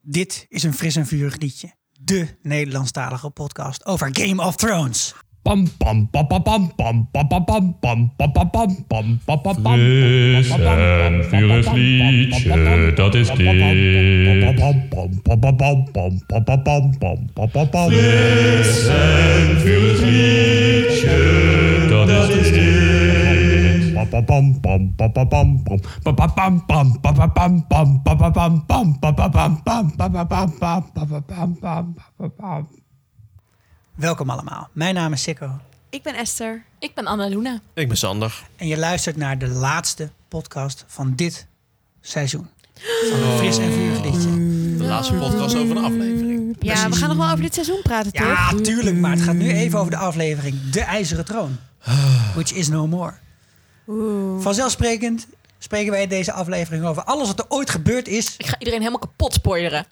Dit is een fris en vuur liedje. De Nederlandstalige podcast over Game of Thrones. Pam pam pam pam pam pam pam pam pam pam pam pam pam pam pam pam pam. Fris en vurig liedje, dat is dit. Fris en vurig liedje, dat is dit. Welkom allemaal. Mijn naam is Sikko Ik ben Esther. Ik ben Anna Luna. Ik ben Sander. en je luistert naar de laatste podcast van dit seizoen. Van een fris en vuur liedje. De laatste podcast over een aflevering. Ja, we gaan nog wel over dit seizoen praten, Ja, toch? tuurlijk, maar het gaat nu even over de aflevering De IJzeren Troon. Which is no more. Vanzelfsprekend spreken wij deze aflevering over alles wat er ooit gebeurd is. Ik ga iedereen helemaal kapot spoileren.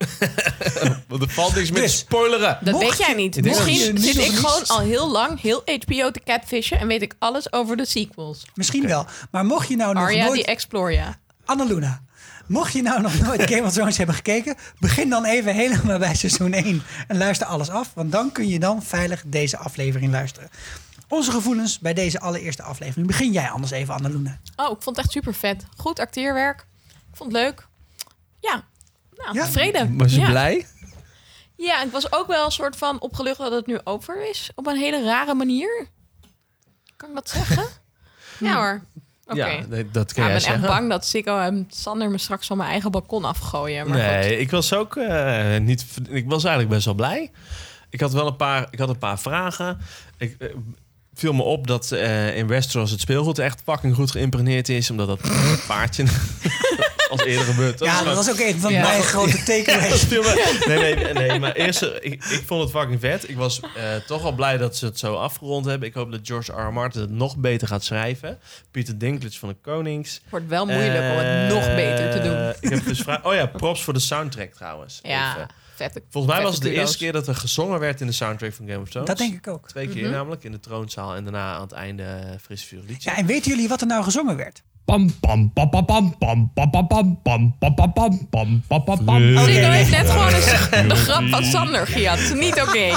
Want er valt niks met Dus. spoileren. Dat Mocht weet jij je- niet. Ik denk dat je Misschien niet zit zo ik verliest. gewoon al heel lang heel HBO te catfishen en weet ik alles over de sequels. Misschien wel. Maar mocht je nou nog Arya nooit... die Exploria. Annaluna, mocht je nou nog nooit Game of Thrones hebben gekeken, begin dan even helemaal bij seizoen 1 en luister alles af, want dan kun je dan veilig deze aflevering luisteren. Onze gevoelens bij deze allereerste aflevering. Begin jij anders even, Annaluna. Oh, ik vond het echt super vet. Goed acteerwerk. Ik vond het leuk. Ja, nou, Ja? tevreden. Was je ja. blij? Ja, ik was ook wel een soort van opgelucht dat het nu over is. Op een hele rare manier. Kan ik dat zeggen? ja hoor. Oké. Ja, nee, dat Ja, kan ik jij ben echt zeggen. bang dat Sikko en Sander me straks van mijn eigen balkon afgooien. Maar goed. Nee, ik was ook eh, niet. Ik was eigenlijk best wel blij. Ik had wel een paar, ik had een paar vragen. Ik eh, viel me op dat eh, in Westeros het speelgoed echt fucking goed geïmpregneerd is, omdat dat paardje als eerder gebeurd. ja, dat gewoon- was ook een van Ja. mijn grote Dat takeaways. viel me- Nee, nee, nee, maar eerst, eh, ik, ik vond het fucking vet. Ik was eh, toch al blij dat ze het zo afgerond hebben. Ik hoop dat George R. R. Martin het nog beter gaat schrijven. Pieter Dinklage van de Konings. Het wordt wel moeilijk om het Eh, nog beter te doen. Ik heb dus vra- oh ja, props voor de soundtrack trouwens. Ja, Even. vet. Volgens mij was het de eerste keer dat er gezongen werd in de soundtrack van Game of Thrones. Dat denk ik ook. Twee keer namelijk, in de troonzaal en daarna aan het einde eh, Fris Vuur Liedje. Ja, en weten jullie wat er nou gezongen werd? Ziggo Oh, heeft net gewoon een, de grap van Sander gejat. Niet oké. Nee,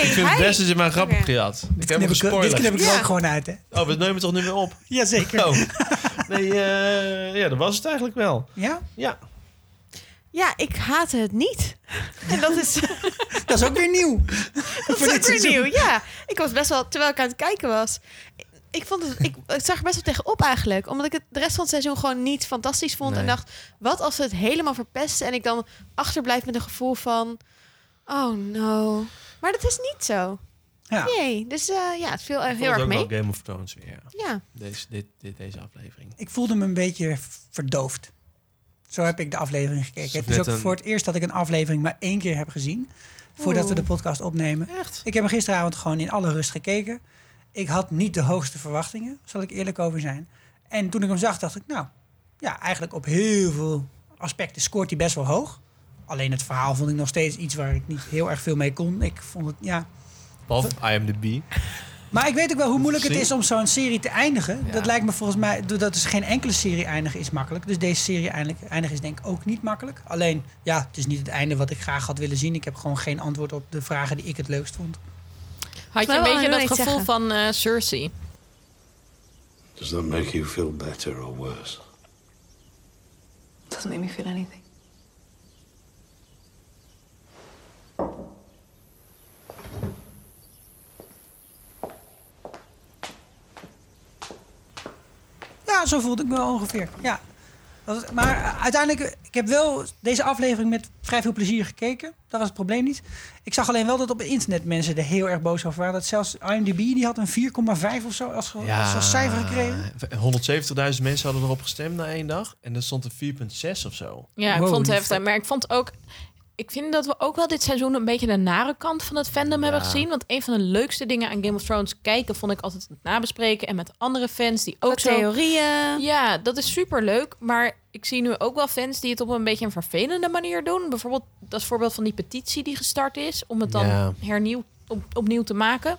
Ik vind het hij- best dat je mijn grap hebt gejat. Ik heb hem Dit knip ik- dit knip gespoilerd. ik Ja. er ook gewoon uit, hè? Oh, we nemen het toch nu weer op? Jazeker. Oh. Nee, eh, ja, dat was het eigenlijk wel. Ja, Ja. Ja, ik haat het niet. En dat is, dat is ook weer nieuw. dat dit is ook weer seizoen. nieuw. Ja, ik was best wel, terwijl ik aan het kijken was... ik- Ik, vond het, ik, ik zag er best wel tegenop eigenlijk. Omdat ik het de rest van het seizoen gewoon niet fantastisch vond. En Nee. dacht, wat als ze het helemaal verpesten... en ik dan achterblijf met een gevoel van... Oh no. Maar dat is niet zo. Ja. Nee, dus eh, ja, het viel eh, heel Vond erg ook mee. wel Game of Thrones weer. ja. Ja. Deze, dit, dit, deze aflevering. Ik voelde me een beetje verdoofd. Zo heb ik de aflevering gekeken. Het is Net ook een- voor het eerst dat ik een aflevering maar één keer heb gezien. Voordat we de podcast opnemen. Echt? Ik heb hem gisteravond gewoon in alle rust gekeken. Ik had niet de hoogste verwachtingen, zal ik eerlijk over zijn. En toen ik hem zag, dacht ik, nou, ja, eigenlijk op heel veel aspecten scoort hij best wel hoog. Alleen het verhaal vond ik nog steeds iets waar ik niet heel erg veel mee kon. Ik vond het, ja. Behalve I Am The Bee. Maar ik weet ook wel hoe moeilijk het Zie. is om zo'n serie te eindigen. Ja. Dat lijkt me volgens mij, dat is geen enkele serie eindigen is makkelijk. Dus deze serie eindigen, eindigen is denk ik ook niet makkelijk. Alleen, ja, het is niet het einde wat ik graag had willen zien. Ik heb gewoon geen antwoord op de vragen die ik het leukst vond. Had je wil een beetje Anne dat niet gevoel zeggen. van eh, Cersei? Does that make you feel better or worse? Doesn't make me feel anything. Ja, zo voelde ik me wel ongeveer. Ja. Dat was- Maar eh, uiteindelijk, ik heb wel deze aflevering met vrij veel plezier gekeken. Dat was het probleem niet. Ik zag alleen wel dat op het internet mensen er heel erg boos over waren. Dat zelfs IMDb, die had een 4,5 of zo als, Oh, ge- als, als cijfer gekregen. 170.000 mensen hadden erop gestemd na één dag. En er stond een 4,6 of zo. Ja, ik Wow, vond die het heftig. Maar ik vond ook... Ik vind dat we ook wel dit seizoen een beetje de nare kant van het fandom hebben gezien. Want een van de leukste dingen aan Game of Thrones kijken... vond ik altijd het nabespreken. En met andere fans die ook Ook zo... theorieën. Ja, dat is super leuk. Maar ik zie nu ook wel fans die het op een beetje een vervelende manier doen. Bijvoorbeeld dat voorbeeld van die petitie die gestart is. Om het dan Ja. hernieuw, op- opnieuw te maken.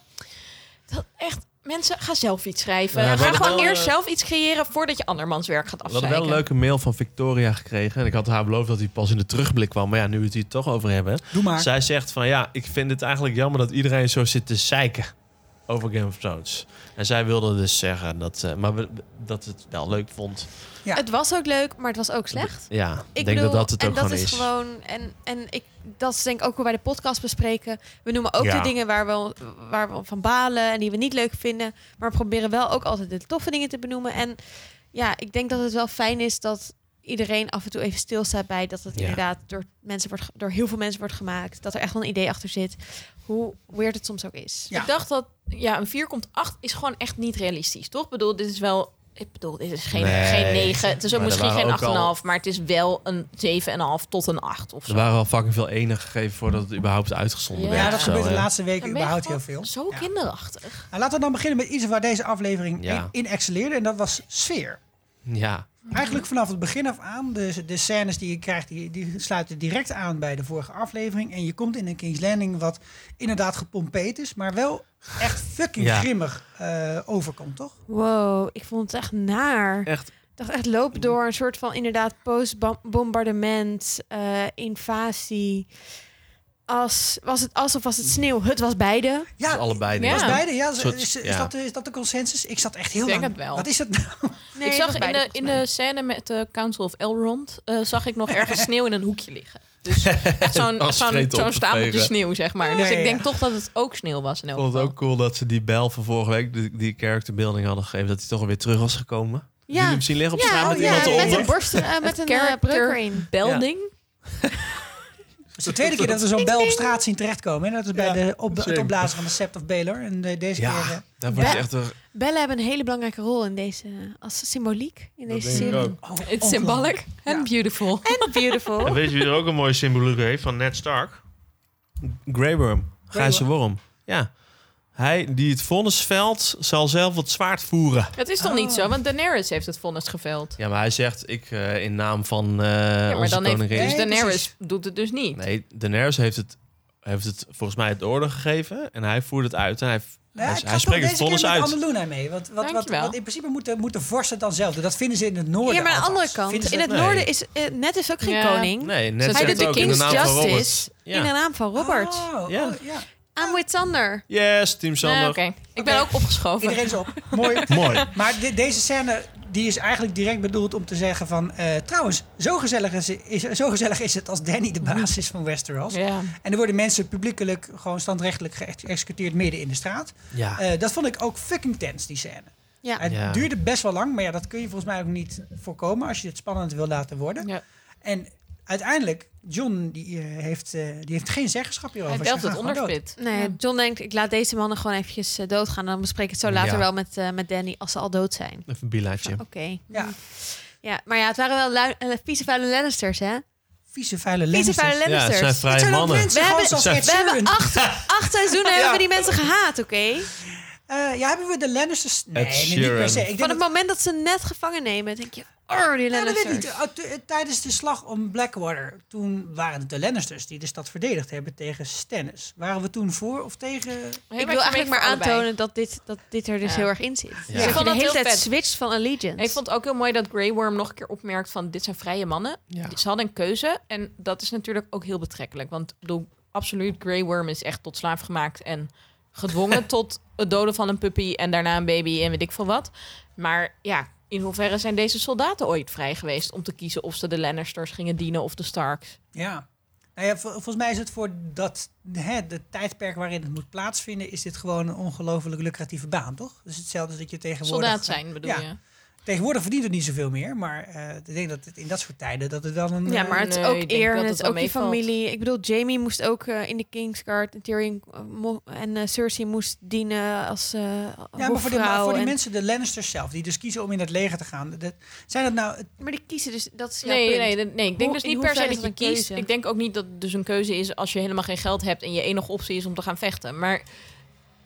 Dat echt, mensen, ga zelf iets schrijven. Nou, we ga hadden gewoon wel, eerst eh, zelf iets creëren voordat je andermans werk gaat We hadden wel afzeiken. een leuke mail van Victoria gekregen. En ik had haar beloofd dat hij pas in de terugblik kwam. Maar ja, nu we het hier toch over hebben. Doe maar. Zij zegt van ja, ik vind het eigenlijk jammer dat iedereen zo zit te zeiken over Game of Thrones. En zij wilde dus zeggen dat, eh, maar we- dat het wel leuk vond. Ja. Het was ook leuk, maar het was ook slecht. Ja, ik denk bedoel, dat dat het en ook dat gewoon is. is. Gewoon, en en ik, dat is denk ik ook hoe wij de podcast bespreken. We noemen ook Ja. de dingen waar we, waar we van balen en die we niet leuk vinden. Maar we proberen wel ook altijd de toffe dingen te benoemen. En ja, ik denk dat het wel fijn is dat iedereen af en toe even stilstaat bij dat het Ja. inderdaad door, mensen wordt, ge- door heel veel mensen wordt gemaakt. Dat er echt wel een idee achter zit. Hoe weird het soms ook is. Ja. Ik dacht dat ja, een 4,8 is gewoon echt niet realistisch, toch? Ik bedoel, dit is wel. Ik bedoel, dit is geen, Nee. geen 9. Het is ook Maar er misschien waren geen ook 8,5, maar het is wel een 7,5 tot een 8 of zo. Er waren al fucking veel ene gegeven voordat het überhaupt uitgezonden Ja. werd. Ja, of dat zo, gebeurt de hè. laatste weken Dan ben je überhaupt heel gewoon veel. Zo Ja. kinderachtig. Nou, laten we dan beginnen met iets waar deze aflevering Ja. in, in excelleerde. En dat was sfeer. Ja, Eigenlijk vanaf het begin af aan, de, de scènes die je krijgt, die, die sluiten direct aan bij de vorige aflevering. En je komt in een King's Landing wat inderdaad gepompeerd is, maar wel echt fucking Ja. grimmig eh, overkomt, toch? Wow, ik vond het echt naar. echt. Ik dacht echt loop door een soort van inderdaad post-bombardement, eh, invasie. As, was het as of was het sneeuw? Het was beide. Ja, dus allebei. Ja. denk ik. was beide. Ja, Soort- is, is ja. Dat, de- is dat de consensus? Ik zat echt heel Ik denk lang- het wel. Wat is dat nou? Nee, ik het was zag in beide, de, in volgens mij. de scène met de Council of Elrond... eh, zag ik nog ergens sneeuw in een hoekje liggen. Dus echt zo'n Als zo'n- vreet op zo'n te stapeltje vegen. sneeuw, zeg maar. Ja, Dus ja, ik denk ja. toch dat het ook sneeuw was in elk Ik vond geval. het ook cool dat ze die bel van vorige week, die, die character building hadden gegeven, dat hij toch alweer terug was gekomen. Ja. Ja. hem zien liggen op ja, straat met oh, ja, iemand eronder. met een borst, eh, met een eh, breuk character erin. Belding? Het is de tweede keer dat we zo'n bel op straat zien terechtkomen. Hè? Dat is bij Ja, de op, het zeker. opblazen van de Sept of Baelor. En eh, deze keer... eh, Ja, daar wordt Be- hij echt een Bellen hebben een hele belangrijke rol in deze, als symboliek in deze serie. oh, It's ongelooflijk. symbolic and Ja. beautiful. En beautiful. En weet je wie er ook een mooie symboliek heeft van Ned Stark? Grey Worm. Grijze worm. Ja. Hij die het vonnis velt, zal zelf het zwaard voeren. Het is toch niet Oh. zo, want Daenerys heeft het vonnis geveld. Ja, maar hij zegt, ik eh, in naam van eh Ja, maar onze dan heeft, koningin... dus Nee, Daenerys precies. doet het dus niet. Nee, Daenerys heeft het, heeft het volgens mij het orde gegeven. En hij voert het uit. En hij, Ja, hij, ik ga hij toch spreekt deze het keer vonnis met uit. Anneloena mee. Want wat, wat, Dankjewel. wat in principe moeten, moeten vorsten het dan zelf doen. Dat vinden ze in het noorden. Ja, maar aan de alvast. andere kant, Oh Vinden ze in het Nee. noorden is eh, net is ook geen Ja. koning. Nee, Ze net hij zegt doet de ook in de King's naam van Robert. Justice Ja. In de naam van Robert. Oh, Ja. oh, ja. Aan with Thunder. Yes, team Sander. Nou, Oké, ik ben Oké. ook opgeschoven. Iedereen is op. Mooi. Mooi. Maar de- deze scène die is eigenlijk direct bedoeld om te zeggen van... eh, trouwens, zo gezellig is, is, zo gezellig is het als Danny de baas is van Westeros. Ja. En er worden mensen publiekelijk gewoon standrechtelijk geëxecuteerd midden in de straat. Ja. Eh, dat vond ik ook fucking tense, die scène. Ja. Het Ah. Ja. duurde best wel lang, maar ja, dat kun je volgens mij ook niet voorkomen... als je het spannend wil laten worden. Ja. En uiteindelijk, John die, eh, heeft, eh, die heeft geen zeggenschap hierover. Hij Ze delft gaan het Oh, gewoon dood. onderspit. Nee, John denkt, ik laat deze mannen gewoon eventjes eh, doodgaan. Dan bespreek ik het zo Ja. later wel met, eh, met Danny als ze al dood zijn. Even een bilaatje. Oké. Ja, Mm. Ja, maar ja, het waren wel lui- eh, vieze vuile Lannisters, hè? vieze vuile Vieze lezers. vuile Ja, het Lannisters. zijn Het vrije zijn ook mannen. mensen We gewoon hebben- zoals Ze- Ed we hebben Sheeran. acht, acht seizoenen hebben we die mensen gehaat, oké? Eh, ja, hebben we de Lannisters? Nee, Ed nee, niet Sheeran. per se. Ik Van denk het dat, moment dat ze net gevangen nemen, denk je... Oh, die ja, dat weet ik niet. Lannisters. Eh, t- eh, Tijdens de slag om Blackwater, toen waren het de Lannisters die de stad verdedigd hebben tegen Stannis. Waren we toen voor of tegen... Ik wil eigenlijk maar aantonen dat dit, dat dit er dus Ja. heel erg in zit. Ik Dat vond je dat de hele heel tijd vet. switcht van Allegiance. Ik vond het ook heel mooi dat Grey Worm nog een keer opmerkt van dit zijn vrije mannen. Ja. Ze hadden een keuze en dat is natuurlijk ook heel betrekkelijk. Want ik bedoel, absoluut, Grey Worm is echt tot slaaf gemaakt en gedwongen tot het doden van een puppy en daarna een baby en weet ik veel wat. Maar ja, in hoeverre zijn deze soldaten ooit vrij geweest om te kiezen of ze de Lannisters gingen dienen of de Starks? Ja. Nou ja, vol- volgens mij is het voor dat, hè, de tijdperk waarin het moet plaatsvinden, is dit gewoon een ongelooflijk lucratieve baan, toch? Dus hetzelfde als dat je tegenwoordig... Soldaat zijn bedoel Ja. je? Tegenwoordig verdient het niet zoveel meer, maar eh, ik denk dat het in dat soort tijden dat het wel een... Ja, eh, maar het is Nee, ook ik denk eer dat en het het is wel ook die meevalt. familie. Ik bedoel, Jamie moest ook eh, in de Kingsguard en Tyrion eh, mo- en eh, Cersei moest dienen als eh ja, maar voor, de, maar hofvrouw voor die en- mensen, de Lannisters zelf, die dus kiezen om in het leger te gaan. dat- zijn dat nou... Maar die kiezen dus, dat is jouw Nee, punt. nee, dat- nee, ik denk Hoe- dus in niet per se hoeverre dat je is dat een kiest. keuze? Ik denk ook niet dat het dus een keuze is als je helemaal geen geld hebt en je enige optie is om te gaan vechten. Maar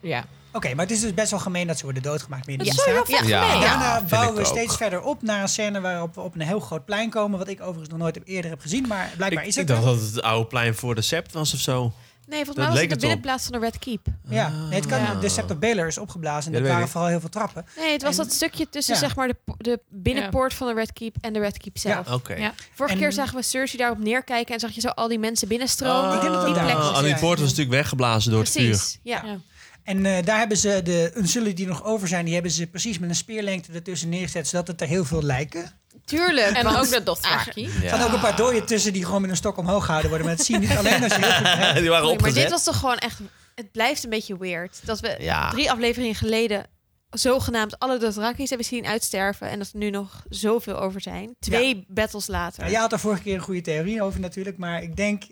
ja, Oké, maar het is dus best wel gemeen dat ze worden doodgemaakt midden in Dat de is zo straat. heel Ja, gemeen. Daarna vind bouwen ik we ook. steeds verder op naar een scène waarop we op een heel groot plein komen. Wat ik overigens nog nooit heb, eerder heb gezien, maar blijkbaar Ik, is ik het dacht er. dat het het oude plein voor de sept was of zo. Nee, volgens Dat mij was leek het de het op. binnenplaats van de Red Keep. Ja, nee, het kan, de Scepter Baylor is opgeblazen. En dat Ja, dat weet waren ik. vooral heel veel trappen. Nee, het was En- dat stukje tussen ja. zeg maar de, po- de binnenpoort van de Red Keep en de Red Keep zelf. Oké. Ah, Ja. Vorige En- keer zagen we Cersei daarop neerkijken en zag je zo al die mensen binnenstromen. Oh, Ik denk dat het die daar plek was, Alleen ja. die poort was natuurlijk weggeblazen door het vuur. Precies, ja. Ja. En eh, daar hebben ze de unsullen die nog over zijn, die hebben ze precies met een speerlengte ertussen neergezet, zodat het er heel veel lijken. Tuurlijk. En want- ook de Dothraki. Er staan ook een paar dooien tussen die gewoon met een stok omhoog gehouden worden. Maar het zien niet alleen als je heel goed hebt. die waren Nee, maar dit opgezet. was toch gewoon echt... Het blijft een beetje weird. Dat we Ja. drie afleveringen geleden zogenaamd alle Dothrakis hebben zien uitsterven. En dat er nu nog zoveel over zijn. Twee battles later. Nou, jij had er vorige keer een goede theorie over natuurlijk. Maar ik denk,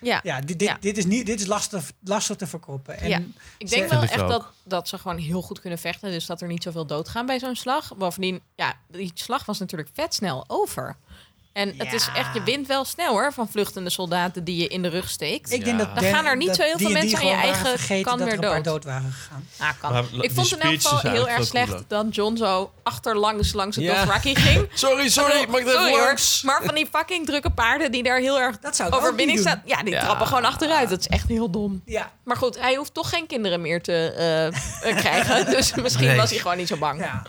Ja. ja, dit, dit, Ja. dit is, niet, dit is lastig, lastig te verkopen. En Ja. Ik Ze- denk wel Vind ik echt ook. dat, dat ze gewoon heel goed kunnen vechten. Dus dat er niet zoveel doodgaan bij zo'n slag. Bovendien, ja, die slag was natuurlijk vet snel over. En het is Ja. echt, je wint wel snel hoor, van vluchtende soldaten die je in de rug steekt. ik denk dat Dan gaan er niet dat zo heel die veel en die mensen aan je gewoon waren eigen vergeten kan dat er weer een paar dood. dood waren gegaan. Ah, kan. Maar la- ik die vond het in elk speech is geval heel eigenlijk erg wel slecht cooler. dat John zo achterlangs langs het Ja. Dothraki ging. Sorry, sorry, mag ik dat Sorry hoor, langs? maar van die fucking drukke paarden die daar heel erg Dat zou ik ook overwinning niet doen. staan. Ja, die Ja. trappen gewoon achteruit. Dat is echt heel dom. Ja, Maar goed, hij hoeft toch geen kinderen meer te eh, eh, krijgen. Dus misschien Nee. was hij gewoon niet zo bang. ja.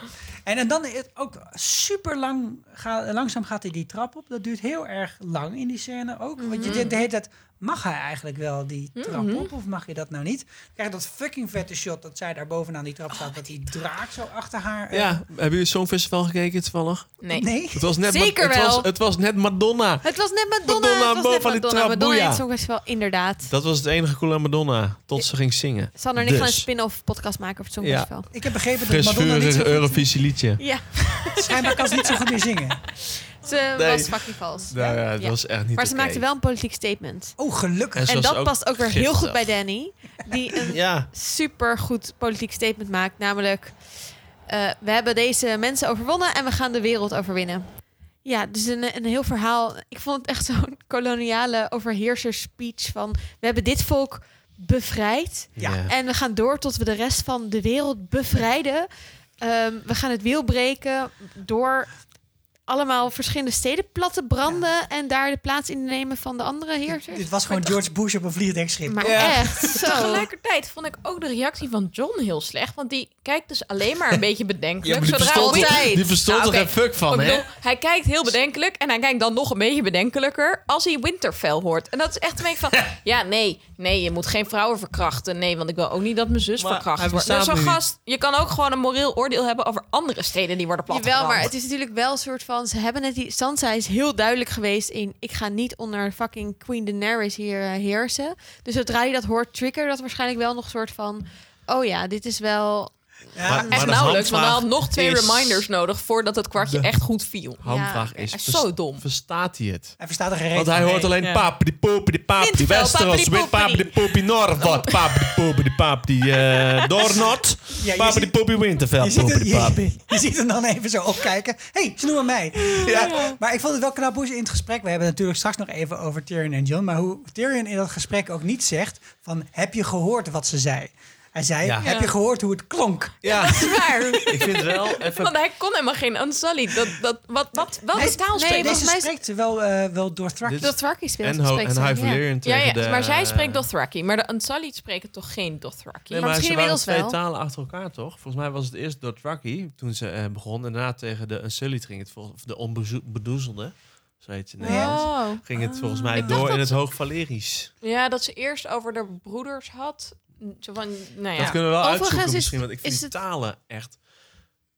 En, en dan is het ook super lang, ga, langzaam gaat hij die trap op. Dat duurt heel erg lang in die scène ook. Want je denkt de hele tijd, mag hij eigenlijk wel die trap op of mag je dat nou niet? Dan krijg je dat fucking vette shot dat zij daar bovenaan die trap staat. dat die draak zo achter haar... eh, Ja, hebben jullie het Songfestival gekeken toevallig? Nee. Nee. Het was net Zeker het was, wel. het was net Madonna. Het was net Madonna. Madonna het was net boven die Madonna. trap, Madonna boeia. in het Songfestival, inderdaad. Dat was het enige cool aan Madonna, tot ze ging zingen. Sander en ik Dus. gaan een spin-off podcast maken over het Songfestival. Ik heb begrepen dat Madonna niet Frisvurig zo goed, eh, Eurovisie liedje. Ja. schijnbaar kan ze niet zo goed meer zingen. Ze Nee. was fucking vals. Nou ja, dat Ja. was echt niet Maar ze oké. maakte wel een politiek statement. Oh, gelukkig. ze En was dat past ook weer heel giftig. goed bij Danny. Die een Ja, super goed politiek statement maakt. Namelijk, eh, we hebben deze mensen overwonnen en we gaan de wereld overwinnen. Ja, dus een, een heel verhaal. Ik vond het echt zo'n koloniale overheerserspeech van... we hebben dit volk bevrijd Ja. ja. en we gaan door tot we de rest van de wereld bevrijden. Ehm, we gaan het wiel breken door allemaal verschillende steden plat te branden... en daar de plaats in te nemen van de andere heersers. Dit was gewoon George Bush op een vliegdekschip. Maar Ja. echt, zo. Tegelijkertijd vond ik ook de reactie van John heel slecht. Want die kijkt dus alleen maar een beetje Ja, bedenkelijk. maar die verstond, Wheel- toch- die verstond Nou, er oké. geen fuck Ik van, hè? bedoel, hij kijkt heel bedenkelijk en hij kijkt dan nog een beetje bedenkelijker als hij Winterfell hoort. En dat is echt een beetje van, ja, nee, nee, je moet geen vrouwen verkrachten. Nee, want ik wil ook niet dat mijn zus Maar hij verkracht wordt. Dus bestaat zo'n nu niet. gast, je kan ook gewoon een moreel oordeel hebben over andere steden die worden platgebrand. Jawel, maar het is natuurlijk wel een soort van... Ze hebben het... die- Sansa is heel duidelijk geweest in... Ik ga niet onder fucking Queen Daenerys hier eh, heersen. Dus zodra je dat hoort, trigger dat waarschijnlijk wel nog een soort van... Oh ja, dit is wel... Ja, Maar Echt de nauwelijks, want hij had handvraag nog twee is- reminders nodig voordat het kwartje echt goed viel. Hamvraag oké. is, Hij is vers- zo dom. Verstaat hij het? hij verstaat er geen Want reet hij van. hoort Nee. alleen paap, die poep, die paap, die Winterfell, Westeros, papidi, wit paap, die poep, die Norvat, paap, die poep, die paap, die eh Doornot, Ja, je paap, die ziet- poep, die Winterfell, Je ziet, poep, het, die paap. je, je ziet hem dan even zo opkijken. Hé, hey, ze noemen mij. Ja, maar ik vond het wel knap hoe ze in het gesprek... We hebben het natuurlijk straks nog even over Tyrion en John. Maar hoe Tyrion in dat gesprek ook niet zegt van... Heb je gehoord wat ze zei? Hij zei, Ja. heb je gehoord hoe het klonk? Ja, Waar? ik vind wel even... Want hij kon helemaal geen Unsullied. Dat, dat, wat, wat, welke Hij- taal nee, nee, spreekt volgens ze mij is- spreekt wel, eh wel door Dit- Dothraki speelt. En, ho- spreekt en ze, hij ja. verleert Ja, ja, de, maar zij spreekt Dothraki. Maar de Unsullied spreken toch geen Dothraki? Nee, maar maar misschien ze waren inmiddels twee wel. talen achter elkaar, toch? Volgens mij was het eerst Dothraki toen ze eh, begon. En daarna tegen de Unsullied ging het volgens... Of de onbedoezelde, zo heet ze in Nee. Nederland. Oh. Ging het volgens mij Ik dacht door in dat het Hoog Valerisch. Ja, dat ze eerst over de broeders had. Zo van, nou ja. Dat kunnen we wel Overigens uitzoeken is- misschien, want ik vind is die het- talen echt...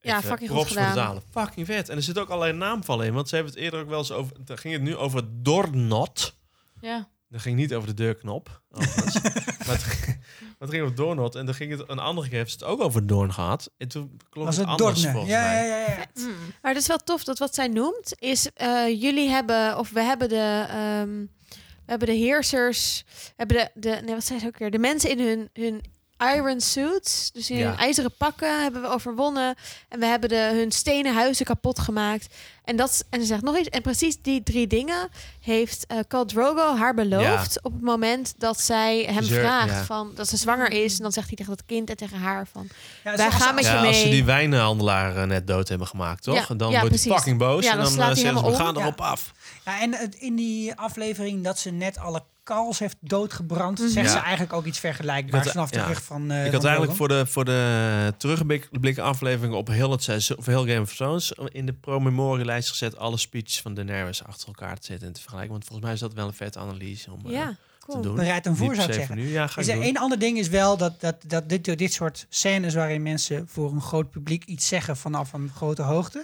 Ja, even fucking goed props voor de gedaan. talen. Fucking vet. En er zit ook allerlei naamvallen in, want ze hebben het eerder ook wel eens over... Daar ging het nu over Dornot. ja. Dat ging niet over de deurknop, overigens. maar, het, ging- maar het ging over Dornot. En dan ging het een andere keer, hebben ze het ook over Doorn gehad. En toen klonk Was het het anders Dorne? volgens Ja, mij. ja, ja, ja. Hmm. Maar het is wel tof dat wat zij noemt is... eh, jullie hebben, of we hebben de... ehm, we hebben de heersers... We hebben de, de... Nee, wat zei ze ook weer? De mensen in hun, hun iron suits. Dus in Ja. hun ijzeren pakken hebben we overwonnen. En we hebben de, hun stenen huizen kapot gemaakt. En, dat, is- en ze zegt nog iets. En precies die drie dingen heeft eh Khal Drogo haar beloofd... op het moment dat zij hem Zeur- vraagt ja. van, dat ze zwanger is. En dan zegt hij tegen dat kind en tegen haar van... Ja, Wij ze- gaan met je Ja, mee. als ze die wijnhandelaar eh, net dood hebben gemaakt, toch? Ja, en dan ja, wordt hij precies. fucking boos. Ja, en dan dan, slaat eh, hij zeggen ze, we helemaal gaan om. erop af. Ja, en het- in die aflevering dat ze net alle kals heeft doodgebrand, Mhm. zegt ze Ja. eigenlijk ook iets vergelijkbaars Ik had- vanaf de ja. rug van. eh, ik van had eigenlijk Logan. voor de, voor de eh, terugblik blik aflevering op heel, het seizoen, of heel Game of Thrones in de pro-memorie-lijst gezet alle speeches van Daenerys achter elkaar te zetten en te vergelijken. Want volgens mij is dat wel een vette analyse om eh, Ja, te cool. doen. Dan rijdt hem voor, Niet zou ik per se zeggen. voor Nu. Ja, ga Is ik er doen. één ander ding is wel dat, dat, dat dit, dit soort scènes waarin mensen voor een groot publiek iets zeggen vanaf een grote hoogte.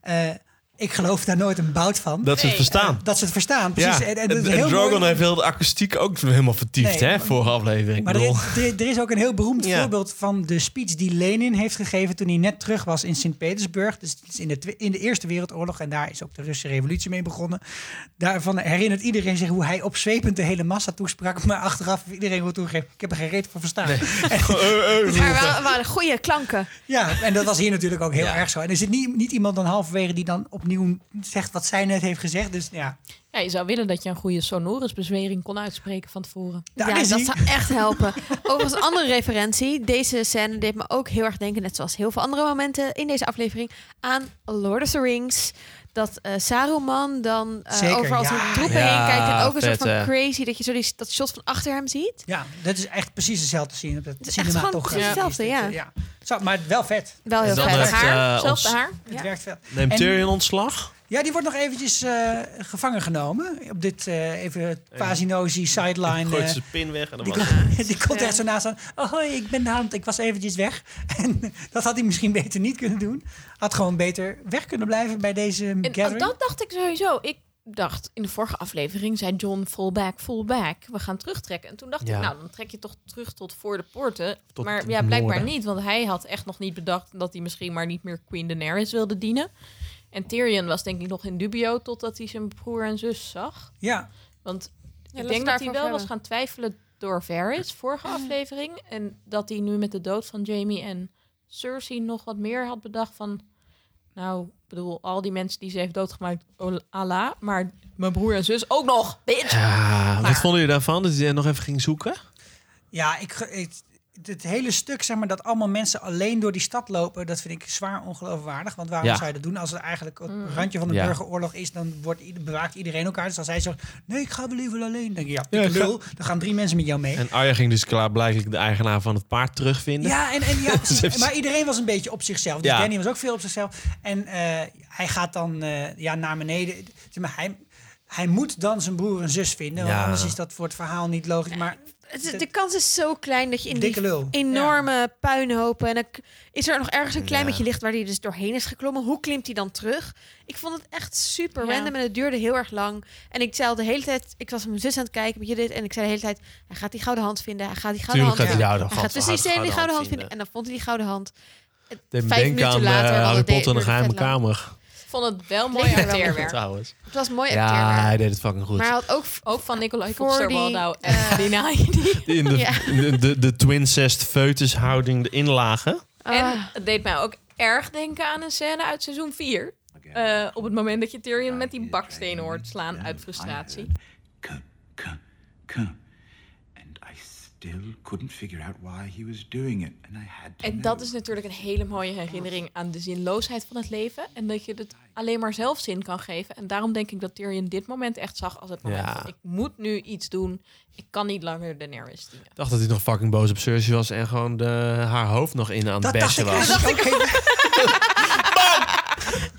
eh, ik geloof daar nooit een bout van. Dat, Dat ze het Nee, verstaan. ze het verstaan. Precies. Ja. En, en En, dat is heel Drogon mooi. heeft heel de akoestiek ook helemaal vertiefd, Nee, hè, maar- vorige aflevering. Maar Ik er bedoel, is, er- er is ook een heel beroemd Ja. voorbeeld van de speech die Lenin heeft gegeven toen hij net terug was in Sint-Petersburg. Dus het is in de, twe- in de Eerste Wereldoorlog en daar is ook de Russische revolutie mee begonnen. Daarvan herinnert iedereen zich hoe hij opzwepend de hele massa toesprak. Maar achteraf heeft iedereen wil toegeven, ik heb er geen reet van verstaan. Maar wel, waren goede klanken. Ja, en dat was hier natuurlijk ook heel Ja. erg zo. En er zit niet, niet iemand dan halverwege die dan opnieuw zegt wat zij net heeft gezegd. Dus ja, Ja, je zou willen dat je een goede sonorusbezwering kon uitspreken van tevoren. daar ja, is dat hij. zou echt helpen. Overigens, een andere referentie. Deze scène deed me ook heel erg denken, net zoals heel veel andere momenten in deze aflevering, aan Lord of the Rings. Dat eh, Saruman dan eh, Zeker, overal ja. zijn troepen Ja, heen kijkt. En ook een vet, soort van hè. crazy, dat je zo die, dat shot van achter hem ziet. Ja, dat is echt precies hetzelfde zien op dat eh, is echt gewoon precies hetzelfde, ja. Zo, maar wel vet. Wel heel dan vet. heeft, Haar. eh, Zelfs ons- haar. Het Ja. werkt vet. Neemt En- Tyrion ontslag? Ja, die wordt nog eventjes eh, gevangen genomen. Op dit eh even quasi-nozi Hij sideline. Gooit eh, zijn pin weg en dan die, was kon- het. die komt echt zo naast aan. Oh, hoi, ik ben de hand. Ik was eventjes weg. En dat had hij misschien beter niet kunnen doen. Had gewoon beter weg kunnen blijven bij deze En oh, gathering. dat dacht ik sowieso. Ik dacht, in de vorige aflevering zei John, full back, full back. We gaan terugtrekken. En toen dacht Ja. ik, nou, dan trek je toch terug tot voor de poorten. Tot maar het ja, blijkbaar noorden. niet. Want hij had echt nog niet bedacht dat hij misschien maar niet meer Queen Daenerys wilde dienen. En Tyrion was denk ik nog in dubio totdat hij zijn broer en zus zag. Ja, Want laten ik we denk dat hij daarvoor wel was verder. gaan twijfelen door Varys, vorige aflevering. En dat hij nu met de dood van Jamie en Cersei nog wat meer had bedacht van... Nou, ik bedoel, al die mensen die ze heeft doodgemaakt, oh, Allah. Maar mijn broer en zus ook nog, bitch! Ja, Nou wat vonden jullie daarvan? Dat hij er nog even ging zoeken? Ja, ik, ge- ik, het hele stuk, zeg maar, dat allemaal mensen alleen door die stad lopen, dat vind ik zwaar ongeloofwaardig. Want waarom Ja. zou je dat doen als het eigenlijk op het randje van een Ja. burgeroorlog is? Dan wordt, ieder- bewaakt iedereen elkaar. Dus als hij zegt, nee, ik ga wel liever alleen. Dan denk je, ja, Ja, ik ik ga- lul, dan gaan drie mensen met jou mee. En Arya ging dus klaarblijkelijk de eigenaar van het paard terugvinden. Ja, en, en, ja precies. heeft- maar iedereen was een beetje op zichzelf. Dus Ja. Danny was ook veel op zichzelf. En eh, hij gaat dan eh, ja, naar beneden. Zeg maar, hij, hij moet dan zijn broer en zus vinden. want Ja. Anders is dat voor het verhaal niet logisch. Maar Het is- De kans is zo klein dat je in dikke die lul. enorme puinhopen... en dan k- is er nog ergens een klein Ja. beetje licht waar hij dus doorheen is geklommen. Hoe klimt hij dan terug? Ik vond het echt super Ja. random en het duurde heel erg lang. En ik zei al de hele tijd... Ik was met mijn zus aan het kijken, met Judith... en ik zei de hele tijd, hij gaat die gouden hand vinden. Hij gaat die gouden Tuurlijk gaat hand hij vinden. jou dan Hij gaat dus die gouden, hand vinden. En dan vond hij die gouden hand. En Vijf Denk minuten aan later eh, hadden Harry we Potter en de het geheime vet lang. kamer. Ik vond het wel mooi Leek er wel acteerwerk. Trouwens. Het was mooi Ja, hij acteerwerk. deed het fucking goed. Maar hij had ook... Ook van Nicolai nou, Voor Coster-Waldau die, eh, en Lina Headey. In de, Ja. in de, de, de twincest feutushouding, de inlagen. En Ah. het deed mij ook erg denken aan een scène uit seizoen 4. Eh, op het moment dat je Tyrion met die baksteen hoort slaan uit frustratie. Come, come, come. And I still couldn't figure out why he was doing it. And I had to En know. dat is natuurlijk een hele mooie herinnering aan de zinloosheid van het leven. En dat je het alleen maar zelf zin kan geven. En daarom denk ik dat Tyrion dit moment echt zag als het moment Ja. van... ik moet nu iets doen, ik kan niet langer Daenerys dienen. Ik dacht dat hij nog fucking boos op Cersei was en gewoon de, haar hoofd nog in aan het dat dacht bashen ik was. eigenlijk ook even. Fuck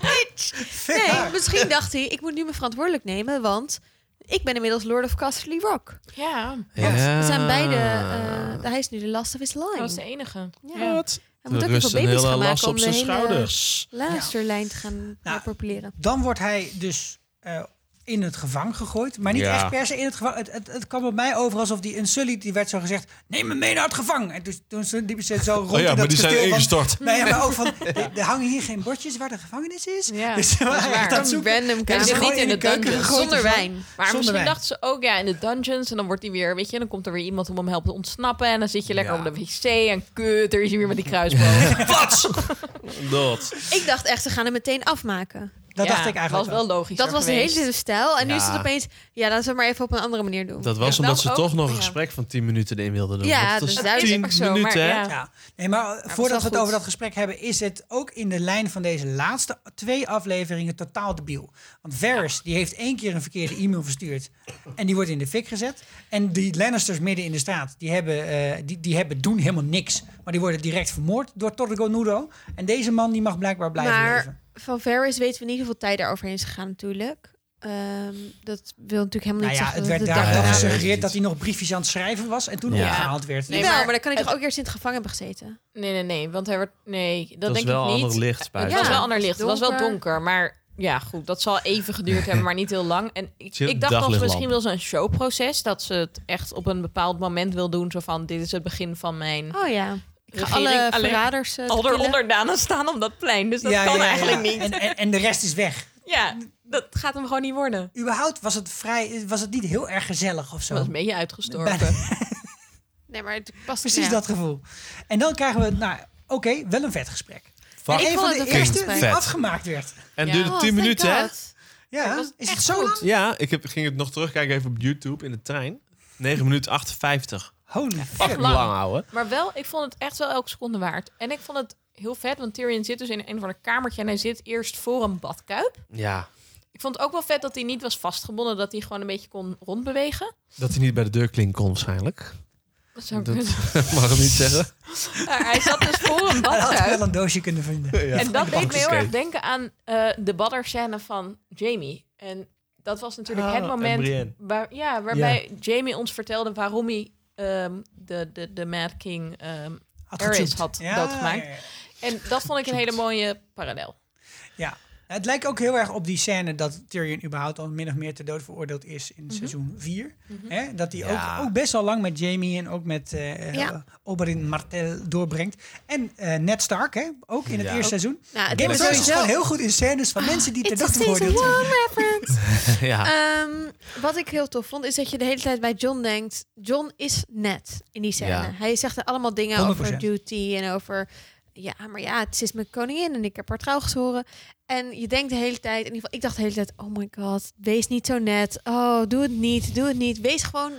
haar. Nee, misschien dacht hij, ik moet nu me verantwoordelijk nemen, want... Ik ben inmiddels Lord of Castle Rock. Ja, Ja. We zijn beide. eh, hij is nu de last of his dat line. was de enige. Ja. Oh, Ja. Hij moet Er ook heel veel rust een baby's hele gaan last maken om op de zijn hele schouders. luisterlijn te gaan Nou, populeren. Dan wordt hij dus eh, in het gevangen gegooid. Maar niet Ja. echt per se in het gevangen. Het, het, het kwam op mij over alsof die Unsullied, die werd zo gezegd... neem me mee naar het gevangen. En toen, toen ze diep zo rond Oh in ja, dat maar die kasteel zijn van- ingestort. Nee, ja, maar ook van, er- er hangen hier geen bordjes waar de gevangenis is. Ja, dus ze dat is waren waar. echt aan het zoeken. random Hebben ze kamer. gewoon Niet in in de de keuken dungeon. gegooid. Zonder en zo. wijn. Maar Zonder misschien wijn. dachten ze ook, ja, in de dungeons. En dan wordt hij weer, weet je, dan komt er weer iemand om hem helpen te ontsnappen. En dan zit je lekker Ja. op de wc en kut, er is hij weer met die kruisboog. Dat. Ik dacht echt, ze gaan hem meteen afmaken. Dat Ja, dacht ik eigenlijk was wel ook. logisch. Dat was de hele tijd hele. de stijl. En nu is het Ja. opeens... Ja, laten we het maar even op een andere manier doen. Dat was Ja, omdat dat ze ook. toch nog een Ja. gesprek van 10 minuten erin wilden doen. Ja, Want het dus is dat is 10 ook zo, maar minuten, hè? ja. Ja, nee, maar wel voordat we het goed. over dat gesprek hebben, is het ook in de lijn van deze laatste twee afleveringen totaal debiel. Want Varys, die heeft één keer een verkeerde e-mail verstuurd en die wordt in de fik gezet. En die Lannisters midden in de straat, die, hebben, eh, die, die hebben, doen helemaal niks. Maar die worden direct vermoord door Torgo Nudo. En deze man die mag blijkbaar blijven maar leven. van Varys weten we niet hoeveel tijd er overheen is gegaan natuurlijk. Ehm, dat wil natuurlijk helemaal Nou niet ja, zeggen. het dat werd de daar dag wel daarna- Ja, gesuggereerd weet ik dat hij nog briefjes aan het schrijven was en toen Ja. opgehaald werd. Nee, Jawel, maar, maar dan kan ik toch het- ook eerst in het gevangen hebben gezeten? Nee, nee, nee. Want hij werd. Nee, Dat dat, denk is wel ik niet. ander licht bij. Het Ja. was wel ander licht. Het was wel Donker. donker. Maar ja, goed. Dat zal even geduurd hebben, maar niet heel lang. En ik, Zit ik dacht dat ze daglichtlamp. misschien wel zo'n showproces. Dat ze het echt op een bepaald moment wil doen. Zo van: dit is het begin van mijn. Oh ja. Ik ga Regering alle alleen- verraders... eh, Al haar killen. onderdanen staan op dat plein. Dus dat Ja, kan ja, ja, eigenlijk ja. niet. En, en, en de rest is weg. Ja, dat gaat hem gewoon niet worden. Überhaupt was het, vrij, was het niet heel erg gezellig of zo. Ze was een beetje uitgestorven. Nee, maar het past Precies ja. dat gevoel. En dan krijgen we, nou, oké, wel een vet gesprek. Fuck. en Ik een vond van het de een vet eerste die gesprek. afgemaakt werd. En Ja. duurde Oh, 10 thank minuten, hè? God. Ja, was is het echt zo goed. lang? Ja, ik heb, ging het nog terugkijken even op YouTube in de trein. 9 minuten 58. Holy Fucking fuck. lang. lang, ouwe. Maar wel, ik vond het echt wel elke seconde waard. En ik vond het heel vet, want Tyrion zit dus in een van de kamertje en hij zit eerst voor een badkuip. Ja. Ik vond het ook wel vet dat hij niet was vastgebonden, dat hij gewoon een beetje kon rondbewegen. Dat hij niet bij de deurklink kon waarschijnlijk. Dat zou Dat- kunnen. Mag ik niet zeggen. Maar hij zat dus voor een Hij had badkuip. wel een doosje kunnen vinden. Ja. En dat deed me heel Oké. erg denken aan eh, de badderscène van Jamie. En dat was natuurlijk Ah, het en moment Brienne. waar, ja, waarbij Jamie ons vertelde waarom hij ehm, de, de, de Mad King ehm, Had Ares gezoend. had Ja, doodgemaakt. ja, ja. En dat vond ik een hele mooie parallel. Ja. Het lijkt ook heel erg op die scène dat Tyrion überhaupt al min of meer te dood veroordeeld is in Mhm. seizoen 4. Hè? Dat hij Ja. ook, ook best wel lang met Jamie en ook met eh Ja. Oberyn Martell doorbrengt. En eh Ned Stark, hè? ook in het Ja. eerste seizoen. Nou, het Game of is Thrones is sowieso- Ah, gewoon heel goed in scènes van mensen die te It's dood a season veroordeeld zijn. one reference. ja. Ehm, wat ik heel tof vond, is dat je de hele tijd bij John denkt... John is net in die scène. Ja. Hij zegt allemaal dingen 100%. over duty en over... Ja, maar ja, het is mijn koningin en ik heb haar trouw gezworen. En je denkt de hele tijd... In ieder geval, ik dacht de hele tijd... Oh my god, wees niet zo net. Oh, doe het niet, doe het niet. Wees gewoon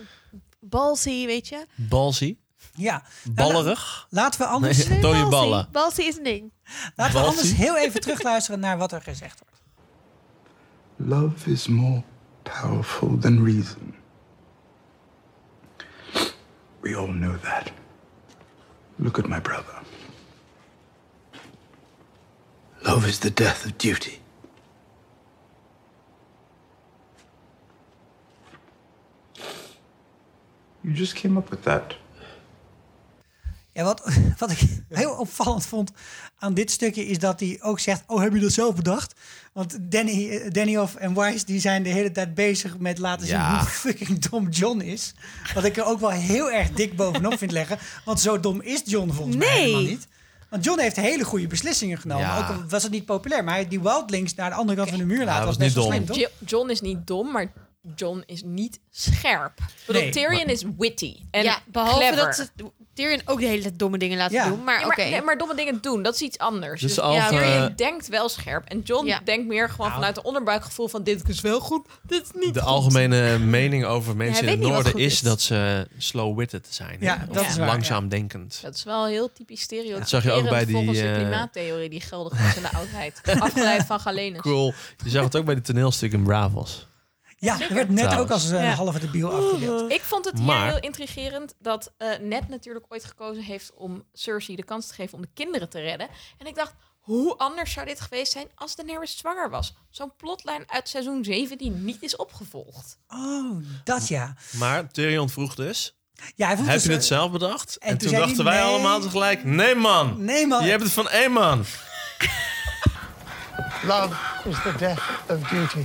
balsy, weet je. Balsie. Ja. Nou, la- Ballerig. laten we anders Nee. Dode balsy. ballen. Balsy is een ding. Laten we Walsie. anders heel even terugluisteren naar wat er gezegd wordt. Love is more powerful than reason. We all know that. Look at my brother. Love is the death of duty. You just came up with that. Ja, wat, wat ik heel opvallend vond aan dit stukje is dat hij ook zegt: Oh, heb je dat zelf bedacht? Want Danny, eh, Dannyhoff en Wise die zijn de hele tijd bezig met laten zien Ja. hoe fucking dom John is. Wat ik er ook wel heel erg dik bovenop vind leggen. Want zo dom is John volgens mij Nee. helemaal niet. Want John heeft hele goede beslissingen genomen. Ja. Ook al was het niet populair. Maar hij die Wildlings naar de andere kant van de muur laten was dat was best wel niet slim, dom. toch? Jo- John is niet dom, maar John is niet scherp. Ik bedoel, Nee. Tyrion is witty en ja, behalve clever. dat ze Tyrion ook de hele tijd domme dingen laten Ja. doen. Maar Ja, oké. maar, nee, maar domme dingen doen, dat is iets anders. Dus Dus, al ja, van, Tyrion eh, Tyrion denkt wel scherp. En John Ja. denkt meer gewoon vanuit het onderbuikgevoel van dit is wel goed, dit is niet de goed. algemene mening over mensen hij in weet het niet wat noorden goed is is. dat ze slow-witted zijn. Ja, hè? Of dat is waar, langzaam denkend. Dat is wel heel typisch stereotyperend Dat zag je ook bij die, volgens de eh, klimaattheorie die geldig was in de oudheid. Afgeleid van Galenus. Cool. Je zag het ook bij het toneelstuk in Bravos. Ja, dat werd net ook Trouwens. als een Ja. halve debiel afgedeeld. Ik vond het hier Maar- heel intrigerend dat eh Ned natuurlijk ooit gekozen heeft om Cersei de kans te geven om de kinderen te redden. En ik dacht, hoe anders zou dit geweest zijn als Daenerys zwanger was? Zo'n plotlijn uit seizoen 17 niet is opgevolgd. Oh, dat ja. Maar Tyrion vroeg dus, ja hij voelt heb dus, je het eh, zelf bedacht? En, toen toen, zei hij, dachten wij nee. allemaal tegelijk, nee man. Nee, man. Je hebt het van één man. Love is the death of duty.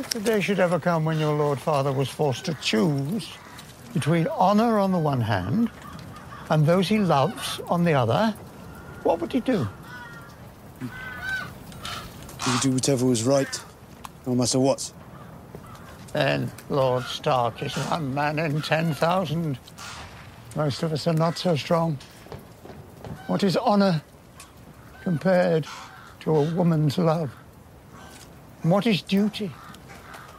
If the day should ever come when your Lord Father was forced to choose between honor on the one hand and those he loves on the other, what would he do? You do whatever was right, no matter what. Then Lord Stark is one man in 10,000. Most of us are not so strong. What is honor compared to a woman's love. And what is duty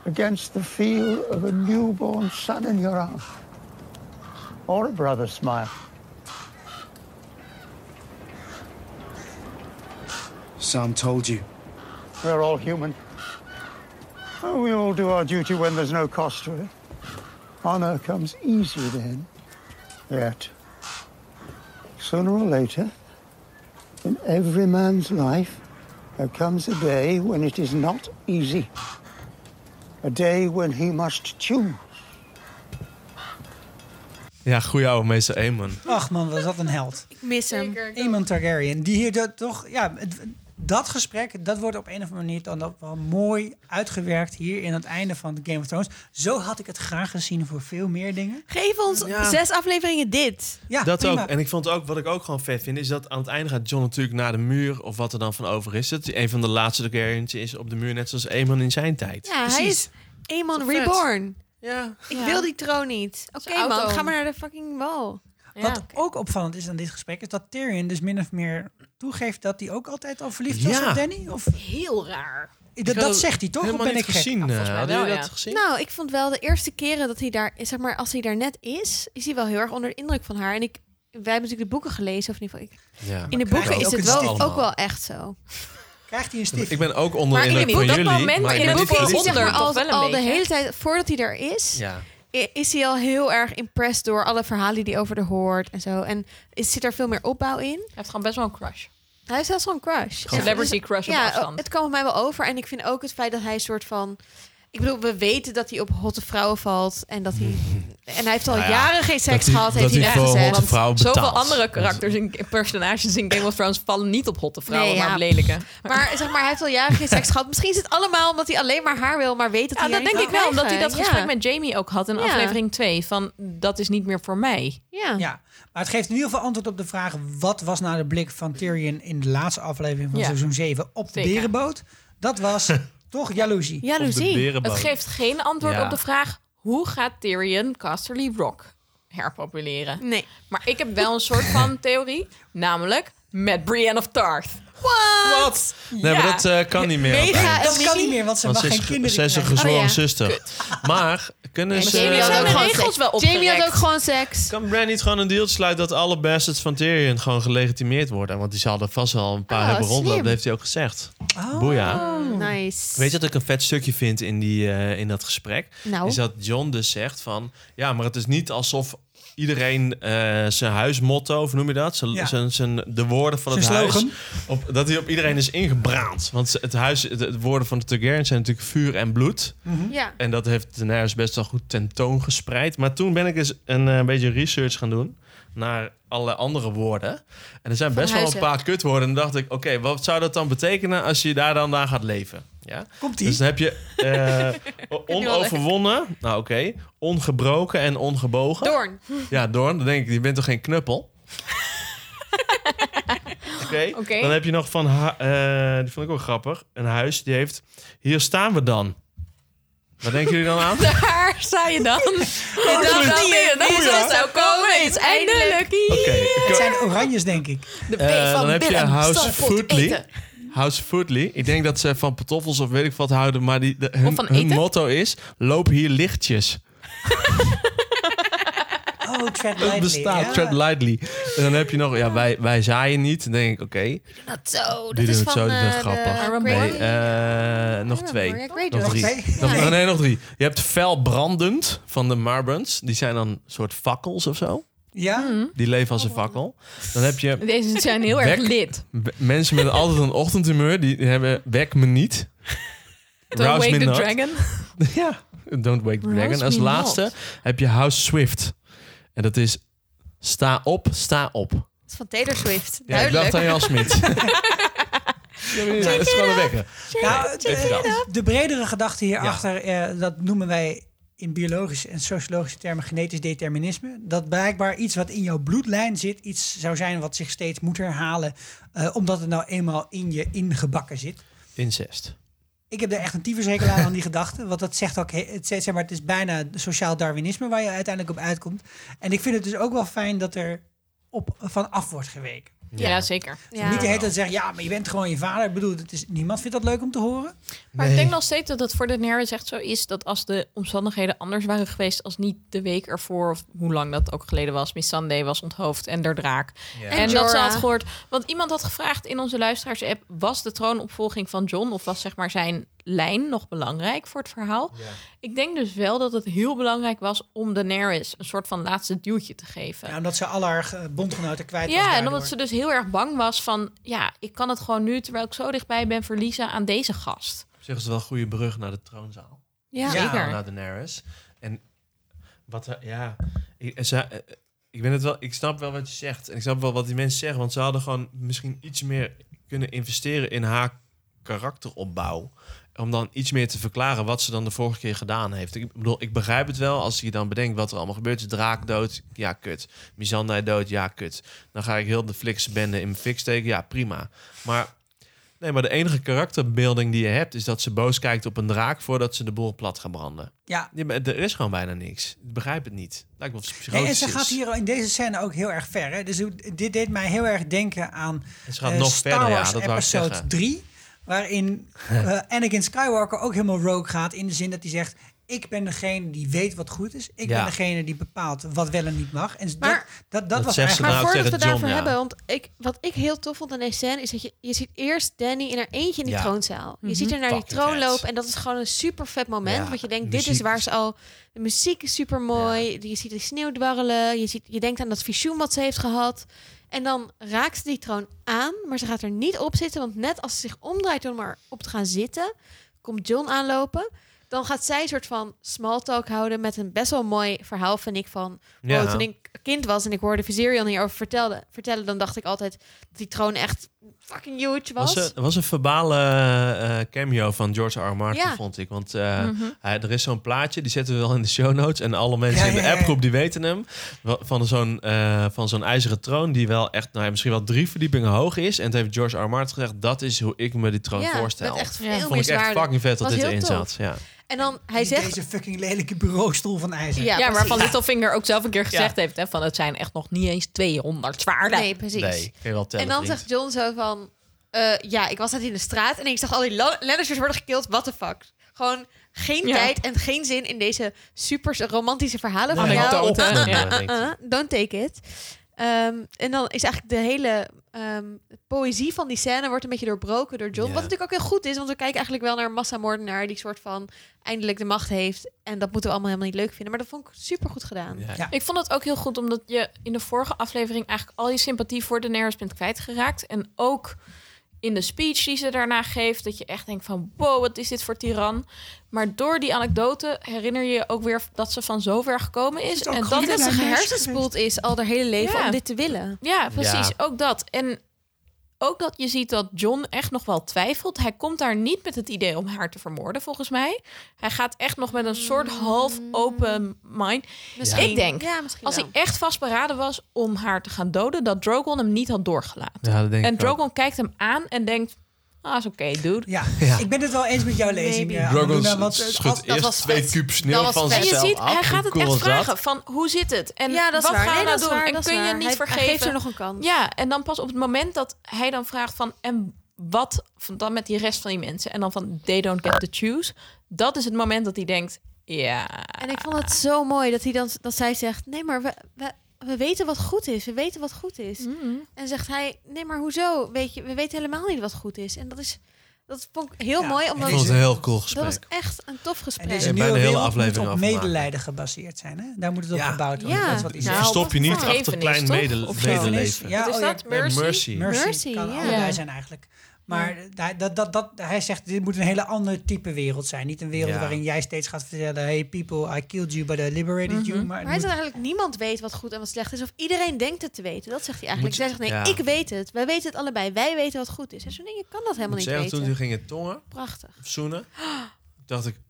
against the feel of a newborn son in your arms? Or a brother's smile? Sam told you. We're all human. Oh, we all do our duty when there's no cost to it. Honor comes easy then. Yet, sooner or later, in every man's life, there comes a day when it is not easy. A day when he must choose. Ja, goeie oude meester Eamon. eh, Ach man, was dat een held. Ik mis hem. Eamon Targaryen. Die hier dat toch... Ja, het- dat gesprek, dat wordt op een of andere manier dan dat wel mooi uitgewerkt hier in het einde van Game of Thrones. Zo had ik het graag gezien voor veel meer dingen. Geef ons zes afleveringen dit. Ja, dat prima. ook. En ik vond ook, wat ik ook gewoon vet vind, is dat aan het einde gaat John natuurlijk naar de muur of wat er dan van over is. Dat hij een van de laatste Targaryens is op de muur, net zoals Aemon in zijn tijd. Ja, hij is eenmaal vet? reborn. Ja. Ik Ja. wil die troon niet. Oké Zijn man, auto. ga maar naar de fucking wal. Wat ook opvallend is aan dit gesprek, is dat Tyrion dus min of meer toegeeft dat hij ook altijd al verliefd was Ja. op Danny. Of, Heel raar. dat, had dat zegt hij toch? Of Helemaal ben niet ik gek? gezien. eh, mij Hadden jullie wel, dat ja. gezien? Nou, ik vond wel de eerste keren dat hij daar, zeg maar, als hij daar net is, is hij wel heel erg onder de indruk van haar. En ik, wij hebben natuurlijk de boeken gelezen, of in ieder geval. ik- Ja. In de krijg boeken je is ook het een wel stift? ook wel echt zo. Krijgt hij een stift? Ik ben ook onder Maar de in indruk het- van dat jullie. moment maar in ik het ben boek niet is het Is zeg verliefd. maar toch al, wel een al de beetje, hè? hele tijd, voordat hij daar is, Ja. i- is hij al heel erg impressed door alle verhalen die hij over de hoort en zo. En is, zit er veel meer opbouw in. Hij heeft gewoon best wel een crush. Hij heeft zelfs zo'n crush. En Celebrity dus- crush op ja, afstand. Het kwam op mij wel over. En ik vind ook het feit dat hij een soort van... Ik bedoel, we weten dat hij op hotte vrouwen valt. En dat hij... En hij heeft al jaren geen seks hij- gehad, heeft Nou dat hij hij voor weggezet. hotte vrouw betaalt. Zoveel andere karakters en personages in Game of Thrones vallen niet op hotte vrouwen, Nee, ja. maar op lelijke. Maar zeg maar, hij heeft al jaren geen seks gehad. Misschien is het allemaal omdat hij alleen maar haar wil, maar weet dat Ja, hij dat haar denk niet ik kan wel, omdat hij dat krijgen. gesprek Ja. met Jamie ook had in Ja. aflevering 2. Van, dat is niet meer voor mij. Ja. Ja, maar het geeft in ieder geval antwoord op de vraag... wat was nou de blik van Tyrion in de laatste aflevering van Ja. seizoen 7 op de Zeker. berenboot? Dat was toch jaloezie. Ja, Op de Lucie. berenboot. Het geeft geen antwoord Ja. op de vraag... hoe gaat Tyrion Casterly Rock herpopuleren? Nee. Maar ik heb wel een soort van theorie. Namelijk met Brienne of Tarth. Wat? Nee, Ja. maar dat eh, kan niet meer. Mega op eind. Dat kan niet meer, want ze Want mag ze is, geen kinderen ze is een krijgen. gezworen Oh, ja. zuster. Maar kunnen ze... Jamie had eh, ook gewoon seks. regels wel Jamie had opgerekt. ook gewoon seks. Kan Bran niet gewoon een deal sluiten dat alle bastards van Tyrion gewoon gelegitimeerd worden? Want die zal er vast wel een paar Oh, hebben rondlopen, slim. dat heeft hij ook gezegd. Oh. Boeia. Nice. Weet je wat ik een vet stukje vind in, die, eh, in dat gesprek? Nou. Is dat John dus zegt van... Ja, maar het is niet alsof iedereen eh, zijn huismotto, of noem je dat? Zijn, Ja. zijn, zijn, de woorden van het Zijn huis... slogan. Op, dat hij op iedereen is ingebraand. Want het huis, de, de woorden van de Targaryen zijn natuurlijk vuur en bloed. Ja. En dat heeft Daenerys best wel goed tentoon gespreid. Maar toen ben ik eens een eh, beetje research gaan doen naar alle andere woorden. En er zijn best wel een huizen. paar kutwoorden. En dan dacht ik, oké, wat zou dat dan betekenen als je daar dan naar gaat leven? Ja? Komt-ie. Dus dan heb je eh, o- onoverwonnen, nou oké, ongebroken en ongebogen. Doorn. Ja, Doorn. Dan denk ik, je bent toch geen knuppel? Oké. Oké. Dan heb je nog van, ha- eh, die vond ik ook grappig, een huis die heeft, hier staan we dan. Wat denken jullie dan aan? Daar sta je dan. En dan goed. dacht je, dat Goeie. is wat zou komen. Het is eindelijk. Oké. Het zijn de oranjes, denk ik. De P Eh, van dan heb je Willem. House Stamppot Foodly. eten. House Foodly. Ik denk dat ze van pantoffels of weet ik wat houden, maar die, de- hun, van hun eten? motto is: loop hier lichtjes. Oh, Tread Het Lightly. bestaat, ja. tread lightly. En dan heb je nog, ja, wij, wij zaaien niet. Dan denk ik, oké. Dat zo. Die Dat doen is het van zo, die doen het eh, grappig. de Armor. Nee, Grey- eh, nog Armor, twee. ja, Grey Nog Door. drie. Nog twee? Nog- Ja. Nee, nog drie. Je hebt felbrandend van de Marbrands. Die zijn dan een soort fakkels of zo. Ja? Mhm. Die leven als een fakkel. Dan heb je Deze zijn heel erg Wek. lid. b- mensen met altijd een ochtendhumeur. Die hebben wek me niet. Don't Rouse wake me the not. dragon. Ja, Don't Wake the Rouse Dragon. Als me laatste not. heb je House Swift. En dat is sta op, sta op. Dat is van Taylor Swift. Ja, ik dacht Duidelijk. aan Jan Smit. Ja, dat is gewoon een wekker. Nou, Even dan. de, de bredere gedachte hierachter, eh, dat noemen wij in biologische en sociologische termen genetisch determinisme. Dat blijkbaar iets wat in jouw bloedlijn zit, iets zou zijn wat zich steeds moet herhalen, eh, omdat het nou eenmaal in je ingebakken zit. Incest. Ik heb er echt een tyfushekel aan, aan die gedachte. Want dat zegt ook, he- het, zegt, zeg maar, het is bijna sociaal darwinisme waar je uiteindelijk op uitkomt. En ik vind het dus ook wel fijn dat er op, van af wordt geweken. Ja, ja zeker. Niet de hele tijd zeggen, ja, maar je bent gewoon je vader. Ik bedoel, het is, niemand vindt dat leuk om te horen. Maar ik denk nog steeds dat het voor de Daenerys echt zo is dat als de omstandigheden anders waren geweest als niet de week ervoor of hoe lang dat ook geleden was, Miss Sunday was onthoofd en der draak. Ja. En, dat En ze Jorah. had gehoord, want iemand had gevraagd in onze luisteraars-app, was de troonopvolging van John of was zeg maar zijn lijn nog belangrijk voor het verhaal? Ik denk dus wel dat het heel belangrijk was om Daenerys een soort van laatste duwtje te geven. Ja, omdat ze alle haar eh, bondgenoten kwijt was Ja, en daardoor. omdat ze dus heel erg bang was van, ja, ik kan het gewoon nu, terwijl ik zo dichtbij ben, verliezen aan deze gast. Op zich is het wel een goede brug naar de troonzaal. Ja, Zeker zeker. Naar Daenerys. En wat, er- ja, ik, eh, ze- eh, ik ben het wel, ik snap wel wat je zegt. En ik snap wel wat die mensen zeggen. Want ze hadden gewoon misschien iets meer kunnen investeren in haar karakteropbouw. Om dan iets meer te verklaren wat ze dan de vorige keer gedaan heeft. Ik bedoel, ik begrijp het wel als je dan bedenkt wat er allemaal gebeurt. Draak dood, ja kut. Missandei dood, ja kut. Dan ga ik heel de flikse bende in mijn fik steken, ja prima. Maar Nee, maar de enige karakterbeelding die je hebt is dat ze boos kijkt op een draak voordat ze de boel plat gaan branden. Ja. maar Er is gewoon bijna niks. Ik begrijp het niet. Lijkt wel of ze Nee, psychotisch en ze is. gaat hier in deze scène ook heel erg ver. Hè? Dus dit deed mij heel erg denken aan En ze gaat eh, nog Star verder, ja, Wars dat wou ik episode zeggen. 3. Waarin eh, Anakin Skywalker ook helemaal rogue gaat. In de zin dat hij zegt, ik ben degene die weet wat goed is. Ik Ja. ben degene die bepaalt wat wel en niet mag. En Maar- dat, dat, dat, Dat was zegt ze eigenlijk... nou ook voordat we tegen daarvoor John, ja. hebben, want ik, wat ik heel tof vond aan deze scène is dat je, je ziet eerst Danny in haar eentje in die Ja. troonzaal. Je ziet haar naar die Fucking troon vet. lopen en dat is gewoon een super vet moment. Ja, want je denkt, dit is muziek waar is- ze al. De muziek is super mooi. Je ziet de sneeuw dwarrelen. Je, ziet, je denkt aan dat visioen wat ze heeft gehad. En dan raakt ze die troon aan, maar ze gaat er niet op zitten. Want net als ze zich omdraait om er op te gaan zitten, komt John aanlopen. Dan gaat zij een soort van small talk houden met een best wel mooi verhaal, vind ik, van Ja. oh, toen ik kind was en ik hoorde Viserion hierover vertelde, vertellen, dan dacht ik altijd dat die troon echt fucking huge was. Was er was een verbale eh, cameo van George R. R. Martin, Ja. Mhm. vond ik. Want eh, hij, er is zo'n plaatje, die zetten we wel in de show notes. En alle mensen Ja, in de ja, ja. appgroep, die weten hem. Wa- Van zo'n, eh, van zo'n ijzeren troon, die wel echt, nou ja, misschien wel drie verdiepingen hoog is. En het heeft George R. R. Martin gezegd, dat is hoe ik me die troon ja, voorstel. Met echt veel Ja. meer Vond ik echt zwaarden. fucking vet dat Was dit heel erin tof. zat. Ja. En dan hij zegt, Deze fucking lelijke bureaustoel van ijzer. Ja, Ja, maar precies. waarvan Littlefinger ook zelf een keer gezegd Ja. heeft: hè, van het zijn echt nog niet eens 200 zwaarden. nee, precies. Nee, kun je wel tellen, En dan vriend. zegt John zo van... eh, ja, ik was net in de straat en ik zag al die lo- Lannisters worden gekild. What the fuck? Gewoon geen Ja. tijd en geen zin in deze super romantische verhalen van Nee. jou. Anekdote. Opnemen, Ja. denk ik. Uh-uh, don't take it. Ehm, en dan is eigenlijk de hele ehm, poëzie van die scène wordt een beetje doorbroken door John. Ja. Wat natuurlijk ook heel goed is, want we kijken eigenlijk wel naar een massamoordenaar die soort van eindelijk de macht heeft. En dat moeten we allemaal helemaal niet leuk vinden. Maar dat vond ik super goed gedaan. Ja. Ja. Ik vond het ook heel goed omdat je in de vorige aflevering eigenlijk al je sympathie voor Daenerys bent kwijtgeraakt. En ook in de speech die ze daarna geeft, dat je echt denkt van wow, wat is dit voor tiran. Maar door die anekdote herinner je je ook weer dat ze van zover gekomen is. is ook en goed dat En dat gedaan. ze Ja, meisje gehersenspoeld is al haar hele leven Ja. om dit te willen. Ja, precies. Ja. Ook dat. En ook dat je ziet dat John echt nog wel twijfelt. Hij komt daar niet met het idee om haar te vermoorden, volgens mij. Hij gaat echt nog met een soort half open mind. Ik denk, Ja, Mm. misschien als wel. hij echt vastberaden was om haar te gaan doden, dat Drogon hem niet had doorgelaten. Ja, dat denk en ik ook. Drogon kijkt hem aan en denkt, ah, is oké, dude. Ja. ik ben het wel eens met jouw lezing. Maybe. eh, Drogon Annalena, want, eh, als- schudt eerst was twee vet. kuub Dat sneeuw was van vet. En je zichzelf ziet, af. hij gaat Hoe het cool echt is dat? vragen van hoe zit het? En ja, dat is wat waar. ga je nou Nee, dat is doen? waar, en dat is kun je waar. niet Hij- vergeven? Hij geeft er nog een kans. Ja, en dan pas op het moment dat hij dan vraagt van... en wat van dan met die rest van die mensen? En dan van, they don't get to choose. Dat is het moment dat hij denkt, ja... En ik vond het zo mooi dat, hij dan, dat zij zegt... Nee, maar we, we, we weten wat goed is. We weten wat goed is. En zegt hij... Nee, maar hoezo? Weet je, we weten helemaal niet wat goed is. En dat is... Dat vond ik heel Ja, mooi, en omdat... Ik vond het een heel cool dat was gesprek. echt een tof En gesprek. deze Ja, bijna nieuwe de hele wereld aflevering moet op afgemaakt. medelijden gebaseerd zijn. Hè? Daar moet het op Ja. gebouwd worden. Ja. Dat is wat Nou, Isaac Stop je niet vergeven achter is, klein toch? mede- Of zo. medeleven. Ja, Wat oh is dat? Nee, Mercy? Mercy, Mercy, kan ja. allebei zijn eigenlijk. Maar daar- dat, dat, dat, hij zegt, dit moet een hele andere type wereld zijn. Niet een wereld Ja. waarin jij steeds gaat vertellen... hey people, I killed you, but I liberated you. Maar, Maar hij zegt eigenlijk, niemand weet wat goed en wat slecht is. Of iedereen denkt het te weten. Dat zegt hij eigenlijk. Moet Zij je- zegt, nee, ja. ik weet het. Wij weten het allebei. Wij weten wat goed is. En zo'n ding, je kan dat helemaal Moet niet zeggen, weten. toen ging het tongen, Prachtig. of zoenen, dacht ik, oké,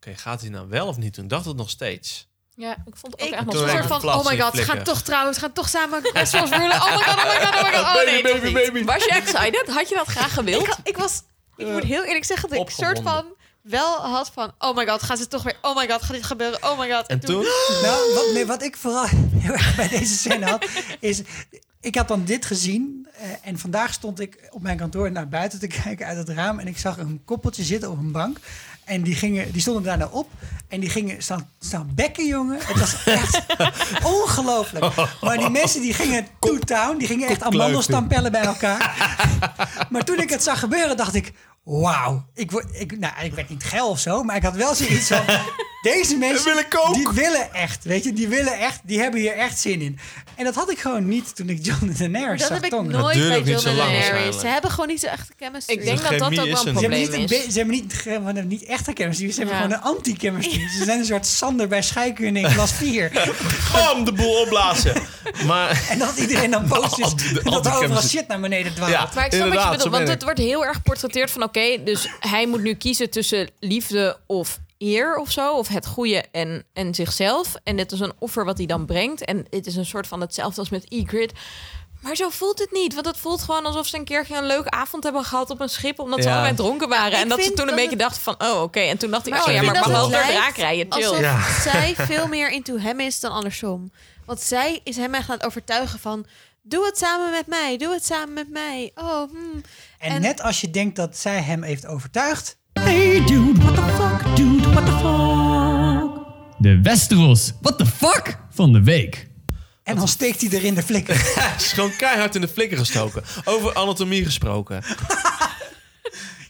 gaat hij nou wel of niet doen? Dacht het nog steeds. Ja, ik vond het ook Ik echt een toen nog heb soort ik zo hem van, plaats oh my in god, ze flikken. gaan toch trouwen. Ze gaan toch samen Westeros rulen. Oh my god, oh my god, oh my god. Oh nee, toch niet. Was je excited? Had je dat graag gewild? Ik, ik was, ik moet heel eerlijk zeggen dat ik een soort van Opgewonden. wel had van, oh my god, gaan ze toch weer, oh my god, gaat dit gebeuren, oh my god. En toen, Nou, wat, nee, wat ik vooral heel erg bij deze scène had, is... Ik had dan dit gezien Eh, en vandaag stond ik op mijn kantoor naar buiten te kijken uit het raam. En ik zag een koppeltje zitten op een bank. En die, gingen, die stonden daarna op. En die gingen staan, staan bekken, jongen. Het was echt ongelooflijk. Maar die mensen die gingen to town. Die gingen echt amandelstampellen bij elkaar. maar toen ik het zag gebeuren, dacht ik... Wauw. Ik, word- ik, nou, ik werd niet geil of zo. Maar ik had wel zoiets van... Deze mensen, die willen echt, weet je, die willen echt, die hebben hier echt zin in. En dat had ik gewoon niet toen ik John Daenerys Dat zag heb ik tongen. nooit duurt bij ook niet John zo en lang Harry. waarschijnlijk. Ze hebben gewoon niet zo echte chemistry. Ik denk De dat dat ook chemie wel is er een Ze hebben, niet. probleem niet een is. be- ze hebben niet, ge- ze hebben niet echte chemistry, ze hebben Ja. gewoon een anti-chemistry. ze zijn een soort Sander bij scheikunde in klas 4. Bam, de boel opblazen. Maar en dat iedereen dan boos is anti- de en dat er overal anti-chemistry. shit naar beneden dwaalt. Ja. Maar ik snap wat Inderdaad, je zo bedoelt, ben want ik. het wordt heel erg geportretteerd van... oké, dus hij moet nu kiezen tussen liefde of eer of zo... of het goede en, en zichzelf. En dit is een offer wat hij dan brengt. En het is een soort van hetzelfde als met Ygritte. Maar zo voelt het niet. Want het voelt gewoon alsof ze een keertje een leuke avond hebben gehad op een schip... omdat ze Ja. allebei dronken waren. Ik en dat ze vind toen een dat beetje het- dachten van... oh, oké. En toen dacht ik, oh ik ja, vind maar ik mag dat wel het door de lijkt draak rijden. Chill. Alsof Ja. zij veel meer into hem is dan andersom. Want zij is hem echt aan het overtuigen van... Doe het samen met mij, doe het samen met mij. Oh, hmm. En, En- net als je denkt dat zij hem heeft overtuigd. Hey dude, what the fuck, dude, what the fuck. De Westeros. What the fuck? Van de week. En dan steekt hij erin de flikker. het is gewoon keihard in de flikker gestoken. Over anatomie gesproken.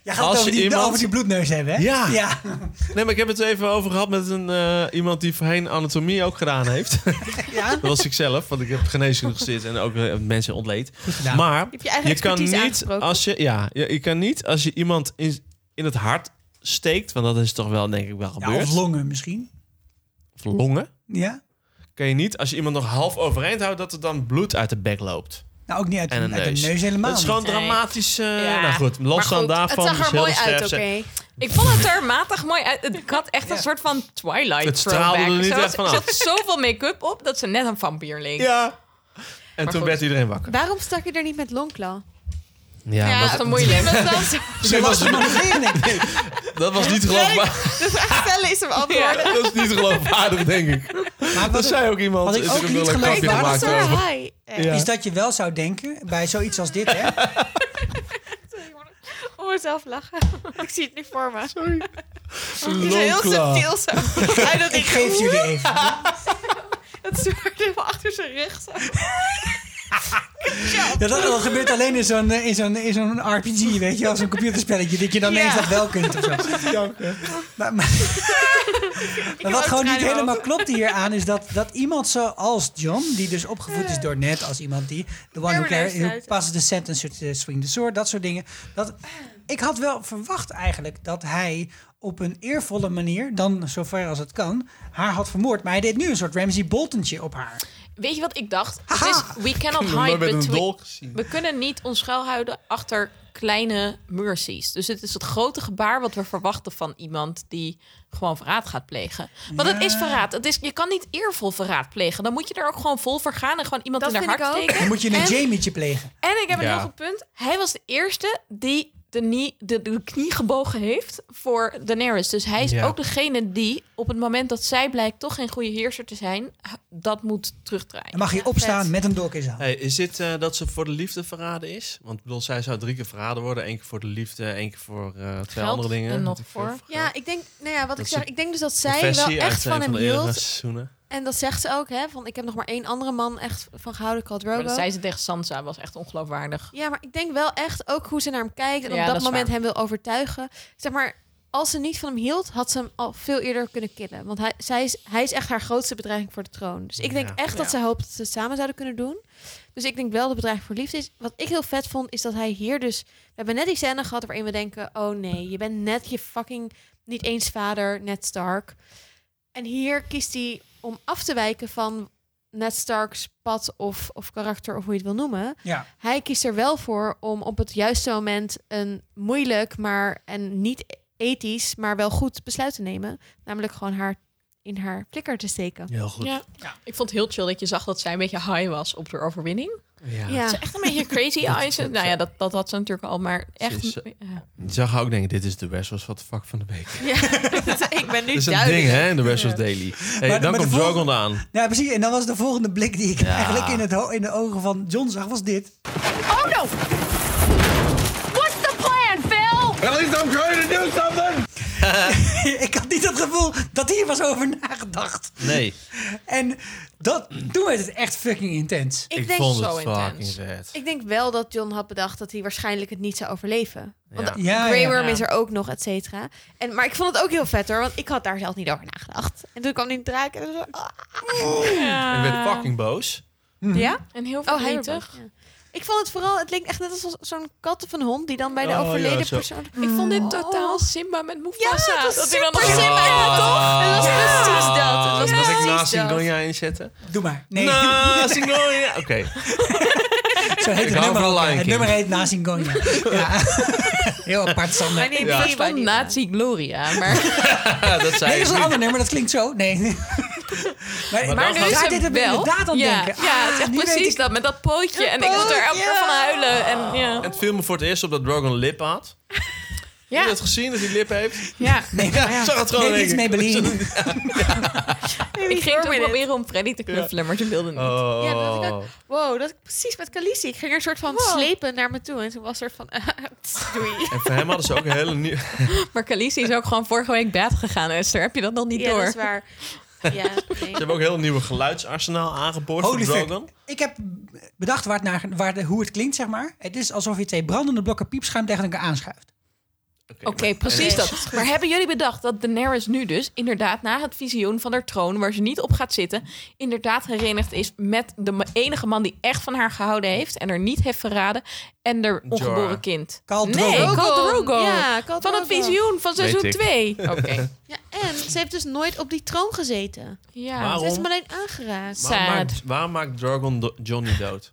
Jij gaat het Als over je die, iemand- over die bloedneus hebben, hè? Ja. ja. Nee, maar ik heb het even over gehad met een, eh, iemand die voorheen anatomie ook gedaan heeft. Ja? Dat was ik zelf, want ik heb geneeskunde gezeten en ook eh, mensen ontleed. gedaan. Maar Heb je eigen kan expertise niet aangesproken? als je, ja, je, je kan niet als je iemand in, in het hart steekt, want dat is toch wel denk ik wel Ja, gebeurd. of longen misschien. Of longen. Ja. Kan je niet als je iemand nog half overeind houdt dat er dan bloed uit de bek loopt. Nou, ook niet uit, de- En een uit neus. de neus helemaal. dat is gewoon niet. Nee. dramatisch. eh, Ja. Nou goed, Maar los goed, van het daarvan. het zag dus er heel mooi de uit, oké. sterfse- Ik vond het er matig mooi uit. Het had echt een Ja. soort van Twilight Het straalde throwback. er niet Ze had- echt van ze af. had zoveel make-up op dat ze net een vampier leek. Ja. En toen goed. werd iedereen wakker. Waarom stak je er niet met Longclaw? Ja, Ja, was- dat is moeilijk. Ze was er nog geen, denk ik. dat was niet geloofwaardig. Dus echt stellen is hem antwoorden. Dat is niet geloofwaardig, denk ik. Maar Dat wat- zei ook iemand. wat ik is ook er niet wel een geloofwaardig grapje Maar Waar dat gemaakt is zou over. waar hij... eh, Ja. is dat je wel zou denken bij zoiets als dit, hè? Om mezelf lachen. Ik zie het nu voor me. Het is heel Longclaw. subtiel zo. Hij doet Ik geef jullie even. Het zwaard helemaal achter zijn rug. zo. Ja, dat, dat gebeurt alleen in zo'n eh, in zo'n in zo'n RPG, weet je wel, zo'n computerspelletje, dat je dan Ja. ineens dat wel kunt of zo. Maar, maar- maar wat ook gewoon niet tranen in mijn helemaal klopt hieraan is dat, dat iemand zoals John, die dus opgevoed is door net als iemand die the one who, Everyone carries- is who uit. passes the sentence should eh, swing the sword, dat soort dingen. Dat, ik had wel verwacht eigenlijk dat hij op een eervolle manier, dan zover als het kan, haar had vermoord. Maar hij deed nu een soort Ramsey Boltontje op haar. Weet je wat ik dacht? Het is, we cannot hide between... We kunnen niet ons schuilhouden achter kleine mercies. Dus het is het grote gebaar wat we verwachten van iemand die gewoon verraad gaat plegen. Want het is verraad. Het is, je kan niet eervol verraad plegen. Dan moet je er ook gewoon vol voor gaan en gewoon iemand Dat in haar vind hart ik ook. steken. Dan moet je een En- Jamietje plegen. En ik heb een Ja. heel goed punt. Hij was de eerste die de, knie- de, de knie gebogen heeft voor Daenerys. Dus hij is Ja. ook degene die op het moment dat zij blijkt toch geen goede heerser te zijn, h- dat moet terugdraaien. Dan mag je opstaan met een dolk in zijn hand. Hey, is dit eh, dat ze voor de liefde verraden is? Want ik bedoel, zij zou drie keer verraden worden. Eén keer voor de liefde, één keer voor eh, twee Geld andere dingen. en nog Wat ik voor- heb vergeten. Ja, ik denk, nou ja, wat ik ze- zeg, ik denk dus dat zij wel Confessie uit echt een van hem de eerdere hield. seizoenen. En dat zegt ze ook, hè? Van ik heb nog maar één andere man echt van gehouden, called Maar dat Drogo. zei ze tegen Sansa, was echt ongeloofwaardig. Ja, maar ik denk wel echt ook hoe ze naar hem kijkt en Ja, op dat, dat is moment waar. hem wil overtuigen. Zeg maar, als ze niet van hem hield, had ze hem al veel eerder kunnen killen. Want hij, zij is, hij is echt haar grootste bedreiging voor de troon. Dus ik denk Ja. echt dat Ja. ze hoopt dat ze het samen zouden kunnen doen. Dus ik denk wel dat de bedreiging voor liefde is. Wat ik heel vet vond, is dat hij hier dus... We hebben net die scène gehad waarin we denken... Oh nee, je bent net je fucking niet eens vader, Ned Stark. En hier kiest hij om af te wijken van Ned Starks pad of, of karakter of hoe je het wil noemen Ja. hij kiest er wel voor om op het juiste moment een moeilijk, maar en niet ethisch, maar wel goed besluit te nemen. Namelijk gewoon haar in haar flikker te steken. Heel goed. Ja. Ik vond het heel chill dat je zag dat zij een beetje high was op de overwinning. Ja. Ja. Ze echt een beetje crazy eyes. Nou ja, dat, dat had ze natuurlijk al, maar echt... Ze ja. Je zag ook denken, dit is de Westeros wat de fuck van de week. ik ben nu Dit is een duidelijk. ding, hè, in de Westeros Daily. Hey, Maar- dan maar de komt volgende- Drogon aan. Nou, precies. En dan was de volgende blik die ik Ja. eigenlijk in, het ho- in de ogen van John zag, was dit. Oh Oh no! What's the plan, Phil? At least I'm trying to do something! ik had niet het gevoel dat hier was over nagedacht. Nee. En dat, toen werd het echt fucking intens. Ik Ik denk vond het zo intens. fucking vet. Ik denk wel dat John had bedacht dat hij waarschijnlijk het niet zou overleven. Want Ja. ja. Ja, ja, Grey Worm ja. is er ook nog, et cetera. En, maar ik vond het ook heel vet hoor, want ik had daar zelf niet over nagedacht. En toen kwam die draak en zo... ah. Ik werd fucking boos. Ja? En heel Oh, hij werd verdrietig. boos, ja. Ik vond het vooral, het leek echt net als zo'n kat of een hond die dan bij de Oh, ja, overleden zo. persoon... Ik vond dit totaal Simba met Mufasa. Ja, het was hij dan super nog- Simba. Ja, toch? Het was Ah. precies dat. Het was Mag ik precies na dat. Singonia inzetten? Doe maar. Nee. Na Singonia. Oké. Zo heet Ik het hou nummer van ook, hè. Lion Het King. nummer heet Nazingonia. ja. Heel apart, Sander. Mijn Nee, neem ja. van Nazi Gloria. Maar, Ah, dat dat is ik een niet. ander nummer, dat klinkt zo. Nee. maar maar, maar nu is gaat het dit er wel. inderdaad aan ja, denken. Ja, Ah, het is echt nu weet precies ik- dat. Met dat pootje. Dat en ik moest er pootje. elke keer van huilen. En, ja. Het viel me voor het eerst op dat Drogon lip had. Ja. Heb je dat gezien, dat hij lip heeft? Ja. Nee, Ja, ik zag het gewoon Nee, dit is in één keer. Maybelline. Ik ging toch proberen om Freddy te knuffelen, maar toen wilde het niet. Oh. Ja, dat had ik ook. Wow, dat had ik precies met Khaleesi. Ik ging er een soort van slepen naar me toe. En toen was er van... eh, doei. En voor hem hadden ze ook een hele nieuwe... Maar Khaleesi is ook gewoon vorige week baat gegaan, Esther. Heb je dat dan niet Ja, door? dat is waar. Ja, Ze hebben ook een heel nieuwe geluidsarsenaal aangeboord Holy voor fuck. Drogon. Ik heb bedacht waar het naar, waar de, hoe het klinkt, zeg maar. Het is alsof je twee brandende blokken piepschuim tegen elkaar aanschuift. Oké, precies Nee. dat. Maar hebben jullie bedacht dat Daenerys nu dus inderdaad na het visioen van haar troon, waar ze niet op gaat zitten, inderdaad herenigd is met de ma- enige man die echt van haar gehouden heeft en haar niet heeft verraden en haar ongeboren Jorah. kind? Khal nee, Drogo. Khal Drogo. Ja, Khal van het Drogo. visioen van seizoen Weet ik. 2. Oké. Ja, en ze heeft dus nooit op die troon gezeten. Ja. Ze Waarom? heeft hem alleen aangeraakt. Waarom maakt, waarom maakt Drogon do- Johnny dood?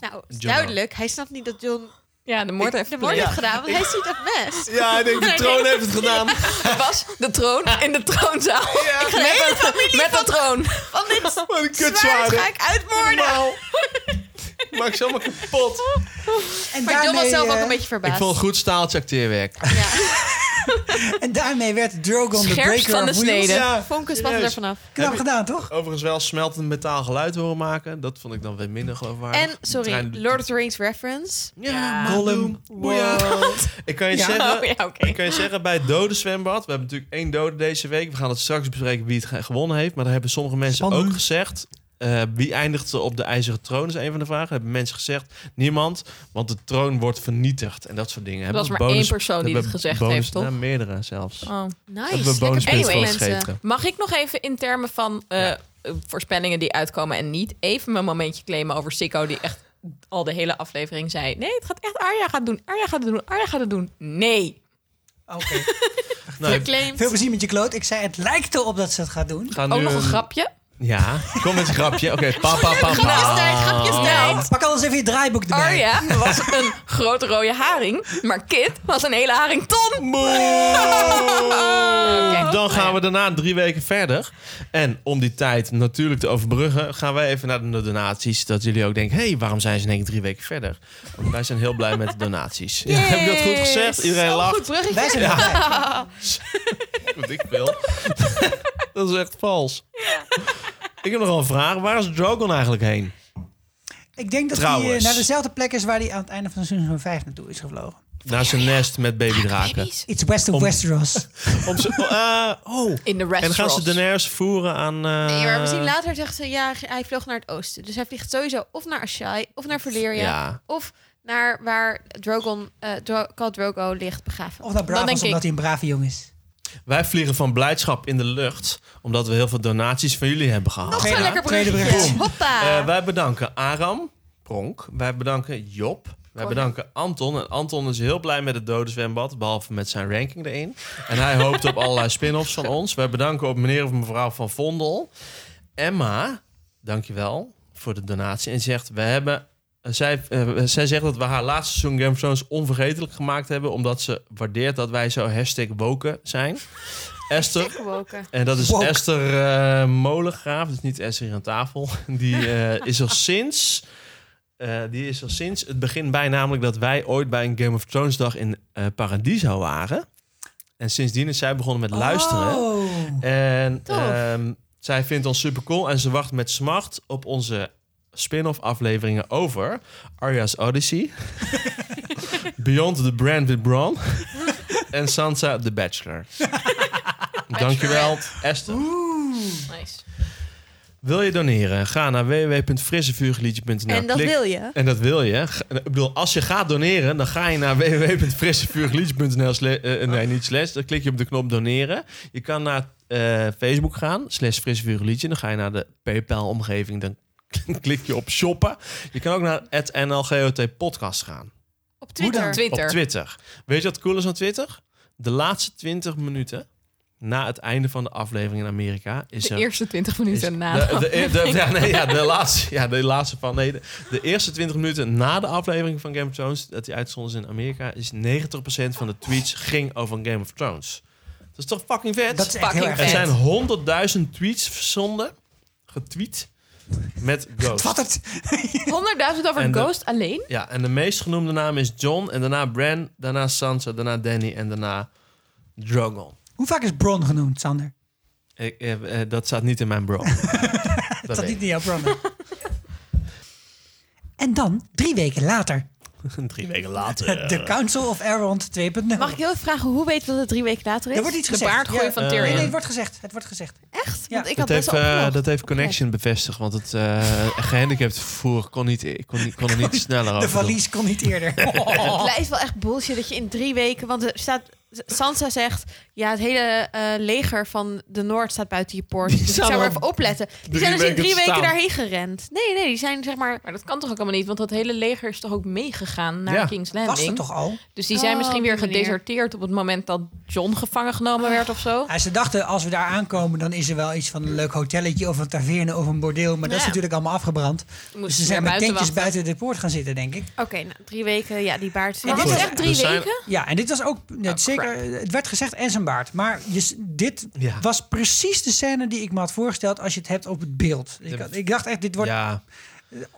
Nou, het is Jonah. duidelijk. Hij snapt niet dat John Ja, de moord heeft de moord heeft gepleegd. gedaan, want hij ziet dat best. Ja, ik denk, de troon heeft het gedaan. Was de troon in de troonzaal. Ik ga de hele familie Met de van, troon. van dit een zwaard ga ik uitmoorden. Maak ze allemaal kapot. En Maar John was daarmee, zelf ook eh, een beetje Ik verbaasd. vond het goed staaltje acteerwerk. En daarmee werd Drogon de Scherpst breaker van of de wheels. snede. Ja, Fonkers was er serieus. vanaf. Knap Heb je- gedaan, toch? Overigens wel smeltend metaal geluid horen maken. Dat vond ik dan weer minder geloofwaardig. En, sorry, Trein- Lord of the Rings reference. Ja, Gollum. Boeia. Ik kan je, Ja. zeggen, Oh, ja, oké. ik kan je zeggen, bij het dode zwembad... We hebben natuurlijk één dode deze week. We gaan het straks bespreken wie het ge- gewonnen heeft. Maar daar hebben sommige mensen Spannend. ook gezegd... eh, wie eindigt op de ijzeren troon is een van de vragen. Hebben mensen gezegd, niemand. Want de troon wordt vernietigd en dat soort dingen. Hebben was we maar één bonus- persoon die hebben dit we gezegd bonus- heeft, toch? nou, meerdere zelfs. Oh. Hebben we Nice. Lekker bonuspunten anyway, voor mensen. gegeven. Mag ik nog even in termen van eh, eh, voorspellingen die uitkomen en niet... even mijn momentje claimen over Sikko die echt al de hele aflevering zei... nee, het gaat echt Arya gaat doen, Arya gaat het doen, Arya gaat het doen. Nee. Oké. Nou, Geclaimd. Veel plezier met je kloot. Ik zei, het lijkt erop dat ze het gaat doen. ga Ook nu Oh, nog een een- grapje. Ja, kom met een grapje. Oké, pa, pa, pa, pa. Nou, pak alles even je draaiboek erbij. Arya was een grote rode haring, maar Kit was een hele harington. Oké. Dan gaan we daarna drie weken verder. En om die tijd natuurlijk te overbruggen, gaan wij even naar de donaties. Dat jullie ook denken: hé, hey, waarom zijn ze in één keer drie weken verder? Want wij zijn heel blij met de donaties. Ja, heb ik dat goed gezegd? Iedereen Zo'n lacht. Oh, goed bruggetje. Wij zijn erbij. Wat ik wil. dat is echt vals. Ik heb nogal een vraag. Waar is Drogon eigenlijk heen? Ik denk dat hij eh, Trouwens. naar dezelfde plek is waar hij aan het einde van seizoen 5 naartoe is gevlogen. Naar zijn nest met babydraken. It's west of Om- Westeros. Om ze, eh, oh. In de En dan gaan ze restaurant. Daenerys voeren aan... eh, Nee, maar we zien later zegt ze, ja, hij vloog naar het oosten. Dus hij vliegt sowieso of naar Ashai, of naar Valyria, Ja. of naar waar Drogon, eh Dro Khal Drogo ligt begraven. Of naar denk Braavos, ik- omdat hij een brave jongen is. Wij vliegen van blijdschap in de lucht, omdat we heel veel donaties van jullie hebben gehad. Nog Tweede- zo'n lekker tweede bruggetje. bruggetje. Hoppa! Eh, wij bedanken Aram, Pronk. Wij bedanken Job. Wij bedanken Anton. En Anton is heel blij met het dode zwembad, behalve met zijn ranking erin. En hij hoopt op allerlei spin-offs van ons. Wij bedanken ook meneer of mevrouw Van Vondel. Emma, dankjewel voor de donatie. En zegt, we hebben... eh, Zij, eh, zij zegt dat we haar laatste seizoen Game of Thrones onvergetelijk gemaakt hebben... omdat ze waardeert dat wij zo hashtag woken zijn. Esther, Gewoken. en dat is Woke. Esther eh, Molengraaf, dus niet Esther hier aan tafel. Die eh, is al sinds. eh, die is al sinds het begin bij, namelijk dat wij ooit bij een Game of Thrones dag in eh, Paradiso waren. En sindsdien is zij begonnen met luisteren. Oh. En Tof. ehm, zij vindt ons super cool en ze wacht met smacht op onze spin-off afleveringen over Arya's Odyssey, Beyond the Brand Braun en Sansa The Bachelor. Dankjewel, Esther. Nice. Wil je doneren? Ga naar www.frissevuurgeliedje.nl. En dat Klik- wil je. En dat wil je. G- Ik bedoel, als je gaat doneren, dan ga je naar www.frissevuurgeliedje.nl. sle- eh, eh, nee, niet slash. Dan klik je op de knop doneren. Je kan naar eh, Facebook gaan, slash frissevuurgeliedje. Dan ga je naar de PayPal-omgeving. Dan klik je op shoppen. Je kan ook naar het NLGOT podcast gaan. Op Twitter. Op Twitter. Weet je wat cool is aan Twitter? De laatste 20 minuten na het einde van de aflevering in Amerika is De er eerste 20 minuten na de, de de- de- aflevering. ja, nee, ja, de laatste, ja, de laatste van. Nee, de, de eerste 20 minuten na de aflevering van Game of Thrones, dat die uitzonden is in Amerika, is 90% van de tweets ging over Game of Thrones. Dat is toch fucking vet? Dat is echt Fucking heel erg Er vet. zijn 100.000 tweets verzonden, getweet, met Ghost. Wat het? 100.000 over En de- Ghost alleen? Ja, en de meest genoemde naam is John, en daarna Bran, daarna Sansa, daarna Danny en daarna Drogon. Hoe vaak is Bron genoemd, Sander? Ik, eh, eh, dat staat niet in mijn bro. Dat zat niet in jouw Bron. en dan, drie weken later, Drie weken later. de Council of Elrond 2.0. Mag ik heel even vragen, hoe weet je dat het drie weken later is? Er wordt iets gezegd. Ja. van Tyrion. Nee, nee, het wordt gezegd. Het wordt gezegd. Echt? Ja. Want ik had Dat best heeft, wel eh, opgelost. dat heeft Connection bevestigd, want het eh gehandicapt vervoer kon, niet, ik kon, niet, kon er niet sneller over. De doen. valies kon niet eerder. Oh, Oh. Het lijkt wel echt bullshit dat je in drie weken... Want er staat... Sansa zegt, ja, het hele eh, leger van de Noord staat buiten je poort. Dus ik staan zou al maar even opletten. Die drie zijn dus in weken drie te weken staan. daarheen gerend. Nee, nee, die zijn zeg maar... Maar dat kan toch ook allemaal niet, want dat hele leger is toch ook meegegaan naar Ja, King's was Landing? er toch al? Dus die zijn Oh, misschien op weer die manier. gedeserteerd op het moment dat John gevangen genomen werd of zo. Ja, ze dachten, als we daar aankomen, dan is er wel iets van een leuk hotelletje of een taverne of een bordeel. Maar dat is Ja. natuurlijk allemaal afgebrand. Dus ze ze zijn weer met buiten tentjes wachten. buiten de poort gaan zitten, denk ik. Oké, nou, drie weken, ja, die baard. En En dit is echt drie er zijn- weken? Ja, en dit was ook net zeker. Het werd gezegd en zijn baard. Maar je, s- dit was precies de scène die ik me had voorgesteld als je het hebt op het beeld. Ik, had- ik dacht echt, dit wordt. Ja.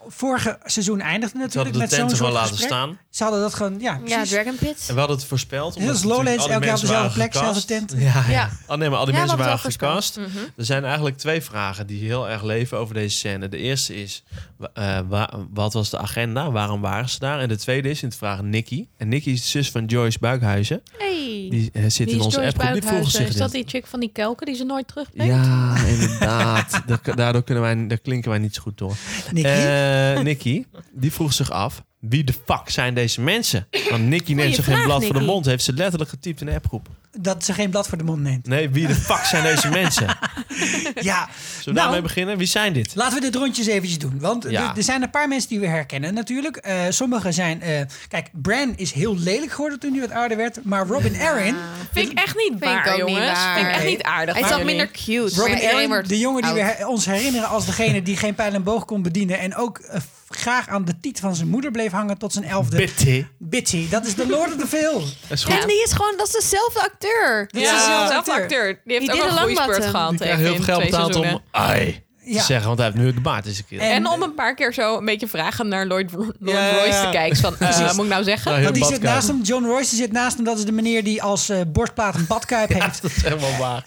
Vorige seizoen eindigde natuurlijk hadden de met zo'n tenten soort gewoon laten gesprek. staan. Ze hadden dat gewoon, ja, Ja, precies. Dragon Pit. En we hadden het voorspeld. omdat Heel als natuurlijk Lowlands, al die elke keer op mensen dezelfde waren plek, dezelfde gecast. tent. Ja, ja. Ja. Oh, nee, maar al die Ja, mensen we waren hadden het wel gecast. voorspeld. Mhm. Er zijn eigenlijk twee vragen die heel erg leven over deze scène. De eerste is, wa- eh, wa- wat was de agenda? Waarom waren ze daar? En de tweede is in het vragen Nicky. En Nicky is de zus van Joyce Buikhuizen. Hey. Die eh, zit in onze app. Die volgens zich Is dat die chick van die kelken die ze nooit terugbrengt? Ja, inderdaad. Da- Daardoor kunnen wij, daar klinken wij niet zo goed door. Nicky? Eh, Nicky, die vroeg zich af... wie de fuck zijn deze mensen? Want Nicky neemt Goeie zich geen vraag, blad voor de Nicky. mond. Heeft ze letterlijk getypt in de appgroep. Dat ze geen blad voor de mond neemt. Nee, wie de fuck zijn deze mensen? Zullen Ja, we daarmee beginnen? Wie zijn dit? Laten we dit rondjes eventjes doen. Want Ja. er- er zijn een paar mensen die we herkennen natuurlijk. Eh sommigen zijn... eh, kijk, Bran is heel lelijk geworden toen hij wat ouder werd. Maar Robin Arryn... Vind ik echt niet ik waar, ook niet jongens. waar. Vind ik echt Nee. niet aardig. Hij is van wat jullie. minder Robin Arryn, de jongen die we her- ons herinneren als degene die geen pijl en boog kon bedienen. En ook eh, f- graag aan de tiet van zijn moeder bleef hangen tot zijn elfde. Bitty. Bitty, dat is de Lord of the Veil. is En die is gewoon, dat is dezelfde acteur. Dat is Ja, dezelfde dezelfde acteur. acteur. Die heeft ook deed een lang groeispurt wat, hè. gehad. Die krijgen even heel veel geld in twee betaald om... seizoenen. Ai, Ja. Eh. te zeggen, want hij heeft nu de baard eens een keer. En, om een paar keer zo een beetje vragen naar Lloyd, Ro- Lloyd Ja, ja, ja. Royce te kijken. Van, eh, Precies. moet ik nou zeggen? Want die zit naast hem, John Royce die zit naast hem. Dat is de meneer die als eh, borstplaat een badkuip heeft. Dat is helemaal waar.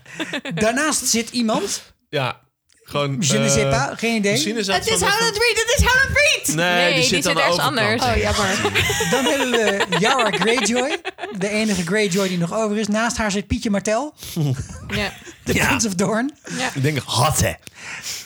Daarnaast zit iemand. Ja, gewoon... Je ne eh, sais pas, geen idee. misschien is dat Het van is de- Howland Reed, het is Howland Reed! Nee, Nee, die die zit zit aan de ergens overkant. anders. Oh, jammer. Dan hebben we eh, Yara Greyjoy. De enige Greyjoy die nog over is. Naast haar zit Pietje Martel. Ja. De Prince of Doorn. Ik denk, had hè.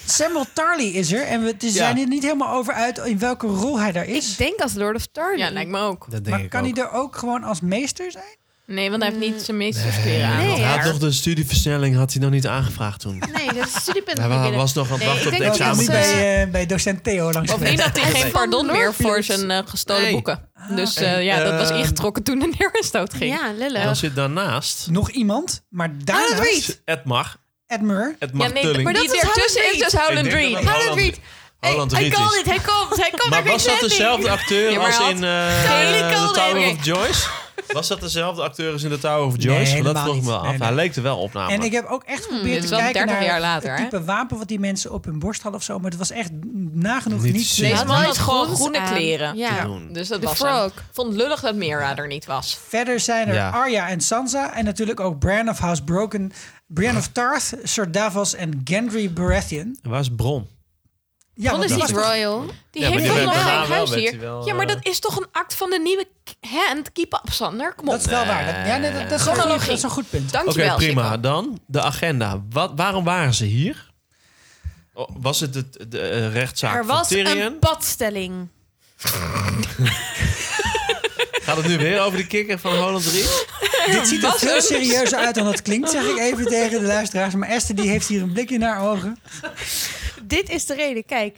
Samuel Tarly is er. En we het is- Ja. zijn er niet helemaal over uit in welke rol hij daar is. Ik denk als Lord of Tarly. Ja, lijkt me ook. Dat denk Maar ik kan ook. hij er ook gewoon als meester zijn? Nee, want hij heeft niet zijn meesterskeren aan. Ja, want hij had Maar- nog de studieversnelling had hij nog niet aangevraagd toen. Nee, dat is studiepunt. Hij wa- was nog aan het wachten op de Wel, examen. niet bij, eh, bij docent Theo langs Of niet dat hij geen pardon meer voor zijn eh, gestolen Nee. boeken. Dus oké. eh, ja, dat was Ehm, ingetrokken toen de neerstoot ging. eh, Ja, En dan zit daarnaast Nog iemand, Ah, maar daarnaast Edmar. Edmure. Edmar Ja, nee, Tulling. maar dat Die is ertussen Howland is dus Howland Ik denk Reed. dat het Howland Reed. Hey, Howland Hij Reed kan is. dit, hij komt, hij komt Maar naar was dat King's dezelfde Landing. acteur Ja, maar als hij in had- eh, Geen The Nicole Tower Dekker. of Joyce? Was dat dezelfde acteur als in The Tower of Joyce? helemaal Want dat vroeg ik me niet. af. Nee, nee. Hij leek er wel op namelijk. En ik heb ook echt Hmm, dit geprobeerd is te wel kijken 30 naar jaar later, het type wapen wat die mensen op hun borst hadden of zo. Maar het was echt nagenoeg Niet niet, te zien. Deze man had niet gewoon groens groene aan. kleren. Ja. Dus dat De was frog. hem. Vond lullig dat Mira er niet was. Verder zijn er Ja. Arya en Sansa en natuurlijk ook Bran of House Broken, Brienne of Tarth, Sir Davos en Gendry Baratheon. En waar is Bron? Ja, Ron want is dat niet was toch- royal. Die Ja, maar heeft die toch werd nog daarna geen wel, huis werd hier. hij wel, ja, maar eh, dat is toch een act van de nieuwe k- hand. Keep up, Sander. Kom op. Dat is wel waar. Dat, ja, nee, dat, dat is Chronologie. een goed- dat is een goed punt. Oké, Dankjewel. prima. Sikko. Dan de agenda. Wat, waarom waren ze hier? O, Was het de, de eh, rechtszaak Er van was Tyrion? een padstelling. Gaat het nu weer over de kikker van Holland 3? Dit ziet er veel serieuzer uit dan dat klinkt, zeg ik even tegen de luisteraars. Maar Esther die heeft hier een blik in haar ogen. Dit is de reden, kijk.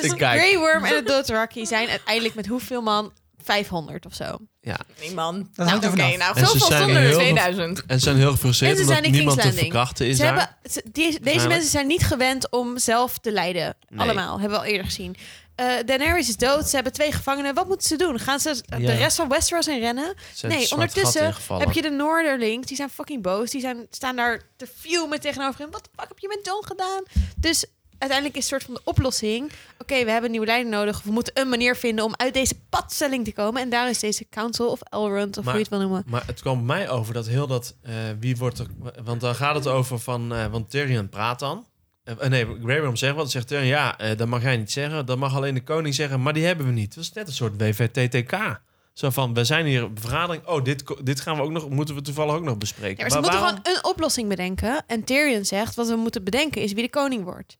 Dus Ik kijk. Grey Worm en het Dothraki zijn uiteindelijk met hoeveel man? 500 of zo. Ja. Nee, man. Dat hangt er oké, vanaf. nou, En veel ze van zijn Sander heel is veel- 2000. En ze zijn heel gefrustreerd En ze omdat zijn in niemand te Kingslanding. verkrachten is Ze daar. hebben, ze- die- deze Waarschijnlijk. mensen zijn niet gewend om zelf te lijden. Nee. Allemaal, hebben we al eerder gezien. Eh, Daenerys is dood, ze hebben twee gevangenen. Wat moeten ze doen? Gaan ze de Ja. rest van Westeros in rennen? Ze nee, het zwart gat ondertussen ingevallen. heb je de Noorderlings. Die zijn fucking boos. Die zijn, staan daar te fumen tegenover hem. Wat de fuck heb je met Jon gedaan? Dus uiteindelijk is soort van de oplossing... Oké, we hebben een nieuwe leider nodig. We moeten een manier vinden om uit deze padstelling te komen. En daar is deze Council of Elrond, of hoe je het wil noemen. Maar het kwam mij over dat heel dat... eh, wie wordt er... Want dan gaat het over van... eh, want Tyrion praat dan. Eh, eh, nee, Grey Worm zegt wat. Dan zegt Tyrion, ja, eh, dat mag jij niet zeggen. Dat mag alleen de koning zeggen. Maar die hebben we niet. Dat is net een soort WVTTK. Zo van, we zijn hier op een vergadering. Oh, dit, ko- dit gaan we ook nog... Moeten we toevallig ook nog bespreken. Ja, maar ze moeten waarom- gewoon een oplossing bedenken. En Tyrion zegt, wat we moeten bedenken is wie de koning wordt.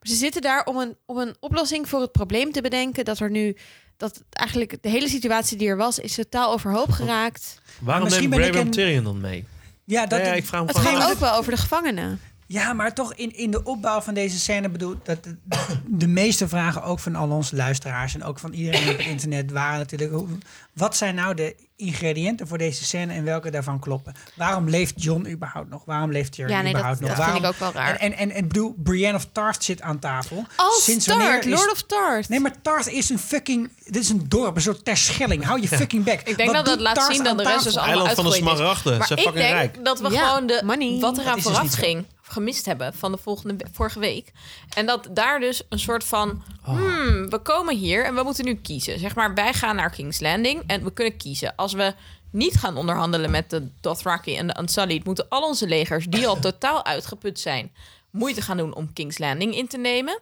Maar ze zitten daar om een, om een oplossing voor het probleem te bedenken... dat er nu, dat eigenlijk de hele situatie die er was... is totaal overhoop geraakt. Waarom Misschien neemt ben Grey ik Worm een- Tyrion dan mee? Ja, dat, Nee, ja, ik vraag me Het gewoon maar gaat dat- ook wel over de gevangenen. Ja, maar toch in, in de opbouw van deze scène bedoel dat de, de meeste vragen ook van al onze luisteraars en ook van iedereen op het internet waren natuurlijk hoe- wat zijn nou de ingrediënten voor deze scène en welke daarvan kloppen? Waarom leeft John überhaupt nog? Waarom leeft Tyrion Ja, nee, dat, dat überhaupt nog? vind Waarom- ik ook wel raar. En, en, en, en bedoel, Brienne of Tarth zit aan tafel. Als wanneer Tart, is- Lord of Tart. Nee, maar Tarth is een fucking... Dit is een dorp, een soort terschelling. Hou je fucking bek. Ik denk dat dat laat zien dat de rest dus allemaal Eiland van de uitgegooid is. Smaragden. Ze Maar zijn ik fucking denk rijk. dat we Ja, gewoon de, money. wat Dat eraan is dus vooraf niet zo. ging, of gemist hebben van de volgende, vorige week. En dat daar dus een soort van, Oh. hmm, we komen hier en we moeten nu kiezen. Zeg maar, wij gaan naar King's Landing en we kunnen kiezen. Als we niet gaan onderhandelen met de Dothraki en de Unsullied... moeten al onze legers, die al totaal uitgeput zijn... moeite gaan doen om King's Landing in te nemen.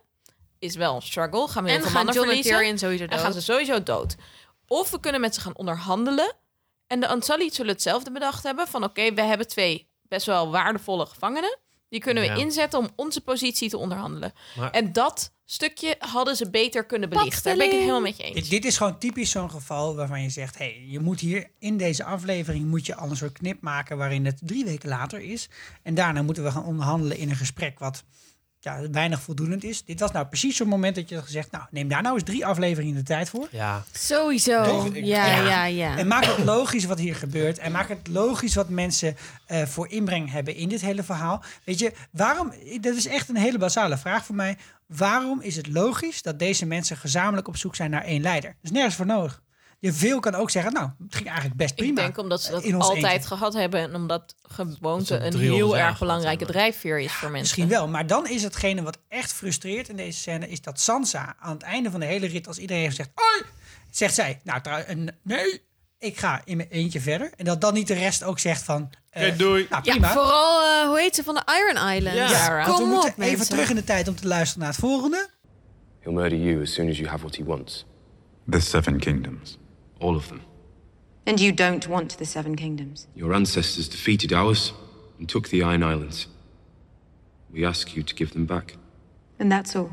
Is wel een struggle. Gaan we heel En veel gaan mannen John en verliezen. Tyrion sowieso En gaan ze dood. sowieso dood. Of we kunnen met ze gaan onderhandelen. En de Unsullied zullen hetzelfde bedacht hebben. Van oké, we hebben twee best wel waardevolle gevangenen. Die kunnen we Ja. inzetten om onze positie te onderhandelen. Maar- En dat stukje hadden ze beter kunnen belichten. Daar ben ik het helemaal met je eens. Dit, dit is gewoon typisch zo'n geval waarvan je zegt... hey, je moet hier in deze aflevering moet je al een soort knip maken... waarin het drie weken later is. En daarna moeten we gaan onderhandelen in een gesprek... wat ja, weinig voldoenend is. Dit was nou precies zo'n moment dat je had gezegd... nou, neem daar nou eens drie afleveringen de tijd voor. Ja, Sowieso. Toch? Ja, ja, ja. En maak het logisch wat hier gebeurt. En maak het logisch wat mensen eh, voor inbreng hebben in dit hele verhaal. Weet je, waarom... Dat is echt een hele basale vraag voor mij. Waarom is het logisch dat deze mensen gezamenlijk op zoek zijn naar één leider? Dat is nergens voor nodig. Je veel kan ook zeggen, nou, het ging eigenlijk best prima. Ik denk omdat ze dat In ons altijd eentje. gehad hebben. En omdat gewoonte Dat ze een 300 heel jaar erg gehad belangrijke hebben. drijfveer is voor mensen. Misschien wel, maar dan is hetgene wat echt frustreert in deze scène... is dat Sansa aan het einde van de hele rit, als iedereen heeft gezegd... Oi! Zegt zij, nou, trouw- een- nee, ik ga in mijn eentje verder. En dat dan niet de rest ook zegt van... eh, Oké, doei. Nou, Ja, prima. vooral, eh, hoe heet ze, van de Iron Island. Ja. Want we Kom moeten op, even mensen. terug in de tijd om te luisteren naar het volgende. He'll murder you as soon as you have what he wants. The Seven Kingdoms. All of them. And you don't want the Seven Kingdoms. Your ancestors defeated ours and took the Iron Islands. We ask you to give them back. And that's all.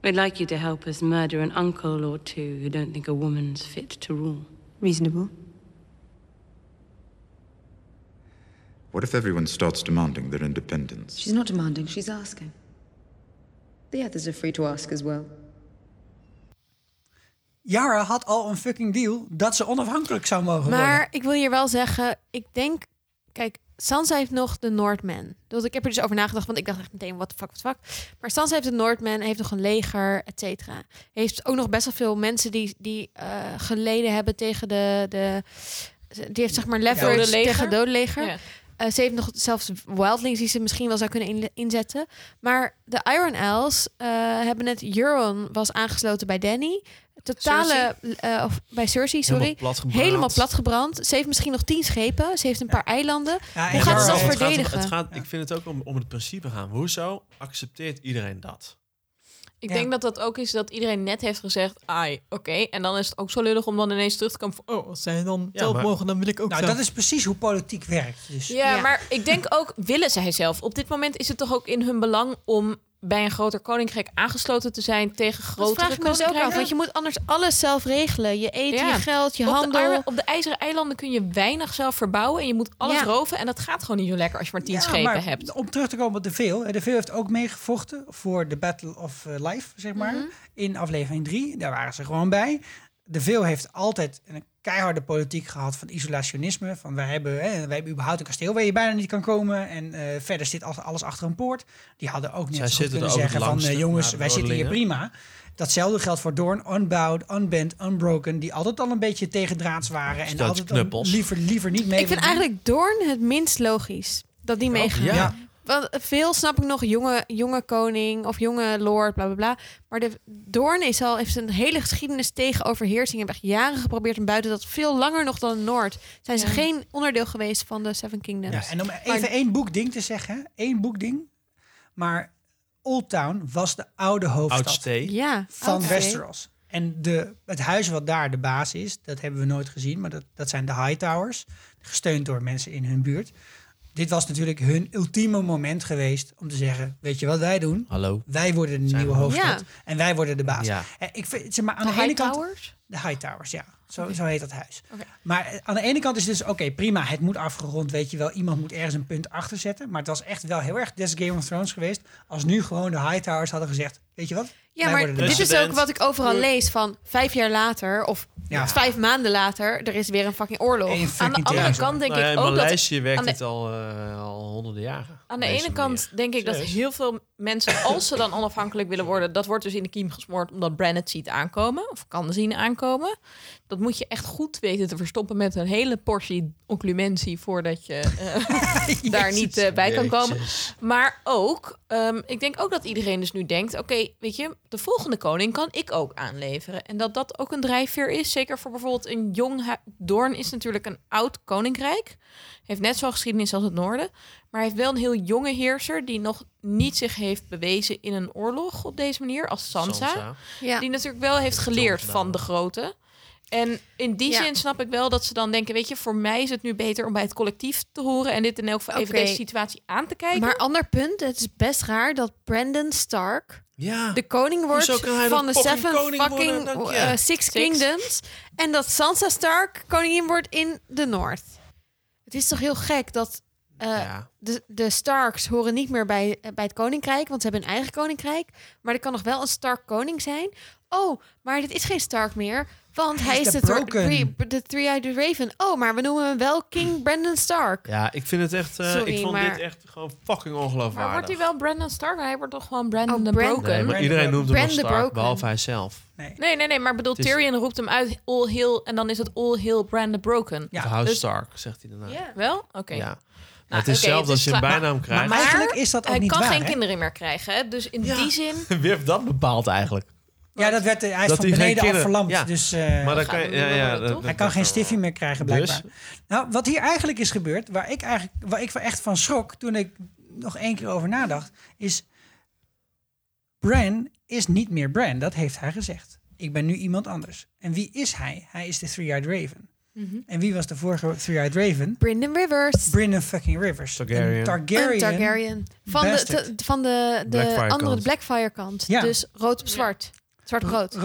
We'd like you to help us murder an uncle or two who don't think a woman's fit to rule. Reasonable. What if everyone starts demanding their independence? She's not demanding, she's asking. The others are free to ask as well. Yara had al een fucking deal dat ze onafhankelijk zou mogen worden. Maar ik wil hier wel zeggen, ik denk, kijk, Sansa heeft nog de Noordman. Dus ik heb er dus over nagedacht, want ik dacht echt meteen, wat de fuck, wat fuck. Maar Sansa heeft de Noordman, heeft nog een leger, et cetera. Heeft ook nog best wel veel mensen die, die eh, geleden hebben tegen de, de, die heeft zeg maar leverage Dode leger? tegen het dode leger. Ja. Eh, ze heeft nog zelfs wildlings die ze misschien wel zou kunnen in- inzetten. Maar de Iron Isles eh, hebben net... Euron was aangesloten bij Danny. Totale... eh, of bij Cersei, sorry. Helemaal platgebrand. Helemaal platgebrand. Ze heeft misschien nog tien schepen. Ze heeft een paar eilanden. Ja, Hoe en gaat ze Euron- Het dat gaat- verdedigen? het gaat, ik vind het ook om, om het principe gaan. Hoezo accepteert iedereen dat? Ik Ja. denk dat dat ook is dat iedereen net heeft gezegd, ai, oké. En dan is het ook zo lullig om dan ineens terug te komen van, oh, als zij dan zelf maar- mogen, dan wil ik ook Nou, zelf. dat is precies hoe politiek werkt. Dus. Ja, maar ik denk ook, willen zij zelf? Op dit moment is het toch ook in hun belang om bij een groter koninkrijk aangesloten te zijn tegen Dat vraag grotere ik me dus ook af, want je koninkrijken? moet anders alles zelf regelen. Je eten, je geld, je op handel. De, arme- op de IJzeren Eilanden kun je weinig zelf verbouwen en je moet alles Ja. roven. En dat gaat gewoon niet zo lekker als je maar tien Ja, schepen maar hebt. Om terug te komen op de Veel. hè, De Veel heeft ook meegevochten voor de Battle of eh, Life, zeg maar. Mhm. In aflevering 3. Daar waren ze gewoon bij. De Veel heeft altijd een keiharde politiek gehad van isolationisme. Van wij hebben, hè, wij hebben überhaupt een kasteel waar je bijna niet kan komen. En eh, verder zit al- alles achter een poort. Die hadden ook net Zij zo goed zitten er kunnen ook het zeggen van... eh, langste na jongens, de wij zitten hier Noorderlingen. prima. Datzelfde geldt voor Doorn, Unbowed, Unbent, Unbroken. Die altijd al een beetje tegendraads waren. En altijd al Steltjeknuppels. liever, liever niet mee Ik vind wilden doen. eigenlijk Doorn het minst logisch dat die meegaat. ja. Ja. Want veel snap ik nog, jonge, jonge koning of jonge lord, bla bla bla. Maar de Doorn is al, heeft een hele geschiedenis tegen overheersing. Hebben echt jaren geprobeerd en buiten dat veel langer nog dan Noord. Zijn ze Ja. geen onderdeel geweest van de Seven Kingdoms. Ja, en om even Maar- één boekding te zeggen, hè, één boekding. Maar Old Town was de oude hoofdstad Oudstee. Ja, van Oudstee. Westeros. En de, het huis wat daar de baas is, dat hebben we nooit gezien. Maar dat, dat zijn de High Towers, gesteund door mensen in hun buurt. Dit was natuurlijk hun ultieme moment geweest om te zeggen... weet je wat wij doen? Hallo. Wij worden de nieuwe we- hoofdstad Ja. en wij worden de baas. Ja. En ik vind, zeg maar, aan De de, ene kant... Hightowers? De High Towers, ja. Zo, zo heet dat huis. Maar eh, aan de ene kant is het dus, oké, prima, het moet afgerond, weet je wel. Iemand moet ergens een punt achter zetten. Maar het was echt wel heel erg des Game of Thrones geweest. Als nu gewoon de High Towers hadden gezegd, weet je wat? Ja, Wij maar worden de dit baas. is ook wat ik overal lees van vijf jaar later of Ja. vijf maanden later, er is weer een fucking oorlog. Eén Aan de fucking andere tegenslag. kant denk Nou ja, ik in ook Maleisië dat... werkt aan de- het al, eh, al honderden jaren. Aan Op de deze ene kant manier. denk ik dat Serieus. heel veel mensen, als ze dan onafhankelijk willen worden, dat wordt dus in de kiem gesmoord omdat Brand het ziet aankomen of kan zien aankomen. Dat moet je echt goed weten te verstoppen met een hele portie occlumentie voordat je eh, daar niet eh, bij kan komen. Jezus. Maar ook, ehm, ik denk ook dat iedereen dus nu denkt: oké, weet je, de volgende koning kan ik ook aanleveren. En dat dat ook een drijfveer is. Zeker voor bijvoorbeeld een jong. hu- Doorn is natuurlijk een oud koninkrijk. Heeft net zo'n geschiedenis als het noorden. Maar heeft wel een heel jonge heerser die nog niet zich heeft bewezen in een oorlog op deze manier. Als Sansa. Sansa. Ja. Die natuurlijk wel heeft geleerd Sansa. van de grote. En in die Ja. zin snap ik wel dat ze dan denken: weet je, voor mij is het nu beter om bij het collectief te horen. En dit in elk geval even Oké. deze situatie aan te kijken. Maar ander punt, het is best raar dat Brandon Stark Ja. de koning wordt Hoezo kan hij van de dan fucking Seven koning fucking worden? Dank je. eh, Six, Kingdoms en dat Sansa Stark koningin wordt in de North. Het is toch heel gek dat eh, Ja. de, de Starks horen niet meer bij, eh, bij het koninkrijk, want ze hebben een eigen koninkrijk. Maar er kan nog wel een Stark koning zijn. Oh, maar dit is geen Stark meer, want hij, is is de de, thr- Broken. three- de Three-Eyed Raven. Oh, maar we noemen hem wel King Brandon Stark. Ja, ik vind het echt. eh, Sorry, ik vond maar- dit echt gewoon fucking Maar wordt hij ongeloofwaardig. wel Brandon Stark? Hij wordt toch gewoon Brandon Oh, the Brand- Broken? Nee, maar Brand iedereen the noemt hem Broken. nog Stark, Brand the Broken. behalve hij zelf. Nee, nee, nee. Maar bedoel, Het is- Tyrion roept hem uit All Hill en dan is het All Hill Brandon Broken. Ja. Of House Dus- Stark, zegt hij daarna. Wel? Oké. Ja. Nou, het is oké, zelfs het als is je een klaar. bijnaam krijgt. Maar eigenlijk is dat ook hij niet kan waar, geen hè? kinderen meer krijgen. hè? Dus in die zin... Wie heeft dat bepaald eigenlijk? Ja, dat werd, eh, hij is Dat van hij geen beneden af kinderen- verlamd. ja. Dus, eh, Maar dan we kan gaan je. nu Ja, wel ja, dat- worden, toch? dat- eh, Hij kan geen stiffie meer krijgen, blijkbaar. Dus? Nou, wat hier eigenlijk is gebeurd, waar ik, eigenlijk, waar ik echt van schrok toen ik nog één keer over nadacht, is Bran is niet meer Bran. Dat heeft hij gezegd. Ik ben nu iemand anders. En wie is hij? Hij is de Three-Eyed Raven. Mhm. En wie was de vorige Three-Eyed Raven? Brandon Rivers. Brandon fucking Rivers. Een Targaryen. Een Targaryen. Targaryen. Van de, bastard. te- van de, de Blackfire andere kant. Blackfire kant. Ja. Dus rood op zwart. Zwart-rood.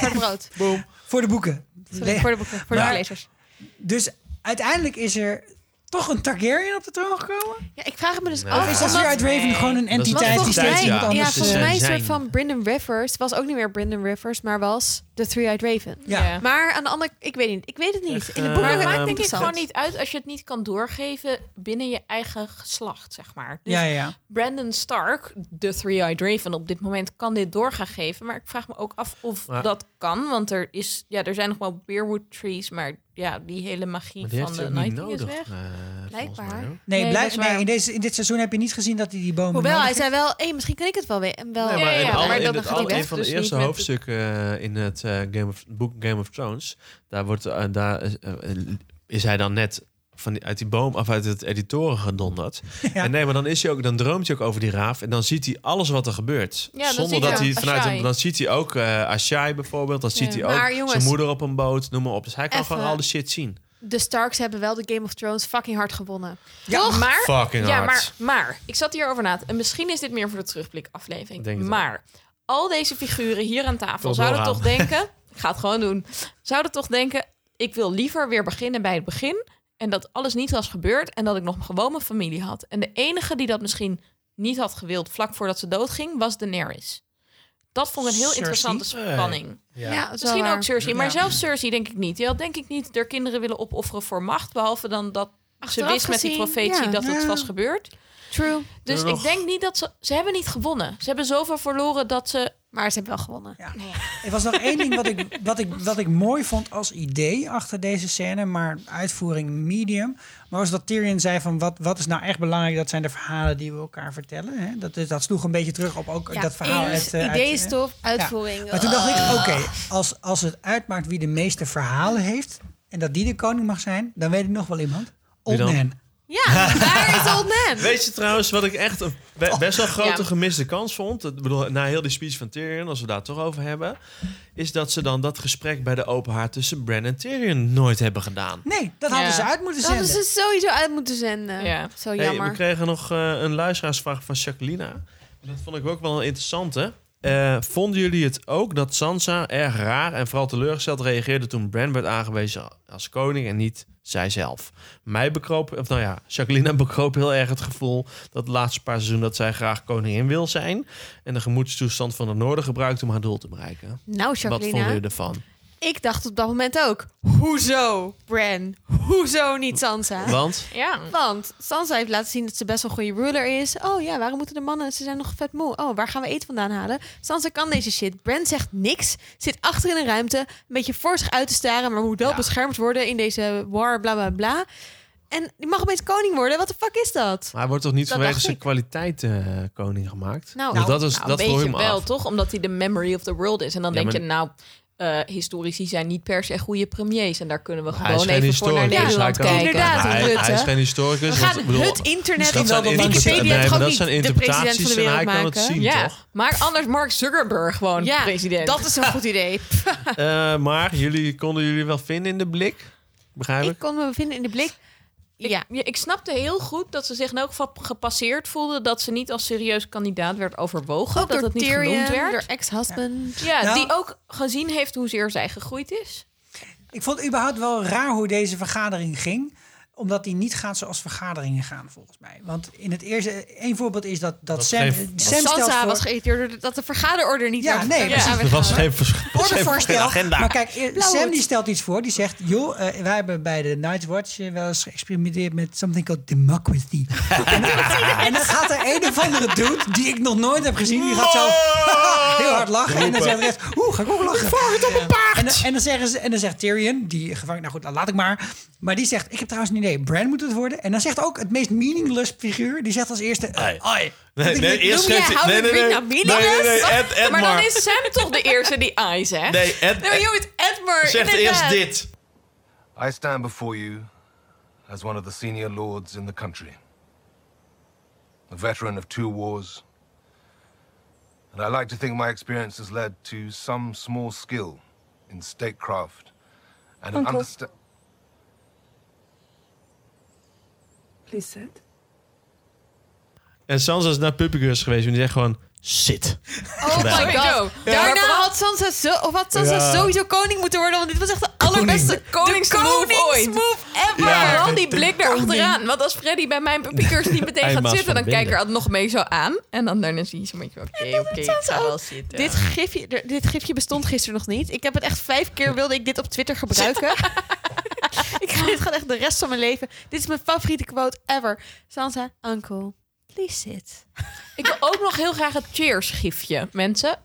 Zwart-rood. Voor de boeken. Sorry, voor de boeken. Voor Maar- de lezers. Dus uiteindelijk is er toch een Targaryen op de troon gekomen? Ja, ik vraag het me dus Nee. af. Of is de omdat- Three-Eyed Raven gewoon een Dat is Want een entiteit die volgens identiteit, steeds mij, iemand ja, anders volgens is? Zijn- mij een zijn. soort van Brandon Rivers was ook niet meer Brandon Rivers, maar was de Three-Eyed Raven. Ja. Ja. Maar aan de andere, ik weet niet, ik weet het niet. Echt, In de eh, boeken Maar het Ja, maakt denk ik interessant. gewoon niet uit als je het niet kan doorgeven binnen je eigen geslacht, zeg maar. Dus Ja, ja, ja. Brandon Stark, de Three-Eyed Raven op dit moment, kan dit doorgaan geven. Maar ik vraag me ook af of Maar- dat kan. Want er, is, ja, er zijn nog wel Beerwood Trees, maar ja, die hele magie Maar die van heeft hij de ook niet Nighting is nodig. weg. eh, volgens Blijkbaar. mij, hoor. Nee, Nee, blij- dat is nee waar. in, deze, in dit seizoen heb je niet gezien dat hij die bomen dus Hoewel, nodig hij heeft. zei wel, hé, misschien kan ik het wel weer. En Wel, Nee, Ja, maar ja, in, ja, alle- maar in dan het gaat alle- hij een weg, van de dus eerste niet met- hoofdstukken eh, in het eh, Game of, boek Game of Thrones, daar, wordt, eh, daar eh, eh, is hij dan net van die, uit die boom af uit het editoren gedonderd. En nee, maar dan, is hij ook, dan droomt hij ook over die raaf. En dan ziet hij alles wat er gebeurt. Ja, dan Zonder ziet dat hij hij het ook vanuit Ashai. hem. Dan ziet hij ook eh Ashai bijvoorbeeld. Dan ziet Ja. hij Maar ook jongens, zijn moeder op een boot. Noem maar op. Dus hij kan even- gewoon al de shit zien. De Starks hebben wel de Game of Thrones fucking hard gewonnen. Ja, Toch? maar, Fucking ja hard. maar, maar ik zat hierover na. te- En misschien is dit meer voor de terugblik aflevering. Ik denk het wel. maar al deze figuren hier aan tafel Tot zouden doorgaan. toch denken... ik ga het gewoon doen. Zouden toch denken, ik wil liever weer beginnen bij het begin. En dat alles niet was gebeurd. En dat ik nog gewoon mijn familie had. En de enige die dat misschien niet had gewild vlak voordat ze doodging, was Daenerys. Dat vond ik een heel Cersei? interessante Eh, spanning. ja. Ja, dat is Misschien wel ook waar. Cersei, maar Ja. zelfs Cersei denk ik niet. Die had denk ik niet haar kinderen willen opofferen voor macht. Behalve dan dat ze Achteraf wist met die gezien, profetie ja. dat het Ja. was gebeurd. True. Dus ik denk niet dat ze... Ze hebben niet gewonnen. Ze hebben zoveel verloren dat ze... Maar ze hebben wel gewonnen. Er was nog één ding wat ik, wat, ik, wat ik mooi vond als idee achter deze scène, maar uitvoering medium. Maar was dat Tyrion zei van wat, wat is nou echt belangrijk, dat zijn de verhalen die we elkaar vertellen. Hè? Dat, is- dat sloeg een beetje terug op ook Ja, dat verhaal. eens, eh, idee is hè? tof, uitvoering, Maar toen dacht ik, ah. oké, als, als het uitmaakt wie de meeste verhalen heeft en dat die de koning mag zijn, dan weet ik nog wel iemand. Old dan? man. Ja, daar is Old Man. Weet je trouwens wat ik echt een be- best wel grote Ja. gemiste kans vond? Ik bedoel, na heel die speech van Tyrion, als we daar toch over hebben, is dat ze dan dat gesprek bij de open haard tussen Bran en Tyrion nooit hebben gedaan. Nee, dat hadden ze uit moeten Dat zenden. hadden ze sowieso uit moeten zenden. Ja. Zo Hey, we Oh, jammer. kregen nog eh, een luisteraarsvraag van Jacquelina. Dat vond ik ook wel een interessante. Eh, vonden jullie het ook dat Sansa erg raar en vooral teleurgesteld reageerde toen Bran werd aangewezen als koning en niet zijzelf? Mij bekroop, of nou ja, Jacquelina bekroop heel erg het gevoel dat het laatste paar seizoen dat zij graag koningin wil zijn en de gemoedstoestand van het noorden gebruikt om haar doel te bereiken. Nou, Wat Jacquelina. vonden jullie ervan? Ik dacht op dat moment ook. Hoezo, Bran? Hoezo niet Sansa? Want? Ja. Want Sansa heeft laten zien dat ze best wel een goede ruler is. Oh ja, waarom moeten de mannen? Ze zijn nog vet moe. Oh, waar gaan we eten vandaan halen? Sansa kan deze shit. Bran zegt niks. Zit achter in een ruimte. Een beetje voor zich uit te staren, maar moet wel beschermd worden in deze war, bla bla bla. En die mag opeens koning worden. Wat de fuck is dat? Maar hij wordt toch niet Dat vanwege dacht zijn ik. kwaliteit eh, koning gemaakt? Nou, Want Dus dat is Nou, dat een voor beetje hem wel, af. toch? Omdat hij de memory of the world is. En dan Ja, denk maar- je, nou, eh, historici zijn niet per se goede premiers. En daar kunnen we Hij is gewoon geen even voor naar historicus. hij Nederland kan- kijken. Inderdaad, hij, Rutte. hij is geen historicus. We gaan want, dus ik bedoel, dus het internet dat in wel zijn de interpretaties- Wikipedia nee, toch maar ook dat niet zijn de president van interpretaties de en wereld hij kan het maken? zien, Ja, toch? maar anders Mark Zuckerberg gewoon Ja, president. dat is een goed idee. Eh, maar jullie konden jullie wel vinden in de blik? Begrijp ik? Ik kon me bevinden in de blik. Ja. Ja, ik snapte heel goed dat ze zich in elk geval gepasseerd voelde dat ze niet als serieus kandidaat werd overwogen. Ook dat door het niet Tyrion, genoemd werd. door ex-husband. Ja, Nou- die ook gezien heeft hoezeer zij gegroeid is. Ik vond het überhaupt wel raar hoe deze vergadering ging omdat die niet gaat zoals vergaderingen gaan, volgens mij. Want in het eerste, één voorbeeld is dat, dat, Sam, geeft- Want Sam stelt Sansa voor... was geïrriteerd door dat de vergaderorder niet Ja, werd nee, precies. aangegeven. Er was geen, vers- was geen ordevoorstel. agenda. Maar kijk, eh, Blauw Sam wordt. die stelt iets voor. Die zegt, joh, eh, wij hebben bij de Night's Watch eh, wel eens geëxperimenteerd met something called democracy. en, en dan gaat er een of andere dude, die ik nog nooit heb gezien, die gaat zo heel hard lachen. En dan Roepen. zegt de rest, oeh, ga ik ook lachen. het op een paard. En, dan- en, dan zeggen ze, en dan zegt Tyrion, die gevangen, nou goed, dan laat ik maar. Maar die zegt, ik heb trouwens een idee, Bran moet het worden. En dan zegt ook het meest meaningless figuur, die zegt als eerste, eh, Ai. ai. Nee, nee, eerst Noem jij nou geeft hij... How Nee, to nee, nee. Drink Nee, Now nee, Meaningless? nee. Ed, Ed, maar dan Mark. is Sam toch de eerste die I zegt. Nee, Ed, Nee, maar jongens, Edmar. zegt eerst inderdaad. dit. I stand before you as one of the senior lords in the country, a veteran of two wars, and I like to think my experience has led to some small skill in statecraft and an Uncle. understa- Please sit. En Sansa is naar Puppygus geweest en die zegt gewoon... Shit. Oh my Gedaan. god. Ja. Daarna Ja. had Sansa, zo, of had Sansa Ja. sowieso koning moeten worden. Want dit was echt de allerbeste koningsmove ooit. koningsmove ever. Maar Ja. dan die blik erachteraan. Want als Freddy bij mijn papierkeurs niet meteen Hij gaat maakt zitten, dan van kijk ik er binnen. altijd nog mee zo aan. En dan daarna zie je zo'n beetje, oké, oké, ik Sansa ga wel ook. zitten. Dit gifje, d- dit gifje bestond gisteren nog niet. Ik heb het echt vijf keer wilde ik dit op Twitter gebruiken. ik, ga- dit gaat echt de rest van mijn leven. Dit is mijn favoriete quote ever. Sansa, uncle, please sit. Ik wil ook nog heel graag het Cheers-gifje, mensen.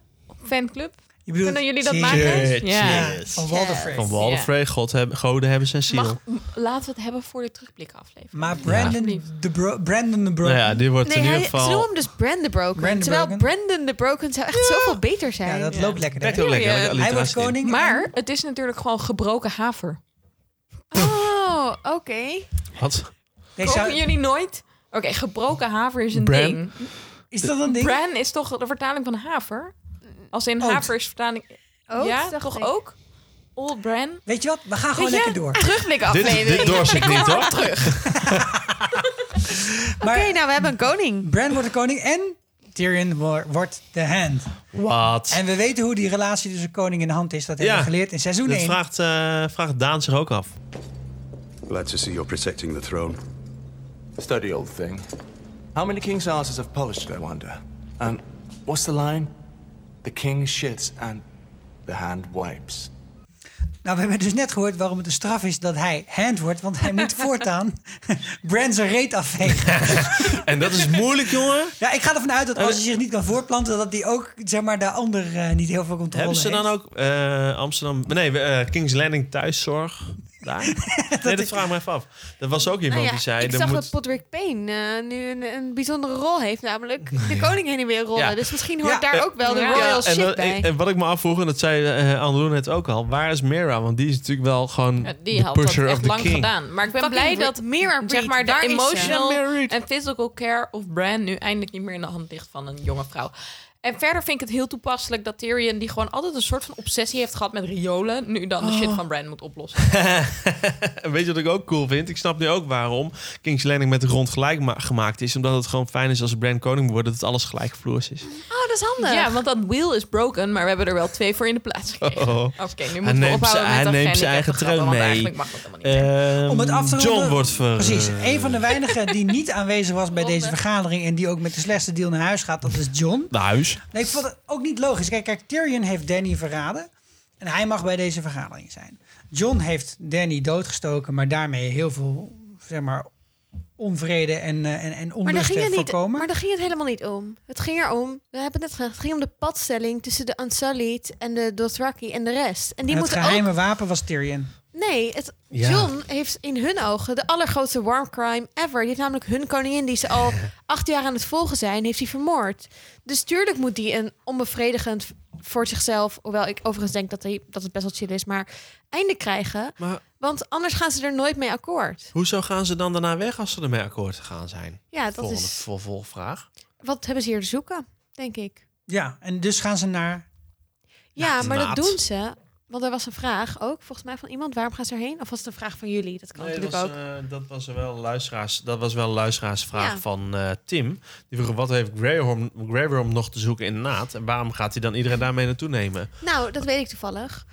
Fanclub. Je bedoelt- Kunnen jullie dat Cheers. maken? Ja. Cheers. Van Walder Frey. Van Walderfrey, God hebben, goden hebben zijn ziel. Mag, m- laten we het hebben voor de terugblikaflevering. Maar Brandon, de Bro- Brandon de Broken. Nou ja, die wordt Nee, in ieder hij, ze noemen geval... hem dus Brand the Broken. Brand the terwijl Broken. Brandon the Broken zou echt zoveel beter zijn. Ja, dat loopt lekker. Kijk hè? heel lekker. lekker Hij wordt alliteratie in. koning. Maar het is natuurlijk gewoon gebroken haver. Oh, oké. Wat? Nee, Koken zou- jullie nooit? Oké, gebroken haver is een Bran? ding. Is dat een ding? Bran is toch de vertaling van haver? Als in Oat. haver is vertaling... Oat, ja, dacht toch ik. ook? Old Bran? Weet je wat? We gaan gewoon Weet je? lekker door. Terugblik Dit, aflevering. dit doorzit niet, hoor. Oké, nou we hebben een koning. Bran wordt de koning en Tyrion wor- wordt de hand. Wat? En we weten hoe die relatie tussen koning en de hand is. Dat hebben we geleerd in seizoen dat 1. Vraagt, eh, vraagt Daan zich ook af. Glad to see you're protecting the throne. Study, old thing. How many king's asses have polished, I wonder? And what's the line? The king shits and the hand wipes. Nou, we hebben dus net gehoord waarom het een straf is dat hij hand wordt. Want hij moet voortaan Bran zijn reet afvegen. En dat is moeilijk, jongen. Ja, ik ga ervan uit dat als hij zich niet kan voorplanten... dat hij ook, zeg maar, de ander eh, niet heel veel controle Hebben ze dan heeft. ook eh, Amsterdam... Nee, we- eh, Kings Landing thuiszorg daar? nee, dat vraag ik me even af. Dat was ook iemand Nou ja, die zei... ik er zag moet... dat Podrick Payne eh, nu een, een bijzondere rol heeft, namelijk de koning heen en weer rollen. Ja. Dus misschien hoort Eh, daar ook wel de ja, royal en shit dat- bij. En wat ik me afvroeg, en dat zei eh Anneloen net ook al... Waar is Mira? Want die is natuurlijk wel gewoon Ja, de die had dat pusher of echt the lang king. gedaan. Maar ik ben Fucking blij Re- dat Mira Reed, zeg maar, de daar is ze. emotional Ja, en physical care of Bran nu eindelijk niet meer in de hand ligt van een jonge vrouw. En verder vind ik het heel toepasselijk dat Tyrion, die gewoon altijd een soort van obsessie heeft gehad met riolen, nu dan de shit Oh. van Bran moet oplossen. En weet je wat ik ook cool vind? Ik snap nu ook waarom Kings Landing met de grond gelijk ma- gemaakt is. Omdat het gewoon fijn is als Brand koning wordt... dat het alles gelijk vloers is. Oh, dat is handig. Ja, want dat wheel is broken, maar we hebben er wel twee voor in de plaats gekregen. Oh. Oké, nu Hij moeten we neemt, ophouden zijn- met hij dat neemt gehandicapte zijn eigen grappen, trein want mee. eigenlijk mag dat helemaal Ehm, Om het af te John ronden- wordt ver... Precies. Een van de weinigen die niet aanwezig was bij deze vergadering... en die ook met de slechtste deal naar huis gaat, dat is John. De huis. Nee, ik vond het ook niet logisch. Kijk, kijk, Tyrion heeft Danny verraden. En hij mag bij deze vergadering zijn. John heeft Danny doodgestoken, maar daarmee heel veel zeg maar, onvrede en, eh, en, en Maar daar, onrust ging heeft het niet, voorkomen. maar daar ging het helemaal niet om. Het ging erom, we hebben het net gehad, het ging om de padstelling tussen de Unsullied en de Dothraki en de rest. En die En het moeten geheime ook... wapen was Tyrion. Nee, het, Ja. John heeft in hun ogen de allergrootste war crime ever. Die heeft namelijk hun koningin, die ze al acht jaar aan het volgen zijn, heeft hij vermoord. Dus tuurlijk moet die een onbevredigend voor zichzelf, hoewel ik overigens denk dat, hij, dat het best wel chill is, maar einde krijgen. want anders gaan ze er nooit mee akkoord. Hoezo gaan ze dan daarna weg als ze ermee akkoord gaan zijn? Ja, dat Volgende is- vervolgvraag. Wat hebben ze hier te zoeken, denk ik? Ja, en dus gaan ze naar... Ja, maar naad. dat doen ze. Want er was een vraag ook, volgens mij van iemand. Waarom gaan ze erheen? Of was het een vraag van jullie? Dat kan Nee, dat, natuurlijk was, ook. eh, dat was wel een luisteraars, dat was wel een luisteraarsvraag Ja. van eh, Tim. Die vroeg, wat heeft Greyworm, Greyworm nog te zoeken in de naad? En waarom gaat hij dan iedereen daarmee naartoe nemen? Nou, dat weet ik toevallig.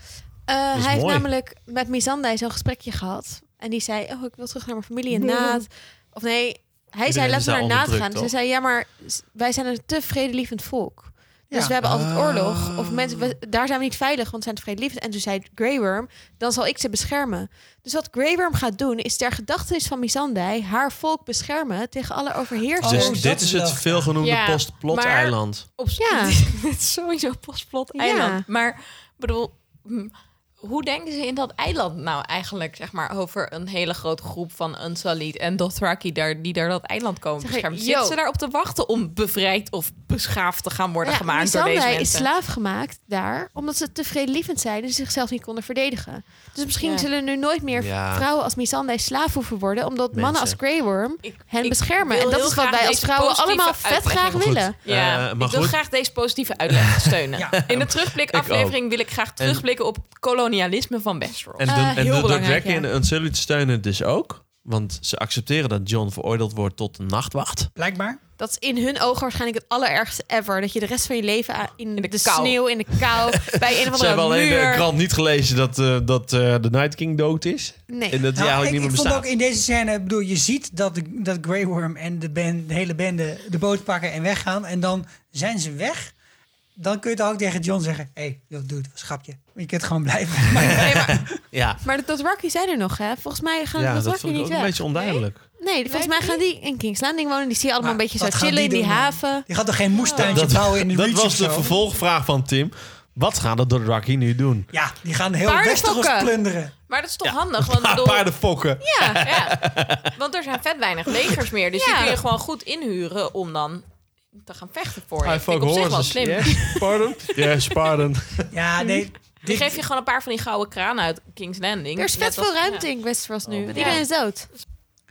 Eh, Dat is hij heeft mooi. namelijk met Mizandai zo'n gesprekje gehad. En die zei, oh, ik wil terug naar mijn familie in Nee. Naad. Of nee, hij zei, Iedereen is laten we daar naar Naad onderdrukt, gaan. Dus hij toch? zei, ja, maar s- wij zijn een te vredelievend volk. Dus Ja. we hebben altijd oorlog. Of mensen, we- daar zijn we niet veilig, want we zijn te vredelievend. En toen zei Grey Worm, dan zal ik ze beschermen. Dus wat Grey Worm gaat doen, is ter gedachtenis van Mizandai... haar volk beschermen tegen alle overheersers. Oh, dus dit is het veelgenoemde Ja, postplot-eiland. Op Ja. het is sowieso postplot eiland. Ja. Maar ik bedoel, hm, hoe denken ze in dat eiland nou eigenlijk, zeg maar, over een hele grote groep van Unsullied en Dothraki daar, die daar dat eiland komen Zeg, beschermen? yo. Zitten ze daarop te wachten om bevrijd of beschaafd te gaan worden gemaakt door deze Missandei mensen? is slaaf gemaakt daar, omdat ze te vredelievend zijn en ze zichzelf niet konden verdedigen. Dus misschien Ja. zullen nu nooit meer Ja. vrouwen als Missandei slaaf hoeven worden, omdat mannen als Mensen. Grey Worm hen beschermen. wil En dat heel is wat graag wij als deze vrouwen positieve allemaal vet uitlegging. graag willen. Ja, Eh, maar ik wil goed. graag deze positieve uitleg steunen. In de terugblikaflevering ook. wil ik graag En- terugblikken op het kolonialisme van Westeros. En de, eh, en de Dothraki en de Unsullied steunen het dus ook. Want ze accepteren dat John veroordeeld wordt tot de nachtwacht. Blijkbaar. Dat is in hun ogen waarschijnlijk het allerergste ever. Dat je de rest van je leven a- in, de, kou. sneeuw, in de kou, bij een of Ze hebben andere alleen de muur... krant niet gelezen dat, eh, dat eh, de Night King dood is. En dat Nee. hij Nou, eigenlijk ik, niet meer ik bestaat. vond ook in deze scène, ik bedoel, je ziet dat, de- dat Grey Worm en de, band, de hele bende de boot pakken en weggaan. En dan zijn ze weg. Dan kun je toch ook tegen John zeggen: hé, hey, joh, dude, was een grapje. Je kunt gewoon blijven. Ja, Maar de Dothraki zijn er nog, hè? Volgens mij gaan ja de dat Dothraki vond niet ik ook weg. een beetje onduidelijk. Nee, volgens mij gaan die in King's Landing wonen. Die zie je allemaal Maar een beetje wat zo gaan chillen in die die doen dan? haven. Die gaat toch geen moestuintje Dat- bouwen in de Dat Reach was of de zo? vervolgvraag van Tim. Wat gaan de Dothraki nu doen? Ja, die gaan heel Paardenfokken. Westeros plunderen. Maar dat is toch handig? Want ik bedoel, Paardenfokken. Ja, ja, want er zijn vet weinig legers meer. Dus die Ja. kun je gewoon goed inhuren om dan te gaan vechten voor. je. I Ik vind fuck ik op zich wel horses. slim. Yes, pardon. Yes, pardon. Ja, nee. Die Hm. geef je gewoon een paar van die gouden kranen uit King's Landing. Er is vet Net als- veel ruimte ja. in Westeros nu. want Ja. Iedereen is dood.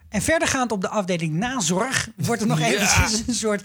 En verdergaand op de afdeling nazorg wordt er nog Ja. eventjes een soort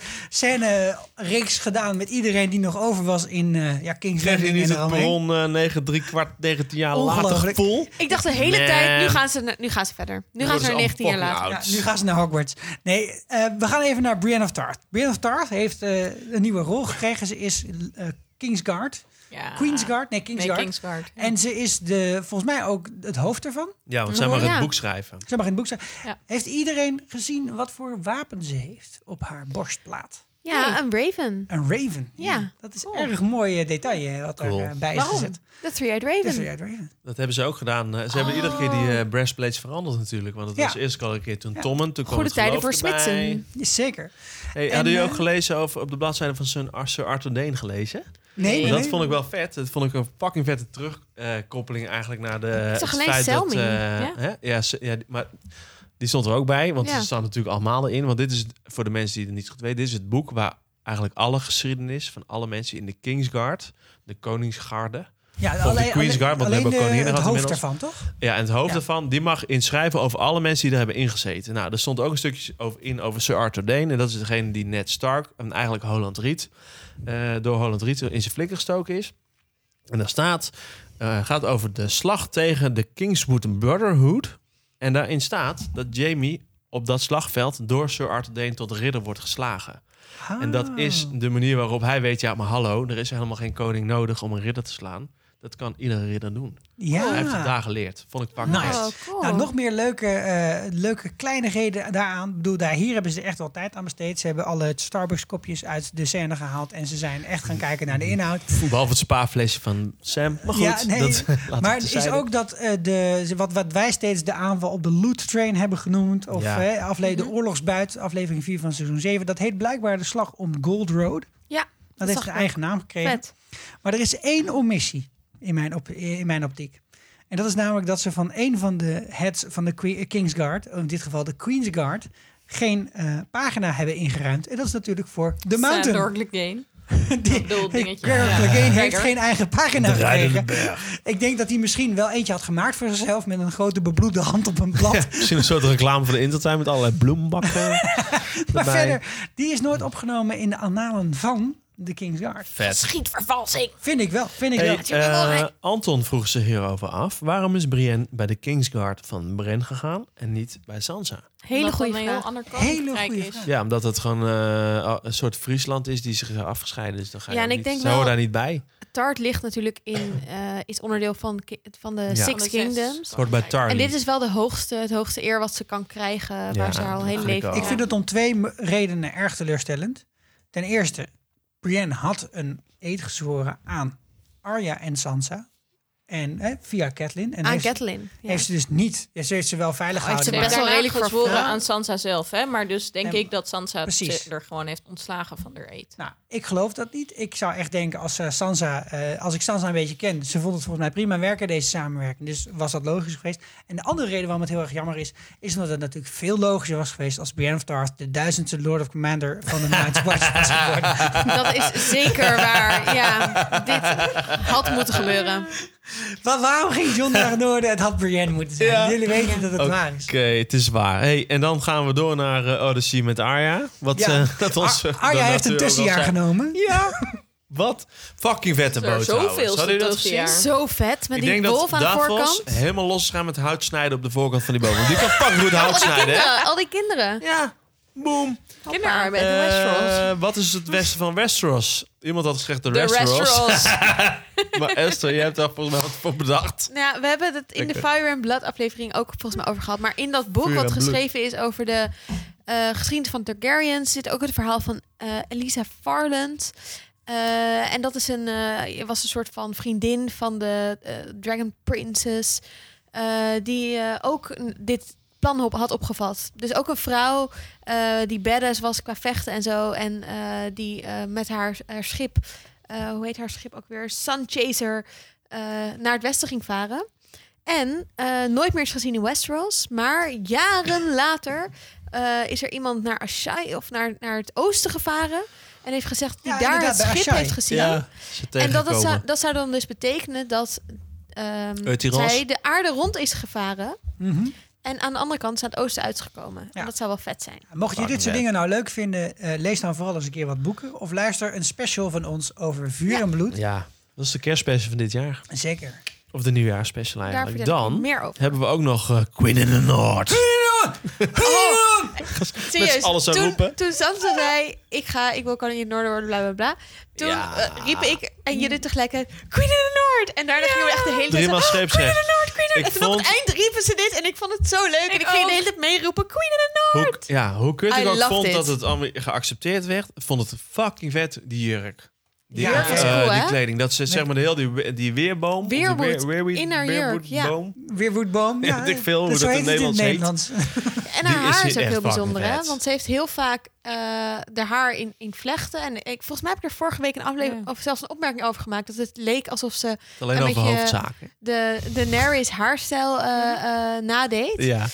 scène-reeks gedaan met iedereen die nog over was in eh ja, King's Krijg je Landing niet en het eromheen. bron eh, 9, 3 kwart, 19 jaar later Ongelooflijk. vol? Ik dacht de hele Nee. tijd, nu gaan, ze, na- nu gaan ze verder. Nu Dan gaan worden ze ze naar 19 jaar allemaal later. fucking Ja, nu gaan ze naar Hogwarts. Nee, eh, we gaan even naar Brienne of Tarth. Brienne of Tarth heeft eh, een nieuwe rol gekregen. Ze is eh, Kingsguard. Ja. Queensguard? Nee, Kingsguard. Kingsguard, ja. En ze is de, volgens mij ook het hoofd ervan. Ja, want zij mag Ja. het boek schrijven. Ze mag in het boek zijn. Heeft iedereen gezien wat voor wapen ze heeft op haar borstplaat? Ja, een Raven. Een raven. Ja. Dat is Erg mooi eh, detail eh, wat Cool. erbij is Waarom? gezet. De Three-Eyed De Raven. Three-Eyed Raven. Dat hebben ze ook gedaan. Eh, Ze hebben iedere keer die eh, breastplates veranderd natuurlijk. Want het Ja. was eerst al een keer toen Ja. Tommen, toen kwam Goede het tijden voor geloof erbij. Smidsen. Zeker. Hey, En, hadden jullie eh, ook gelezen over op de bladzijde van Sir Ar- Sir Arthur Dane gelezen? Nee, Want nee. Dus Dat vond ik wel vet. Dat vond ik een fucking vette terugkoppeling eigenlijk naar de. Ik zag het alleen feit dat, Selmy, eh, ja. hè? Ja, ze- ja, die- maar die stond er ook bij, want Ja. ze staan natuurlijk allemaal erin. Want dit is voor de mensen die het niet goed weten, dit is het boek waar eigenlijk alle geschiedenis van alle mensen in de Kingsguard, de Koningsgarde. Ja, of alleen- de Queensguard, want alleen we hebben de- ook koninginnen het gehad hoofd inmiddels. ervan, toch? Ja, en het hoofd Ja. ervan, die mag inschrijven over alle mensen die er hebben ingezeten. Nou, er stond ook een stukje over, in over Sir Arthur Dane. En dat is degene die Ned Stark, en eigenlijk Holland Riet, eh, door Holland Riet in zijn flikker gestoken is. En daar staat, eh, gaat over de slag tegen de Kingswood Brotherhood. En daarin staat dat Jamie op dat slagveld door Sir Arthur Dane tot ridder wordt geslagen. En dat is de manier waarop hij weet, ja, maar hallo, er is helemaal geen koning nodig om een ridder te slaan. Dat kan iedere ridder doen. Ja. Hij heeft het daar geleerd. Vond ik pak Ah. Oh, Nice. Nou, nog meer leuke, eh, leuke kleinigheden daaraan. Ik bedoel, daar, hier hebben ze er echt wel tijd aan besteed. Ze hebben alle Starbucks-kopjes uit de scène gehaald. En ze zijn echt gaan kijken naar de inhoud. Behalve het spaarflesje van Sam. Maar goed, nee, dat, laat maar het het is terzijde. ook dat eh, de, wat, wat wij steeds de aanval op de loot train hebben genoemd. Of Ja. eh, afle- Mhm. de oorlogsbuit, aflevering 4 van seizoen 7. Dat heet blijkbaar de slag om Gold Road. Ja, Dat, zag heeft ik een ook. eigen naam gekregen. Vet. Maar er is één omissie in mijn, op, in mijn optiek. En dat is namelijk dat ze van een van de heads van de que- eh, Kingsguard, in dit geval de Queensguard, geen eh, pagina hebben ingeruimd. En dat is natuurlijk voor The Mountain. Door Clegane. Ik bedoel, dingetje. Gregor Ja. Clegane heeft Gregor. geen eigen pagina De rijdende gekregen. Ik denk dat hij misschien wel eentje had gemaakt voor zichzelf met een grote bebloede hand op een blad. Misschien een soort reclame voor de Intertime met allerlei bloembakken. maar verder, die is nooit opgenomen in de annalen van de Kingsguard. Vet. Schietvervalsing. Vind ik wel, vind ik Hey, wel. eh, Anton vroeg zich hierover af. Waarom is Brienne bij de Kingsguard van Bren gegaan en niet bij Sansa? Hele Omdat goede dat een heel vraag. ander Hele koninkrijk goede is. Ja, omdat het gewoon eh, een soort Friesland is die zich afgescheiden is. Dan ga je Ja, en ook ik niet, denk ze horen wel- daar niet bij. Tart ligt natuurlijk in, eh, is onderdeel van, ki- van de Ja. Van Six de zes. Kingdoms. Het hoort bij Tarly. En dit is wel de hoogste, het hoogste eer wat ze kan krijgen, waar Ja, ze haar al dat hele vind ik leven. ook. Ik vind het om twee m- redenen erg teleurstellend. Ten eerste, Brienne had een eed gezworen aan Arya en Sansa. En hè, via Catelyn. En Aan heeft- Catelyn, ja. Oh, Heeft ze dus niet. ja, Ze heeft ze wel veilig heeft gehouden. ze maar- best wel Redelijk redelijk voor gezworen verhaal. aan Sansa zelf, hè? Maar dus denk Nee, ik dat Sansa precies. ze er gewoon heeft ontslagen van haar eet. Nou, ik geloof dat niet. Ik zou echt denken, als, eh, Sansa, eh, als ik Sansa een beetje ken... ze vond het volgens mij prima werken, deze samenwerking. Dus was dat logisch geweest. En de andere reden waarom het heel erg jammer is... is omdat het natuurlijk veel logischer was geweest... als Brienne of Tarth de duizendste Lord of Commander van de Night's Watch was geworden. Dat is zeker waar. Ja, dit had moeten gebeuren. Wa- waarom ging John naar het noorden? Het had Brienne moeten zijn. Jullie weten dat het Oké, waar is. het is waar. Hey, en dan gaan we door naar eh, Odyssey met Arya. Wat, Ja. eh, dat ons, Ar- Arya heeft een tussenjaar genomen. Ja. Wat fucking vette Er boot trouwens. Hadden jullie dat gezien? Zo vet, met Ik die denk dat wolf aan de Davos voorkant. helemaal los gaan met hout snijden op de voorkant van die boom. Want die kan fucking goed hout al, die snijden. hè? kinderen, al die kinderen. Ja, boom. Kinderarbeid in Westeros. Eh, wat is het westen van Westeros? Iemand had gezegd de De Westeros. Westeros. maar Esther, jij hebt daar volgens mij wat voor bedacht. Nou ja, we hebben het in de Lekker. Fire and Blood aflevering ook volgens mij over gehad. Maar in dat boek Vuur wat en bloed. geschreven is over de eh, geschiedenis van Targaryens... zit ook het verhaal van eh Elisa Farland. Eh, en dat is een, eh, was een soort van vriendin van de eh, Dragon Princess... eh, die eh, ook een- dit plan op, had opgevat. Dus ook een vrouw eh, die badass was qua vechten en zo... en eh, die eh, met haar, haar schip... eh, hoe heet haar schip ook weer? Sun Chaser eh, naar het westen ging varen. En eh, nooit meer is gezien in Westeros. Maar jaren later eh, is er iemand naar Ashai of naar, naar het oosten gevaren. En heeft gezegd dat hij Ja, daar het inderdaad, bij schip Ashai. heeft gezien. Ja, ze en dat, dat, zou, tegenkomen. dat zou dan dus betekenen dat ehm, Eutiros. zij de aarde rond is gevaren. Mhm. En aan de andere kant is het oosten uitgekomen. En dat zou wel vet zijn. Mocht Ah, je dit soort dingen nou leuk vinden, eh, lees dan vooral eens een keer wat boeken. Of luister een special van ons over vuur en bloed. Ja, dat is de kerstspecial van dit jaar. Zeker. Of de nieuwjaarsspecial eigenlijk. vertel ik Dan meer over. hebben we ook nog eh, Queen in the North. Serieus, alles zo toen, roepen. toen Sansa zei, ik, ga, ik wil koningin in het noorden worden, bla bla bla. Toen Ja. eh, riepen ik en jullie tegelijkertijd, Queen in the North! En daarna gingen we echt de hele tijd Driemaal zo, "Oh, Queen in scheepsrecht. the North, Queen in the Ik North! En vond- tot het eind riepen ze dit en ik vond het zo leuk. en ik ging de hele tijd meeroepen, Queen in the North! Hoe, ja, hoe kut ik I ook loved vond it. dat het allemaal geaccepteerd werd, vond het fucking vet, die jurk. Die, Ja, jurk, dat is eh, cool, die hè? kleding. Dat ze zeg maar de heel die, we- die weerboom. of die weer- Weerwood, weerwied- in haar jurk, ja. weerwoodboom. Weerwoodboom, Ja, Oh, ja. ik veel hoe zo dat in heet het Nederlands heet. En Die haar is haar hier is ook echt heel bijzonder, fucking hè? vet. Want ze heeft heel vaak eh haar haar in, in vlechten. En ik, volgens mij heb ik er vorige week een aflevering of zelfs een opmerking over gemaakt. Dat het leek alsof ze alleen een over beetje hoofdzaken. de, de Nerys haarstijl eh, eh, nadeed. Ja.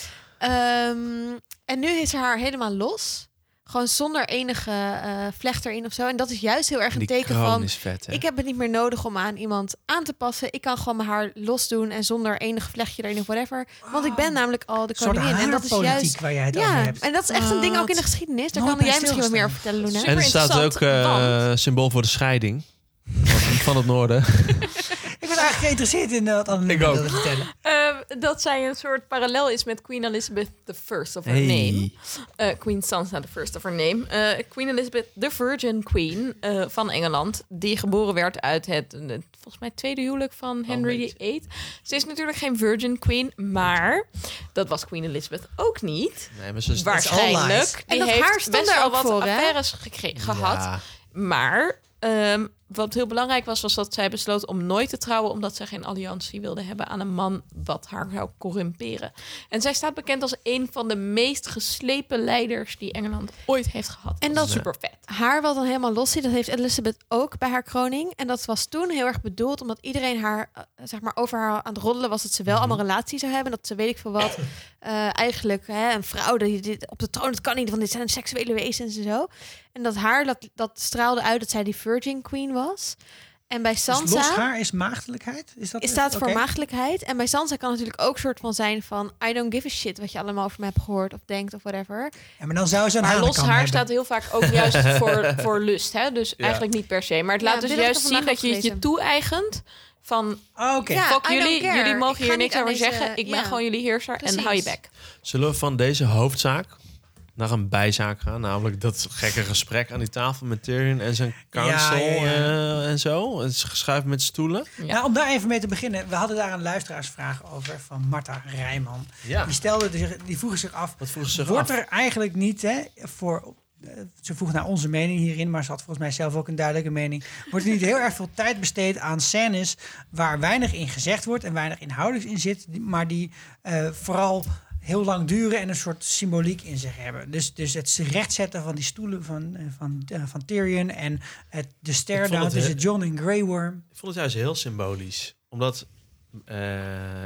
Ehm, en nu is haar haar helemaal los. Gewoon zonder enige eh, vlecht erin of zo. En dat is juist heel erg En een die teken kroon van... is vet, hè? ik heb het niet meer nodig om aan iemand aan te passen. Ik kan gewoon mijn haar los doen en zonder enig vlechtje erin of whatever. Want ik ben namelijk al de Ah. Een soort koningin. En dat is haarpolitiek juist... waar jij het ja, over hebt. en dat is echt een ding ook in de geschiedenis. Daar Nooit kan bij jij misschien wel meer over vertellen, Luna. En er staat ook eh, symbool voor de scheiding van- van het noorden. Ik was eigenlijk geïnteresseerd in eh, wat Anne Ik ook. wilde vertellen. Ehm, dat zij een soort parallel is met Queen Elizabeth I of her Hey. name. Eh, Queen Sansa I of her name. Eh, Queen Elizabeth, de Virgin Queen eh, van Engeland. Die geboren werd uit het, eh, volgens mij, tweede huwelijk Oh, van Henry VIII. Ze is natuurlijk geen Virgin Queen, maar dat was Queen Elizabeth ook niet. Nee, maar ze Dus is- Waarschijnlijk. It's all lies. En Die dat heeft haar stond best daar wel ook wat voor, hè? affaires gekre- gehad. Ja. Maar ehm, wat heel belangrijk was, was dat zij besloot om nooit te trouwen, omdat zij geen alliantie wilde hebben aan een man wat haar zou corrumperen. En zij staat bekend als een van de meest geslepen leiders die Engeland ooit heeft gehad. En dat super vet. Haar wat dan helemaal los zit, dat heeft Elizabeth ook bij haar kroning. En dat was toen heel erg bedoeld, omdat iedereen haar, eh, zeg maar, over haar aan het roddelen was dat ze Mhm. wel allemaal relaties zou hebben. Dat ze weet ik veel wat. eh, eigenlijk hè, een vrouw die dit op de troon, dat kan niet, want dit zijn seksuele wezens en zo. En dat haar, dat, dat straalde uit dat zij die Virgin Queen was. En bij Dus Sansa. los haar is maagdelijkheid? Is dat Is staat voor oké? maagdelijkheid. En bij Sansa kan natuurlijk ook soort van zijn van... I don't give a shit wat je allemaal over me hebt gehoord of denkt of whatever. Ja, maar dan zou ze een Maar los hanenkam haar hebben. staat heel vaak ook juist voor, voor lust. Hè? Dus Ja. eigenlijk niet per se. Maar het Ja, laat dus dit heb ik juist er zien vandaag dat je het je gelezen. toe-eigent. Van, oké. Ja, fuck I don't jullie, care. jullie Ik mogen ga hier niet niks aan over deze- zeggen. Ik ja. ben gewoon jullie heerser en Precies. hou je bek. Zullen we van deze hoofdzaak naar een bijzaak gaan? Namelijk dat gekke gesprek aan die tafel met Tyrion en zijn council Ja, ja, ja. eh, en zo. Het is geschuift met stoelen. Nou, om daar even mee te beginnen. We hadden daar een luisteraarsvraag over van Marta Rijman. Ja. Die, stelde, zich- die vroeg zich af, Wat vroegen ze zich wordt af? er eigenlijk niet hè, voor... eh, Ze vroeg naar onze mening hierin, maar ze had volgens mij zelf ook een duidelijke mening. Wordt er niet heel erg veel tijd besteed aan scènes waar weinig in gezegd wordt en weinig inhoudelijk in zit, die- maar die eh, vooral heel lang duren en een soort symboliek in zich hebben. Dus, dus het rechtzetten van die stoelen van, eh, van, eh, van Tyrion en het, de Ik stare vond down het tussen he- John en Grey Worm. Ik vond het juist heel symbolisch. Omdat eh,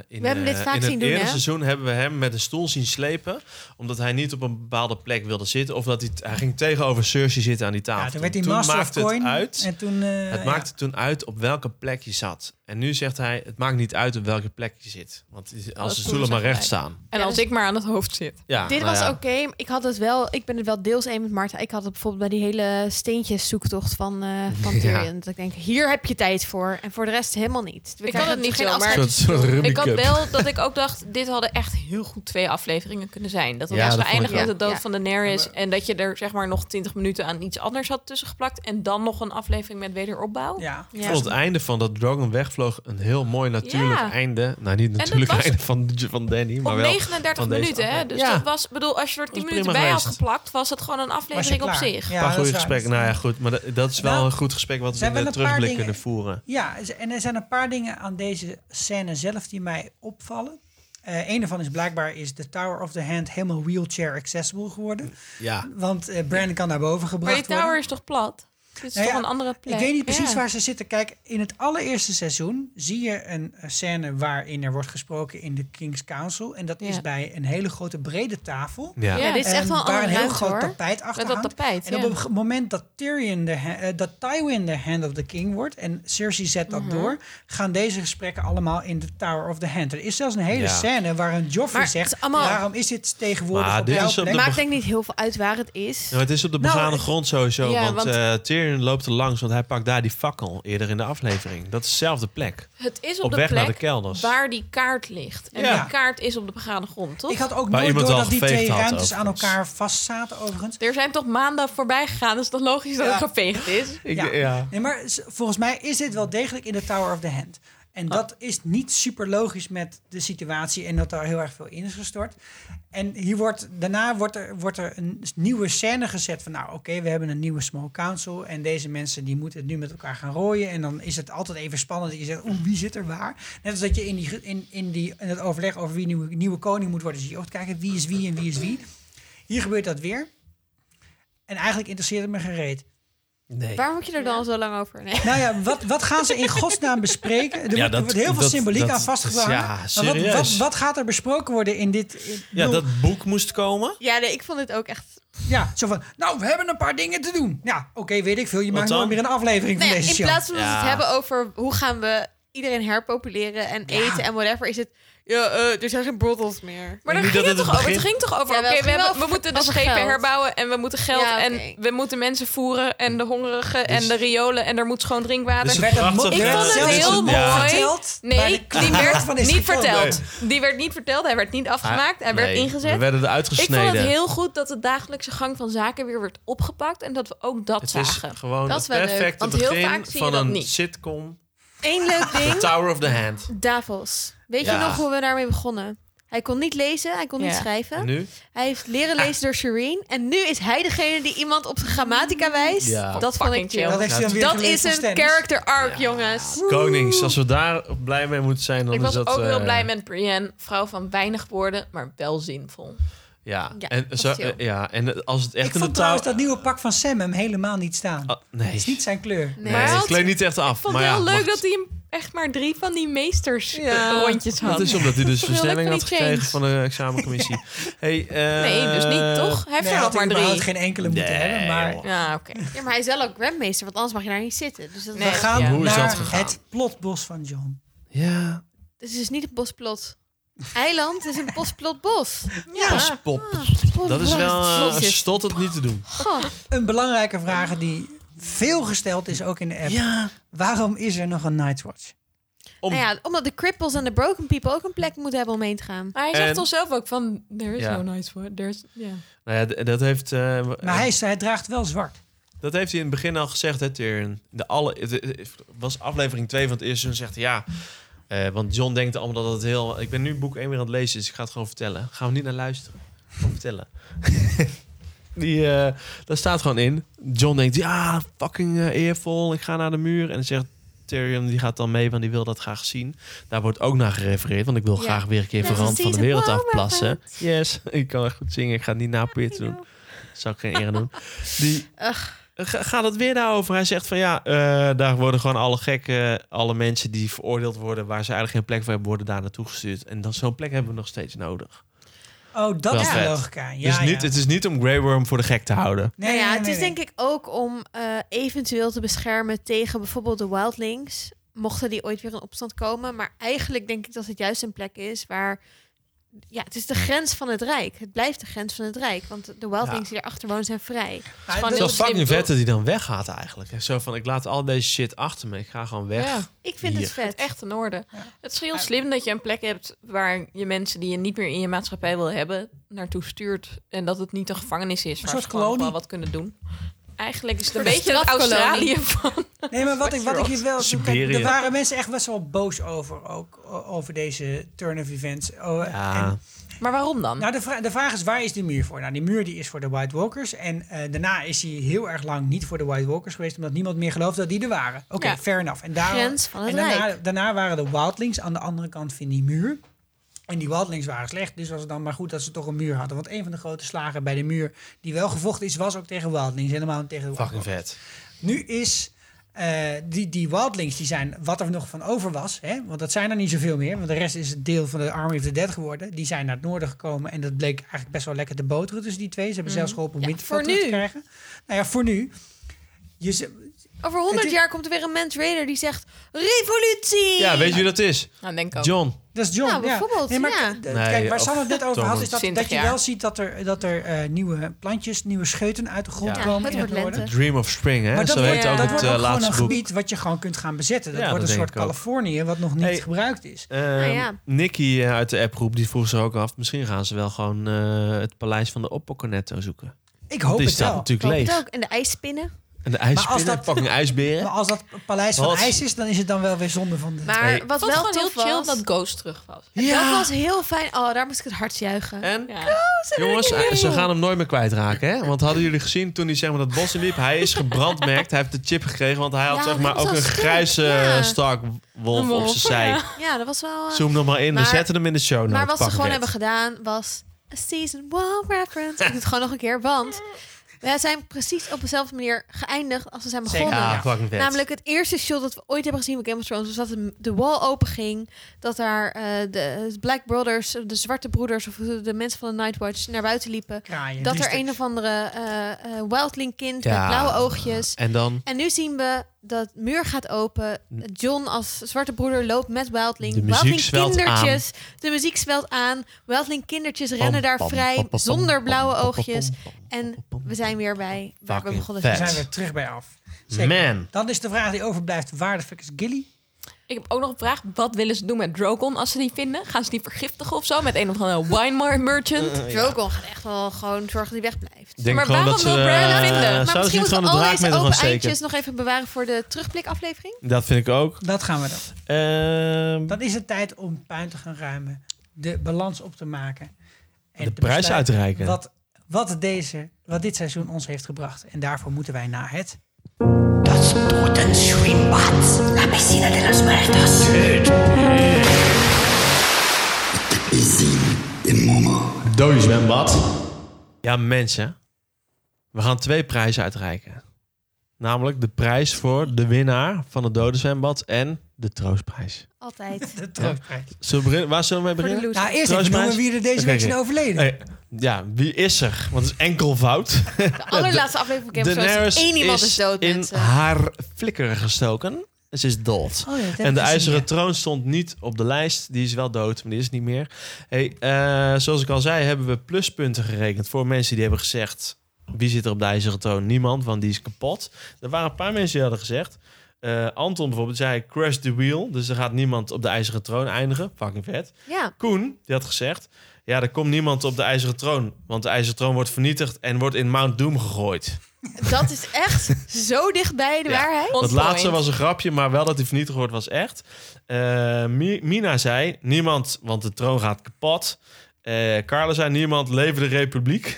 in, We hebben dit eh, vaak in zien het doen, eerste hè? seizoen hebben we hem met een stoel zien slepen. Omdat hij niet op een bepaalde plek wilde zitten. Of dat hij, t- hij ging tegenover Cersei zitten aan die tafel. Ja, toen werd hij toen Master of maakte Coin. het uit. En toen, eh, het maakte toen uit op welke plek je zat. En nu zegt hij, het maakt niet uit op welke plek je zit. Want als de stoelen maar recht staan. En als ik maar aan het hoofd zit. Ja, Dit nou was ja. oké. maar Ik had het wel. Ik ben het wel deels een met Marta. Ik had het bijvoorbeeld bij die hele steentjeszoektocht van, eh van Ja. Tyrion. Dat ik denk, hier heb je tijd voor. En voor de rest helemaal niet. We Ik had krijgen het niet geen zo, maar afscheid. ik had wel dat ik ook dacht, dit hadden echt heel goed twee afleveringen kunnen zijn. Dat we Ja, ja, dat vond ik eindigen met ook. de dood Ja. van Daenerys en dat je er zeg maar nog 20 minuten aan iets anders had tussengeplakt en dan nog een aflevering met wederopbouw. Ja. Ik vond het einde van dat Dragon wegvloog een heel mooi natuurlijk Ja. einde. Nou, niet dat natuurlijk was einde van, van Danny, maar Op wel 39 van deze minuten, hè? aflevering. Dus ja, dat was, bedoel, als je er 10 prima minuten bij had geweest. geplakt, was het gewoon een aflevering op klaar. zich. Ja, paar dat goede is waar. gesprekken. Nou ja, goed. Maar dat, dat is wel Nou, een goed gesprek wat ze we in hebben de een paar terugblik dingen- kunnen voeren. Ja, z- en er zijn een paar dingen aan deze scène zelf die mij opvallen. Eh een daarvan is blijkbaar is de Tower of the Hand helemaal wheelchair accessible geworden. Ja. Want eh Brandon kan naar boven Maar die gebracht tower worden. is toch plat? Dit is Nou toch ja, een andere plek. Ik weet niet precies Ja. waar ze zitten. Kijk, in het allereerste seizoen zie je een eh, scène waarin er wordt gesproken in de King's Council. En dat is Ja. bij een hele grote brede tafel. Ja. Ja, dit is En echt wel een Waar een andere Ehm, heel ruimte, groot hoor. tapijt Met achter dat hangt. tapijt, En op ja. het ge- moment dat, Tyrion de, ha- eh, dat Tywin de Hand of the King wordt en Cersei zet dat Mhm. door, gaan deze gesprekken allemaal in de Tower of the Hand. Er is zelfs een hele Ja. scène waarin Joffrey Maar het zegt, is allemaal- waarom is dit tegenwoordig Maar op dit jouw is op de plek? beg- Maakt denk ik niet heel veel uit waar het is. Ja, maar het is op de Nou, begane ik- grond sowieso, Ja, want, want- eh Tyrion loopt er langs, want hij pakt daar die fakkel eerder in de aflevering. Dat is dezelfde plek. Het is op, Op de weg plek naar de kelders. waar die kaart ligt. En Ja. die kaart is op de begane grond, toch? Ik had ook Waar nooit iemand door al dat die geveegd twee had, ruimtes aan overigens. elkaar vastzaten overigens. Er zijn toch maanden voorbij gegaan, dus dat logisch dat Ja. het geveegd is. ja. Nee, maar s- volgens mij is dit wel degelijk in de Tower of the Hand. En dat is niet super logisch met de situatie en dat daar heel erg veel in is gestort. En hier wordt, daarna wordt er, wordt er een s- nieuwe scène gezet van, nou oké, we hebben een nieuwe small council en deze mensen die moeten het nu met elkaar gaan rooien. En dan is het altijd even spannend dat je zegt, oeh, wie zit er waar? Net als dat je in, die, ge- in, in, die, in het overleg over wie nieuwe, nieuwe koning moet worden, zie je ook te kijken wie is wie en wie is wie. Hier gebeurt dat weer. En eigenlijk interesseert het me gereed. Nee. Waar moet je er dan zo lang over? Nee. Nou ja, wat, wat gaan ze in godsnaam bespreken? Er, Ja, wordt, er dat- wordt heel veel dat- symboliek dat- aan vastgehangen. ja, Maar wat, serieus. wat, wat gaat er besproken worden in dit... ik Ja, bedoel, dat boek moest komen. Ja, nee, ik vond dit ook echt... ja, zo van, nou, we hebben een paar dingen te doen. Ja, oké, weet ik veel. Je maakt dan? nooit meer een aflevering Nou ja, van deze in show. plaats van dat we het Ja. hebben over hoe gaan we iedereen herpopuleren en eten en whatever, is het... Ja, eh, er zijn geen brothels meer. Maar daar niet ging dat het het, toch het over? Het begin- ging toch over, Ja, oké, wel, het we, ging hebben- wel we moeten de over schepen geld. herbouwen en we moeten geld Ja, en we moeten mensen voeren en de hongerigen en Dus- de riolen en er moet schoon drinkwater. Dus het Werd het prachtig- mo- ik werd vond het zelfs heel het- ja. mooi. verteld? Waar Nee, de die knaap werd van is niet gekomen. verteld. Die werd niet verteld, hij werd niet afgemaakt, hij werd nee, ingezet. we werden eruit Ik vond gesneden. het heel goed dat de dagelijkse gang van zaken weer werd opgepakt en dat we ook dat Het is zagen. gewoon dat het perfecte want begin heel vaak zie je van dat een niet. sitcom. Eén leuk The ding. Tower of the Hand. Davos. Weet je Ja. nog hoe we daarmee begonnen? Hij kon niet lezen, hij kon niet schrijven. En nu? Hij heeft leren lezen door Shireen. En nu is hij degene die iemand op de grammatica wijst. Ja. Dat vond ik Fucking Mm. chill. chill. Dat heeft hij dan weer Dat geleerd is van een Stannis. character arc, jongens. Konings, als we daar blij mee moeten zijn, dan Ik is was dat... ook heel eh, blij met Brienne, vrouw van weinig woorden, maar wel zinvol. Ja, Ja, en, dat zo, is chill. eh, ja, en als het echt Ik in de vond trouwens Tower... dat nieuwe pak van Sam hem helemaal niet staan. nee. Het is niet zijn kleur. Nee, Maar het had- kleedt niet echt af. Ik vond maar het ja, wel leuk mag- dat hij hem echt maar drie van die meesters eh, rondjes had. Dat is omdat hij dus Vond ik wel versnelling leuk had van die gekregen chains. van de examencommissie. Hey, eh, Nee, dus niet, toch? Hij heeft Nee, er nog had hij maar drie. überhaupt geen enkele moeten Nee, hebben, maar... joh. Ja, oké. Ja, maar hij is wel ook grandmeester, want anders mag je daar niet zitten. Dus dat We is gaan Ja. Hoe is dat naar gegaan? het plotbos van John. Ja, Dus het is niet een bosplot. Eiland is een bosplot bos. Ja. Ah, Bospop. Dat is wel eh, stot het niet te doen. Een belangrijke vraag die veel gesteld is, ook in de app. Ja. Waarom is er nog een Nightwatch? Om- Nou ja, omdat de cripples en de broken people ook een plek moeten hebben om heen te gaan. Maar hij En- zegt toch zelf ook van, there is Ja. no nice word. There is, ja. Nou ja, d- dat heeft... eh, w- Maar hij, is- hij draagt wel zwart. Dat heeft hij in het begin al gezegd, hè, Tyrion. De alle, het, het was aflevering 2 van het eerste seizoen. Zegt hij, ja, eh, want John denkt allemaal dat het heel... Ik ben nu boek 1 weer aan het lezen, dus ik ga het gewoon vertellen. Gaan we niet naar luisteren. Gewoon vertellen. Die, eh, daar staat gewoon in. John denkt, ja, fucking eh, eervol. Ik ga naar de muur. En dan zegt Tyrion, die gaat dan mee, want die wil dat graag zien. Daar wordt ook naar gerefereerd, want ik wil Ja. graag weer een keer Dat van is rand van de season wereld one, afplassen. Yes, ik kan echt goed zingen. Ik ga het niet napoeëren doen. Dat zou ik geen eer aan doen. Die, Ga- gaat het weer daarover? Hij zegt van ja, eh, daar worden gewoon alle gekken, alle mensen die veroordeeld worden, waar ze eigenlijk geen plek voor hebben, worden daar naartoe gestuurd. En dan zo'n plek hebben we nog steeds nodig. Oh, dat Wel is de vet. logica. Ja, dus ja. niet, het is niet om Grey Worm voor de gek te houden. Nee, nou ja, nee, het nee, is denk ik ook om eh, eventueel te beschermen tegen bijvoorbeeld de wildlings. Mochten die ooit weer in opstand komen. Maar eigenlijk denk ik dat het juist een plek is waar... Ja, het is de grens van het Rijk. Het blijft de grens van het Rijk. Want de wildlings die erachter wonen zijn vrij. Het is wel fucking vet dat hij dan weggaat eigenlijk. En zo van, ik laat al deze shit achter me, ik ga gewoon weg. Ja. Ik vind Hier. het vet. Echt in orde. Het is heel slim dat je een plek hebt waar je mensen die je niet meer in je maatschappij wil hebben, naartoe stuurt. En dat het niet een gevangenis is, waar soort ze gewoon nog wel kolonie. wat kunnen doen. Eigenlijk is het een Een beetje het strafkolonie. Australië van... Nee, maar wat ik, wat ik hier wel... Kijk, Siberië. er waren mensen echt best wel boos over, ook o- over deze turn of events. Oh, Ja. en- Maar waarom dan? nou, de, vra- de vraag is, waar is die muur voor? Nou, die muur die is voor de White Walkers. En eh, daarna is hij heel erg lang niet voor de White Walkers geweest... omdat niemand meer geloofde dat die er waren. Oké, Ja. fair enough. En, daar, Grens van het en daarna, Rijk. daarna waren de Wildlings aan de andere kant van die muur... En die wildlings waren slecht, dus was het dan maar goed dat ze toch een muur hadden. Want een van de grote slagen bij de muur die wel gevochten is, was ook tegen wildlings. Helemaal niet tegen de Fucking vet. Nu is eh, die, die wildlings, die zijn wat er nog van over was. Hè? Want dat zijn er niet zoveel meer. Want de rest is het deel van de Army of the Dead geworden. Die zijn naar het noorden gekomen. En dat bleek eigenlijk best wel lekker te boteren tussen die twee. Ze hebben zelfs geholpen om Mhm. Ja, Winterfell voor terug te nu. krijgen. Nou ja, voor nu. Je, z- Over 100 jaar komt er weer een mens Raider die zegt: Revolutie! Ja, weet je wie dat is? Nou, denk ik ook. John. Dat is John. Nou, bijvoorbeeld, maar, ja. k- d- Nee, kijk, waar of Sam het net over had, is dat, 20 dat je jaar. wel ziet dat er, dat er eh, nieuwe plantjes, nieuwe scheuten uit de grond Ja, komen. het in wordt noorden. lente. Dream of Spring, hè? Maar dat Zo wordt, heet dat ook het, wordt eh, gewoon laatste een boek. gebied wat je gewoon kunt gaan bezetten. Dat Ja, wordt dat een denk soort ik ook. Californië wat nog niet Hey, gebruikt is. Eh, Nou ja. Nicky eh, uit de appgroep die vroeg zich ook af. Misschien gaan ze wel gewoon eh, het paleis van de Oppoconetto zoeken. Ik Want hoop die het staat wel. natuurlijk Ik hoop leeg. het ook. En de ijspinnen. En de Maar als ijsberen, dat- fucking ijsberen. Maar als dat paleis van Wat? ijs is, dan is het dan wel weer zonde van de... Maar Hey. wat vond het wel gewoon heel tof was, chill dat Ghost terug was. dat was heel fijn. Oh, daar moest ik het hart juichen. En? Ja. Jongens, eh, ze gaan hem nooit meer kwijtraken, hè? Want hadden jullie gezien toen hij zeg maar, dat bos in liep? Hij is gebrandmerkt, hij heeft de chip gekregen, want hij had Ja, zeg dat maar was ook al een stuk, grijze ja. eh, Stark wolf Een op wolf, zijn zij. ja. Ja, dat was wel... eh, Zoem nog maar in, Maar- we zetten hem in de show notes. maar wat ze Pak gewoon het. hebben gedaan was... A season one reference. Ik doe het gewoon nog een keer, want... We zijn precies op dezelfde manier geëindigd als we zijn Zeker. begonnen. Ah, fucking vet. Namelijk het eerste shot dat we ooit hebben gezien van Game of Thrones... was dat de- de wall open ging. Dat daar eh, de Black Brothers, de Zwarte Broeders... of de mensen van de Nightwatch naar buiten liepen. Kraaien, Dus dat er driesters. een of andere eh, eh, wildling kind Ja. met blauwe oogjes... En dan En nu zien we dat muur gaat open. John als zwarte broeder loopt met Wildling. De muziek Wildling zwelt kindertjes. De muziek zwelt aan. Wildling kindertjes rennen daar pam, vrij pam, pam, zonder pam, blauwe pam, pam, oogjes. En we zijn weer bij waar we Fucking begonnen vet. We zijn weer terug bij af. Man. Dan is de vraag die overblijft, waar de fuck is Gilly? Ik heb ook nog een vraag. Wat willen ze doen met Drogon als ze die vinden? Gaan ze die vergiftigen of zo? Met een of andere wine mer- merchant? Eh, Drogon gaat echt wel gewoon zorgen dat hij wegblijft. Ik denk Maar gewoon waarom dat ze... wil Bran dat eh, vinden? Maar zouden ze Misschien niet moeten gewoon we een al draak met deze hem gaan open steken? eindjes nog even bewaren voor de terugblikaflevering. Dat vind ik ook. Dat gaan we dan. Ehm, Dan is het tijd om puin te gaan ruimen. De balans op te maken. En De te prijs besluiten uit te reiken. Wat, wat, deze, wat dit seizoen ons heeft gebracht. En daarvoor moeten wij naar het... Los Schwimbats, la piscina de los muertos. Dode zwembad. Ja, mensen. We gaan twee prijzen uitreiken. Namelijk de prijs voor de winnaar van het dode zwembad en de troostprijs. Altijd. De troostprijs. Zullen we beginnen? Waar zullen we mee Voor de beginnen? Nou, eerst even noemen wie er deze Oké, week zijn oké. overleden. Eh, ja, wie is er? Want het is enkel fout. De allerlaatste aflevering van Game of Thrones. Daenerys is Één iemand is is dood, in mensen. haar flikker gestoken. Ze is dood. Oh ja, dat heb ik en de gezien, IJzeren ja. Troon stond niet op de lijst. Die is wel dood, maar die is niet meer. Hey, eh, zoals ik al zei, hebben we pluspunten gerekend voor mensen die hebben gezegd... wie zit er op de IJzeren Troon? Niemand, want die is kapot. Er waren een paar mensen die hadden gezegd... eh, Anton bijvoorbeeld zei crash the wheel. Dus er gaat niemand op de IJzeren Troon eindigen. Fucking vet. Ja. Koen, die had gezegd... ja, er komt niemand op de IJzeren Troon. Want de IJzeren Troon wordt vernietigd en wordt in Mount Doom gegooid. Dat is echt zo dichtbij de Ja. waarheid. Dat Ontplooiend. laatste was een grapje, maar wel dat hij vernietigd wordt was echt. Eh, Mi- Mina zei, niemand, want de troon gaat kapot. Eh Carla zei, niemand, leven de republiek.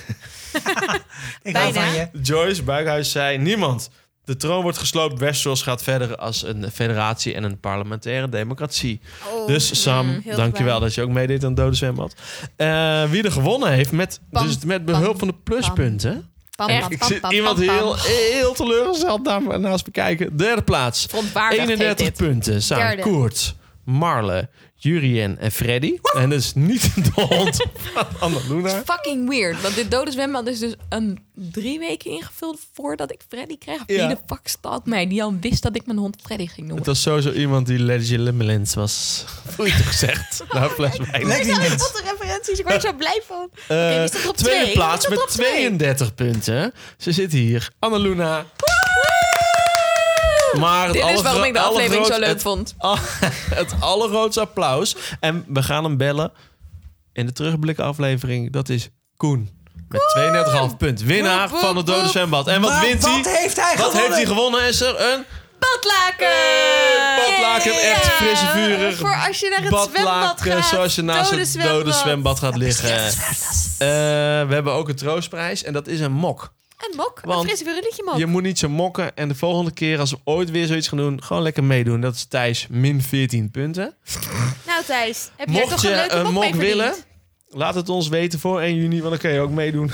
Ik Bijna. hou van je. Joyce Buikhuis zei, niemand, de troon wordt gesloopt. Westeros gaat verder als een federatie en een parlementaire democratie. Oh, dus Sam, mm, heel dankjewel blij. dat je ook meedeed aan het Dode Zwembad. Eh, wie er gewonnen heeft, met, Pam, dus met behulp pam, van de pluspunten... Pam, Echt, pam, ik pam, zit pam, iemand pam, pam. heel, heel teleurgesteld daar- naast me kijken. Derde plaats. Verontwaardigd heet 31 dit. punten. Samen Derde. Koert, Marle, Jurien en Freddy. En dat is niet de hond van Anna Luna. Fucking weird. Want dit dode zwembad is dus een drie weken ingevuld voordat ik Freddy kreeg. Ja. Wie de fuck staat mij die al wist dat ik mijn hond Freddy ging noemen? Het was sowieso iemand die legitimate was. Vloeiend gezegd. Nou, fles wijn. Ik zag wat de referenties. Ik word er zo blij van. Oké, wie Eh, staat er op tweede twee? Wie plaats staat er met op twee? 32 punten. Ze zit hier. Anna Luna. Maar het Dit is allergro- waarom ik de aflevering zo allergroot- leuk het vond. Ah, het allergrootste applaus. En we gaan hem bellen in de terugblikaflevering. Dat is Koen. Met 32,5 punt. Winnaar Woep, woep, van het Dode woep. Zwembad. En wat Maar wint wat hij? heeft hij Wat gewonnen? heeft hij gewonnen? Is er een Badlaken! Eh, badlaken. Echt Ja, frisse, vurig Voor als je naar het zwembad badlaken. gaat. Zoals je naast dode het dode zwembad gaat liggen. Eh, we hebben ook een troostprijs. En dat is een mok. En mok. Want een frisse, vurig mok. Je moet niet zo mokken. En de volgende keer als we ooit weer zoiets gaan doen, gewoon lekker meedoen. Dat is Thijs min 14 punten. Nou Thijs, heb jij Mocht toch een je leuke een mok mee mok willen, verdiend? Laat het ons weten voor 1 juni, want dan kun je ook meedoen.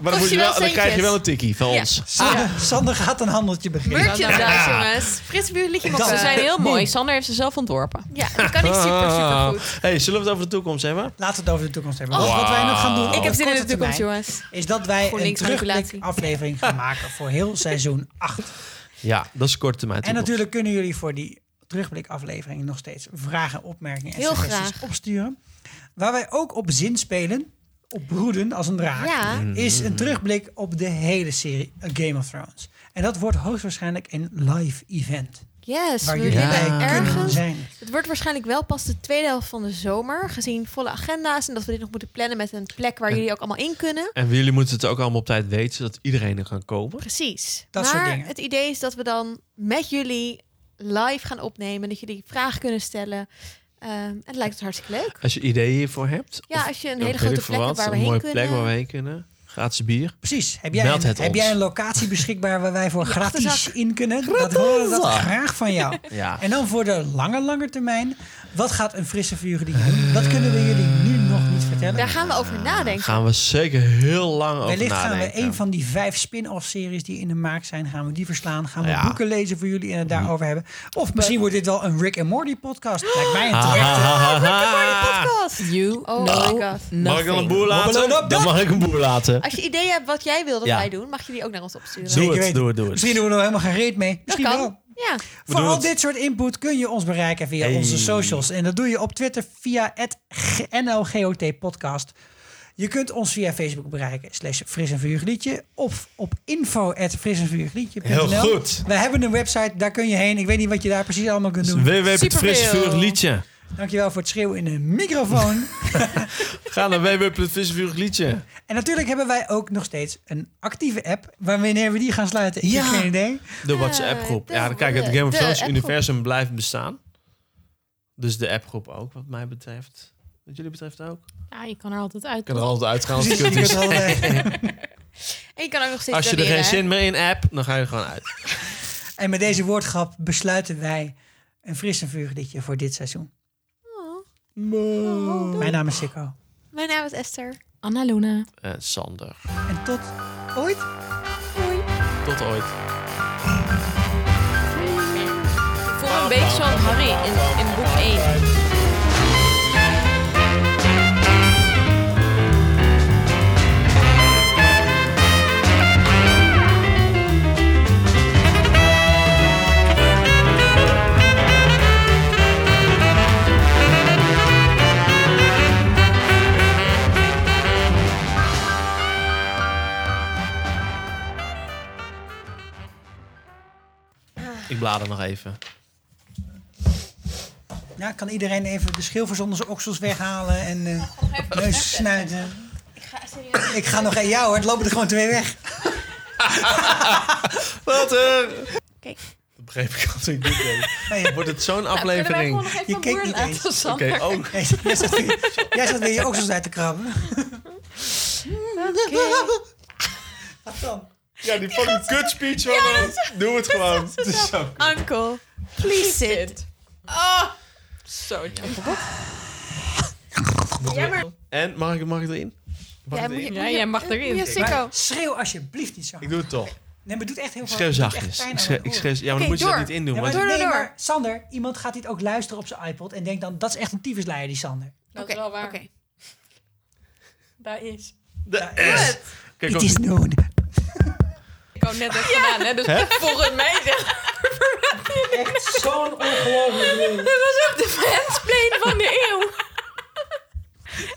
maar dan, moet je wel wel, dan krijg je centjes. wel een tikkie van Ja. ons. Sander, Ah, Sander gaat een handeltje beginnen. Merchandise, Ja. jongens. Frits Buurliedje mag Ze wel. zijn heel Boom. mooi. Sander heeft ze zelf ontworpen. Ja, dat kan ik super, super goed. Hey, zullen we het over de toekomst hebben? Laten we het over de toekomst hebben. Oh. Want Wat wij nog gaan doen Ik heb op zin in de korte toekomst, termijn, jongens. Is dat wij een GroenLinks terugblik manipulatie. aflevering gaan maken voor heel seizoen 8. Ja, dat is kort termijn. En toekomst. natuurlijk kunnen jullie voor die terugblikaflevering nog steeds vragen, opmerkingen en Heel suggesties graag. opsturen. Waar wij ook op zin spelen, op broeden als een draak, Ja. is een terugblik op de hele serie A Game of Thrones. En dat wordt hoogstwaarschijnlijk een live event. Yes, waar we jullie liggen bij kunnen ergens. zijn. Het wordt waarschijnlijk wel pas de tweede helft van de zomer, gezien volle agenda's en dat we dit nog moeten plannen met een plek waar jullie ook allemaal in kunnen. En jullie moeten het ook allemaal op tijd weten, zodat iedereen er kan komen. Precies. Dat maar soort dingen. het idee is dat we dan met jullie live gaan opnemen, dat jullie vragen kunnen stellen. Ehm, en het lijkt ons hartstikke leuk. Als je ideeën hiervoor hebt. Ja, of als je een weet hele ik grote veel plek hebt waar we een heen mooie plek kunnen. waar we heen kunnen. Gratis bier. Precies. Heb jij, Meld een, het heb ons. jij een locatie beschikbaar waar wij voor Je gratis achterzak. in kunnen? Dat horen we dat Gratis. graag van jou. Ja. En dan voor de lange, lange termijn. Wat gaat een frisse vuurgedier doen? Dat kunnen we jullie nu nog niet vertellen. Daar gaan we over Daar nadenken. gaan we zeker heel lang over Wellicht gaan we nadenken. een van die vijf spin-off series die in de maak zijn, gaan we die verslaan. Gaan we Ja. Mhm. boeken lezen voor jullie en het daarover hebben. Of misschien wordt dit wel een Rick en Morty podcast. Lijkt mij een Ah, terechte. ah, ah, Podcast! You Oh know my god. Mag ik dan een boer laten? Hobbelen op Dan mag ik een boer laten. Als je ideeën hebt wat jij wil dat Ja. wij doen, mag je die ook naar ons opsturen. Doe Zeker het, weten. doe het, doe het. Misschien doen we er helemaal geen reet mee. Dat Misschien wel. kan. Ja. Voor doen al het. dit soort input kun je ons bereiken via Hey. onze socials. En dat doe je op Twitter via het NLGOT podcast. Je kunt ons via Facebook bereiken, slash fris en vurig liedje. Of op info at fris en vurig liedje punt Heel nl. goed. Dus We hebben een website, daar kun je heen. Ik weet niet wat je daar precies allemaal kunt doen. www.frisvurig liedje. Dankjewel voor het schreeuwen in de microfoon. Ga naar www.frisvurig liedje. en natuurlijk hebben wij ook nog steeds een actieve app. Waar wanneer we die gaan sluiten, ik Ja. heb geen idee. Eh, De WhatsApp groep. de- ja, dan kijk, het Game of de Thrones appgroep. universum blijft bestaan. Dus de appgroep ook, wat mij betreft. Wat jullie betreft ook. Ja, je kan er altijd uit. Ik kan er altijd uitgaan als het Precies, kut Dus je is. kunt er altijd En je kan ook nog steeds Als je er doneren, geen hè? zin meer in hebt, dan ga je er gewoon uit. En met deze woordgrap besluiten wij een fris en vurig liedje voor dit seizoen. Oh. Mijn naam is Sikko. Mijn naam is Esther. Anna Luna. Eh, Sander. En tot ooit. Tot ooit. Ik voel me een beetje zoals Harry in, in boek 1. Ik blader nog even. Ja, kan iedereen even de schilvers onder zijn oksels weghalen en eh neus snuiten. Ik ga nog aan jou hoor, het lopen er gewoon twee weg. Wat er? Kijk. Dat begreep ik als ik dit Nee, deed. je- Wordt het zo'n kunnen wij aflevering? gewoon nog even Je een keek boer niet laten, eens. Oké, Sander? ook. Nee, jij, zat weer, jij zat weer je oksels uit te krabben. Wat dan? Ja, die fucking kut speech van hem. Doe het gewoon. Het is zo kut. Uncle, please sit. Oh, zo jammer. Jammer. En, mag ik, mag ik erin? Mag Ja, ik moet je- erin? Ja, jij mag erin. Ja, sicko. Schreeuw alsjeblieft niet zo. Ik doe het toch. Nee, maar het doet echt heel Ik veel schreeuw het doet echt zachtjes. pijn Ik aan schreeuw, het ik horen. schreeuw, ja, maar Oké, dan moet je dat door. niet indoen. Ja, maar want- door, nee, door, door. maar Sander, iemand gaat dit ook luisteren op zijn iPod en denkt dan, dat is echt een tyfusleier, die Sander. Dat Oké, Nou, is wel waar. oké. Daar is. De S. Kijk, Het ook- is noon. Ik had net echt gedaan, hè? Dus volgens mij zegt... Echt zo'n ongelooflijk ding. Dit was ook de fansplane van de eeuw.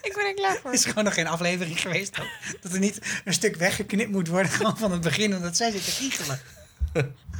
Ik ben er klaar voor. Het is gewoon nog geen aflevering geweest. ook. Dat er niet een stuk weggeknipt moet worden gewoon van het begin, omdat zij zitten giechelen.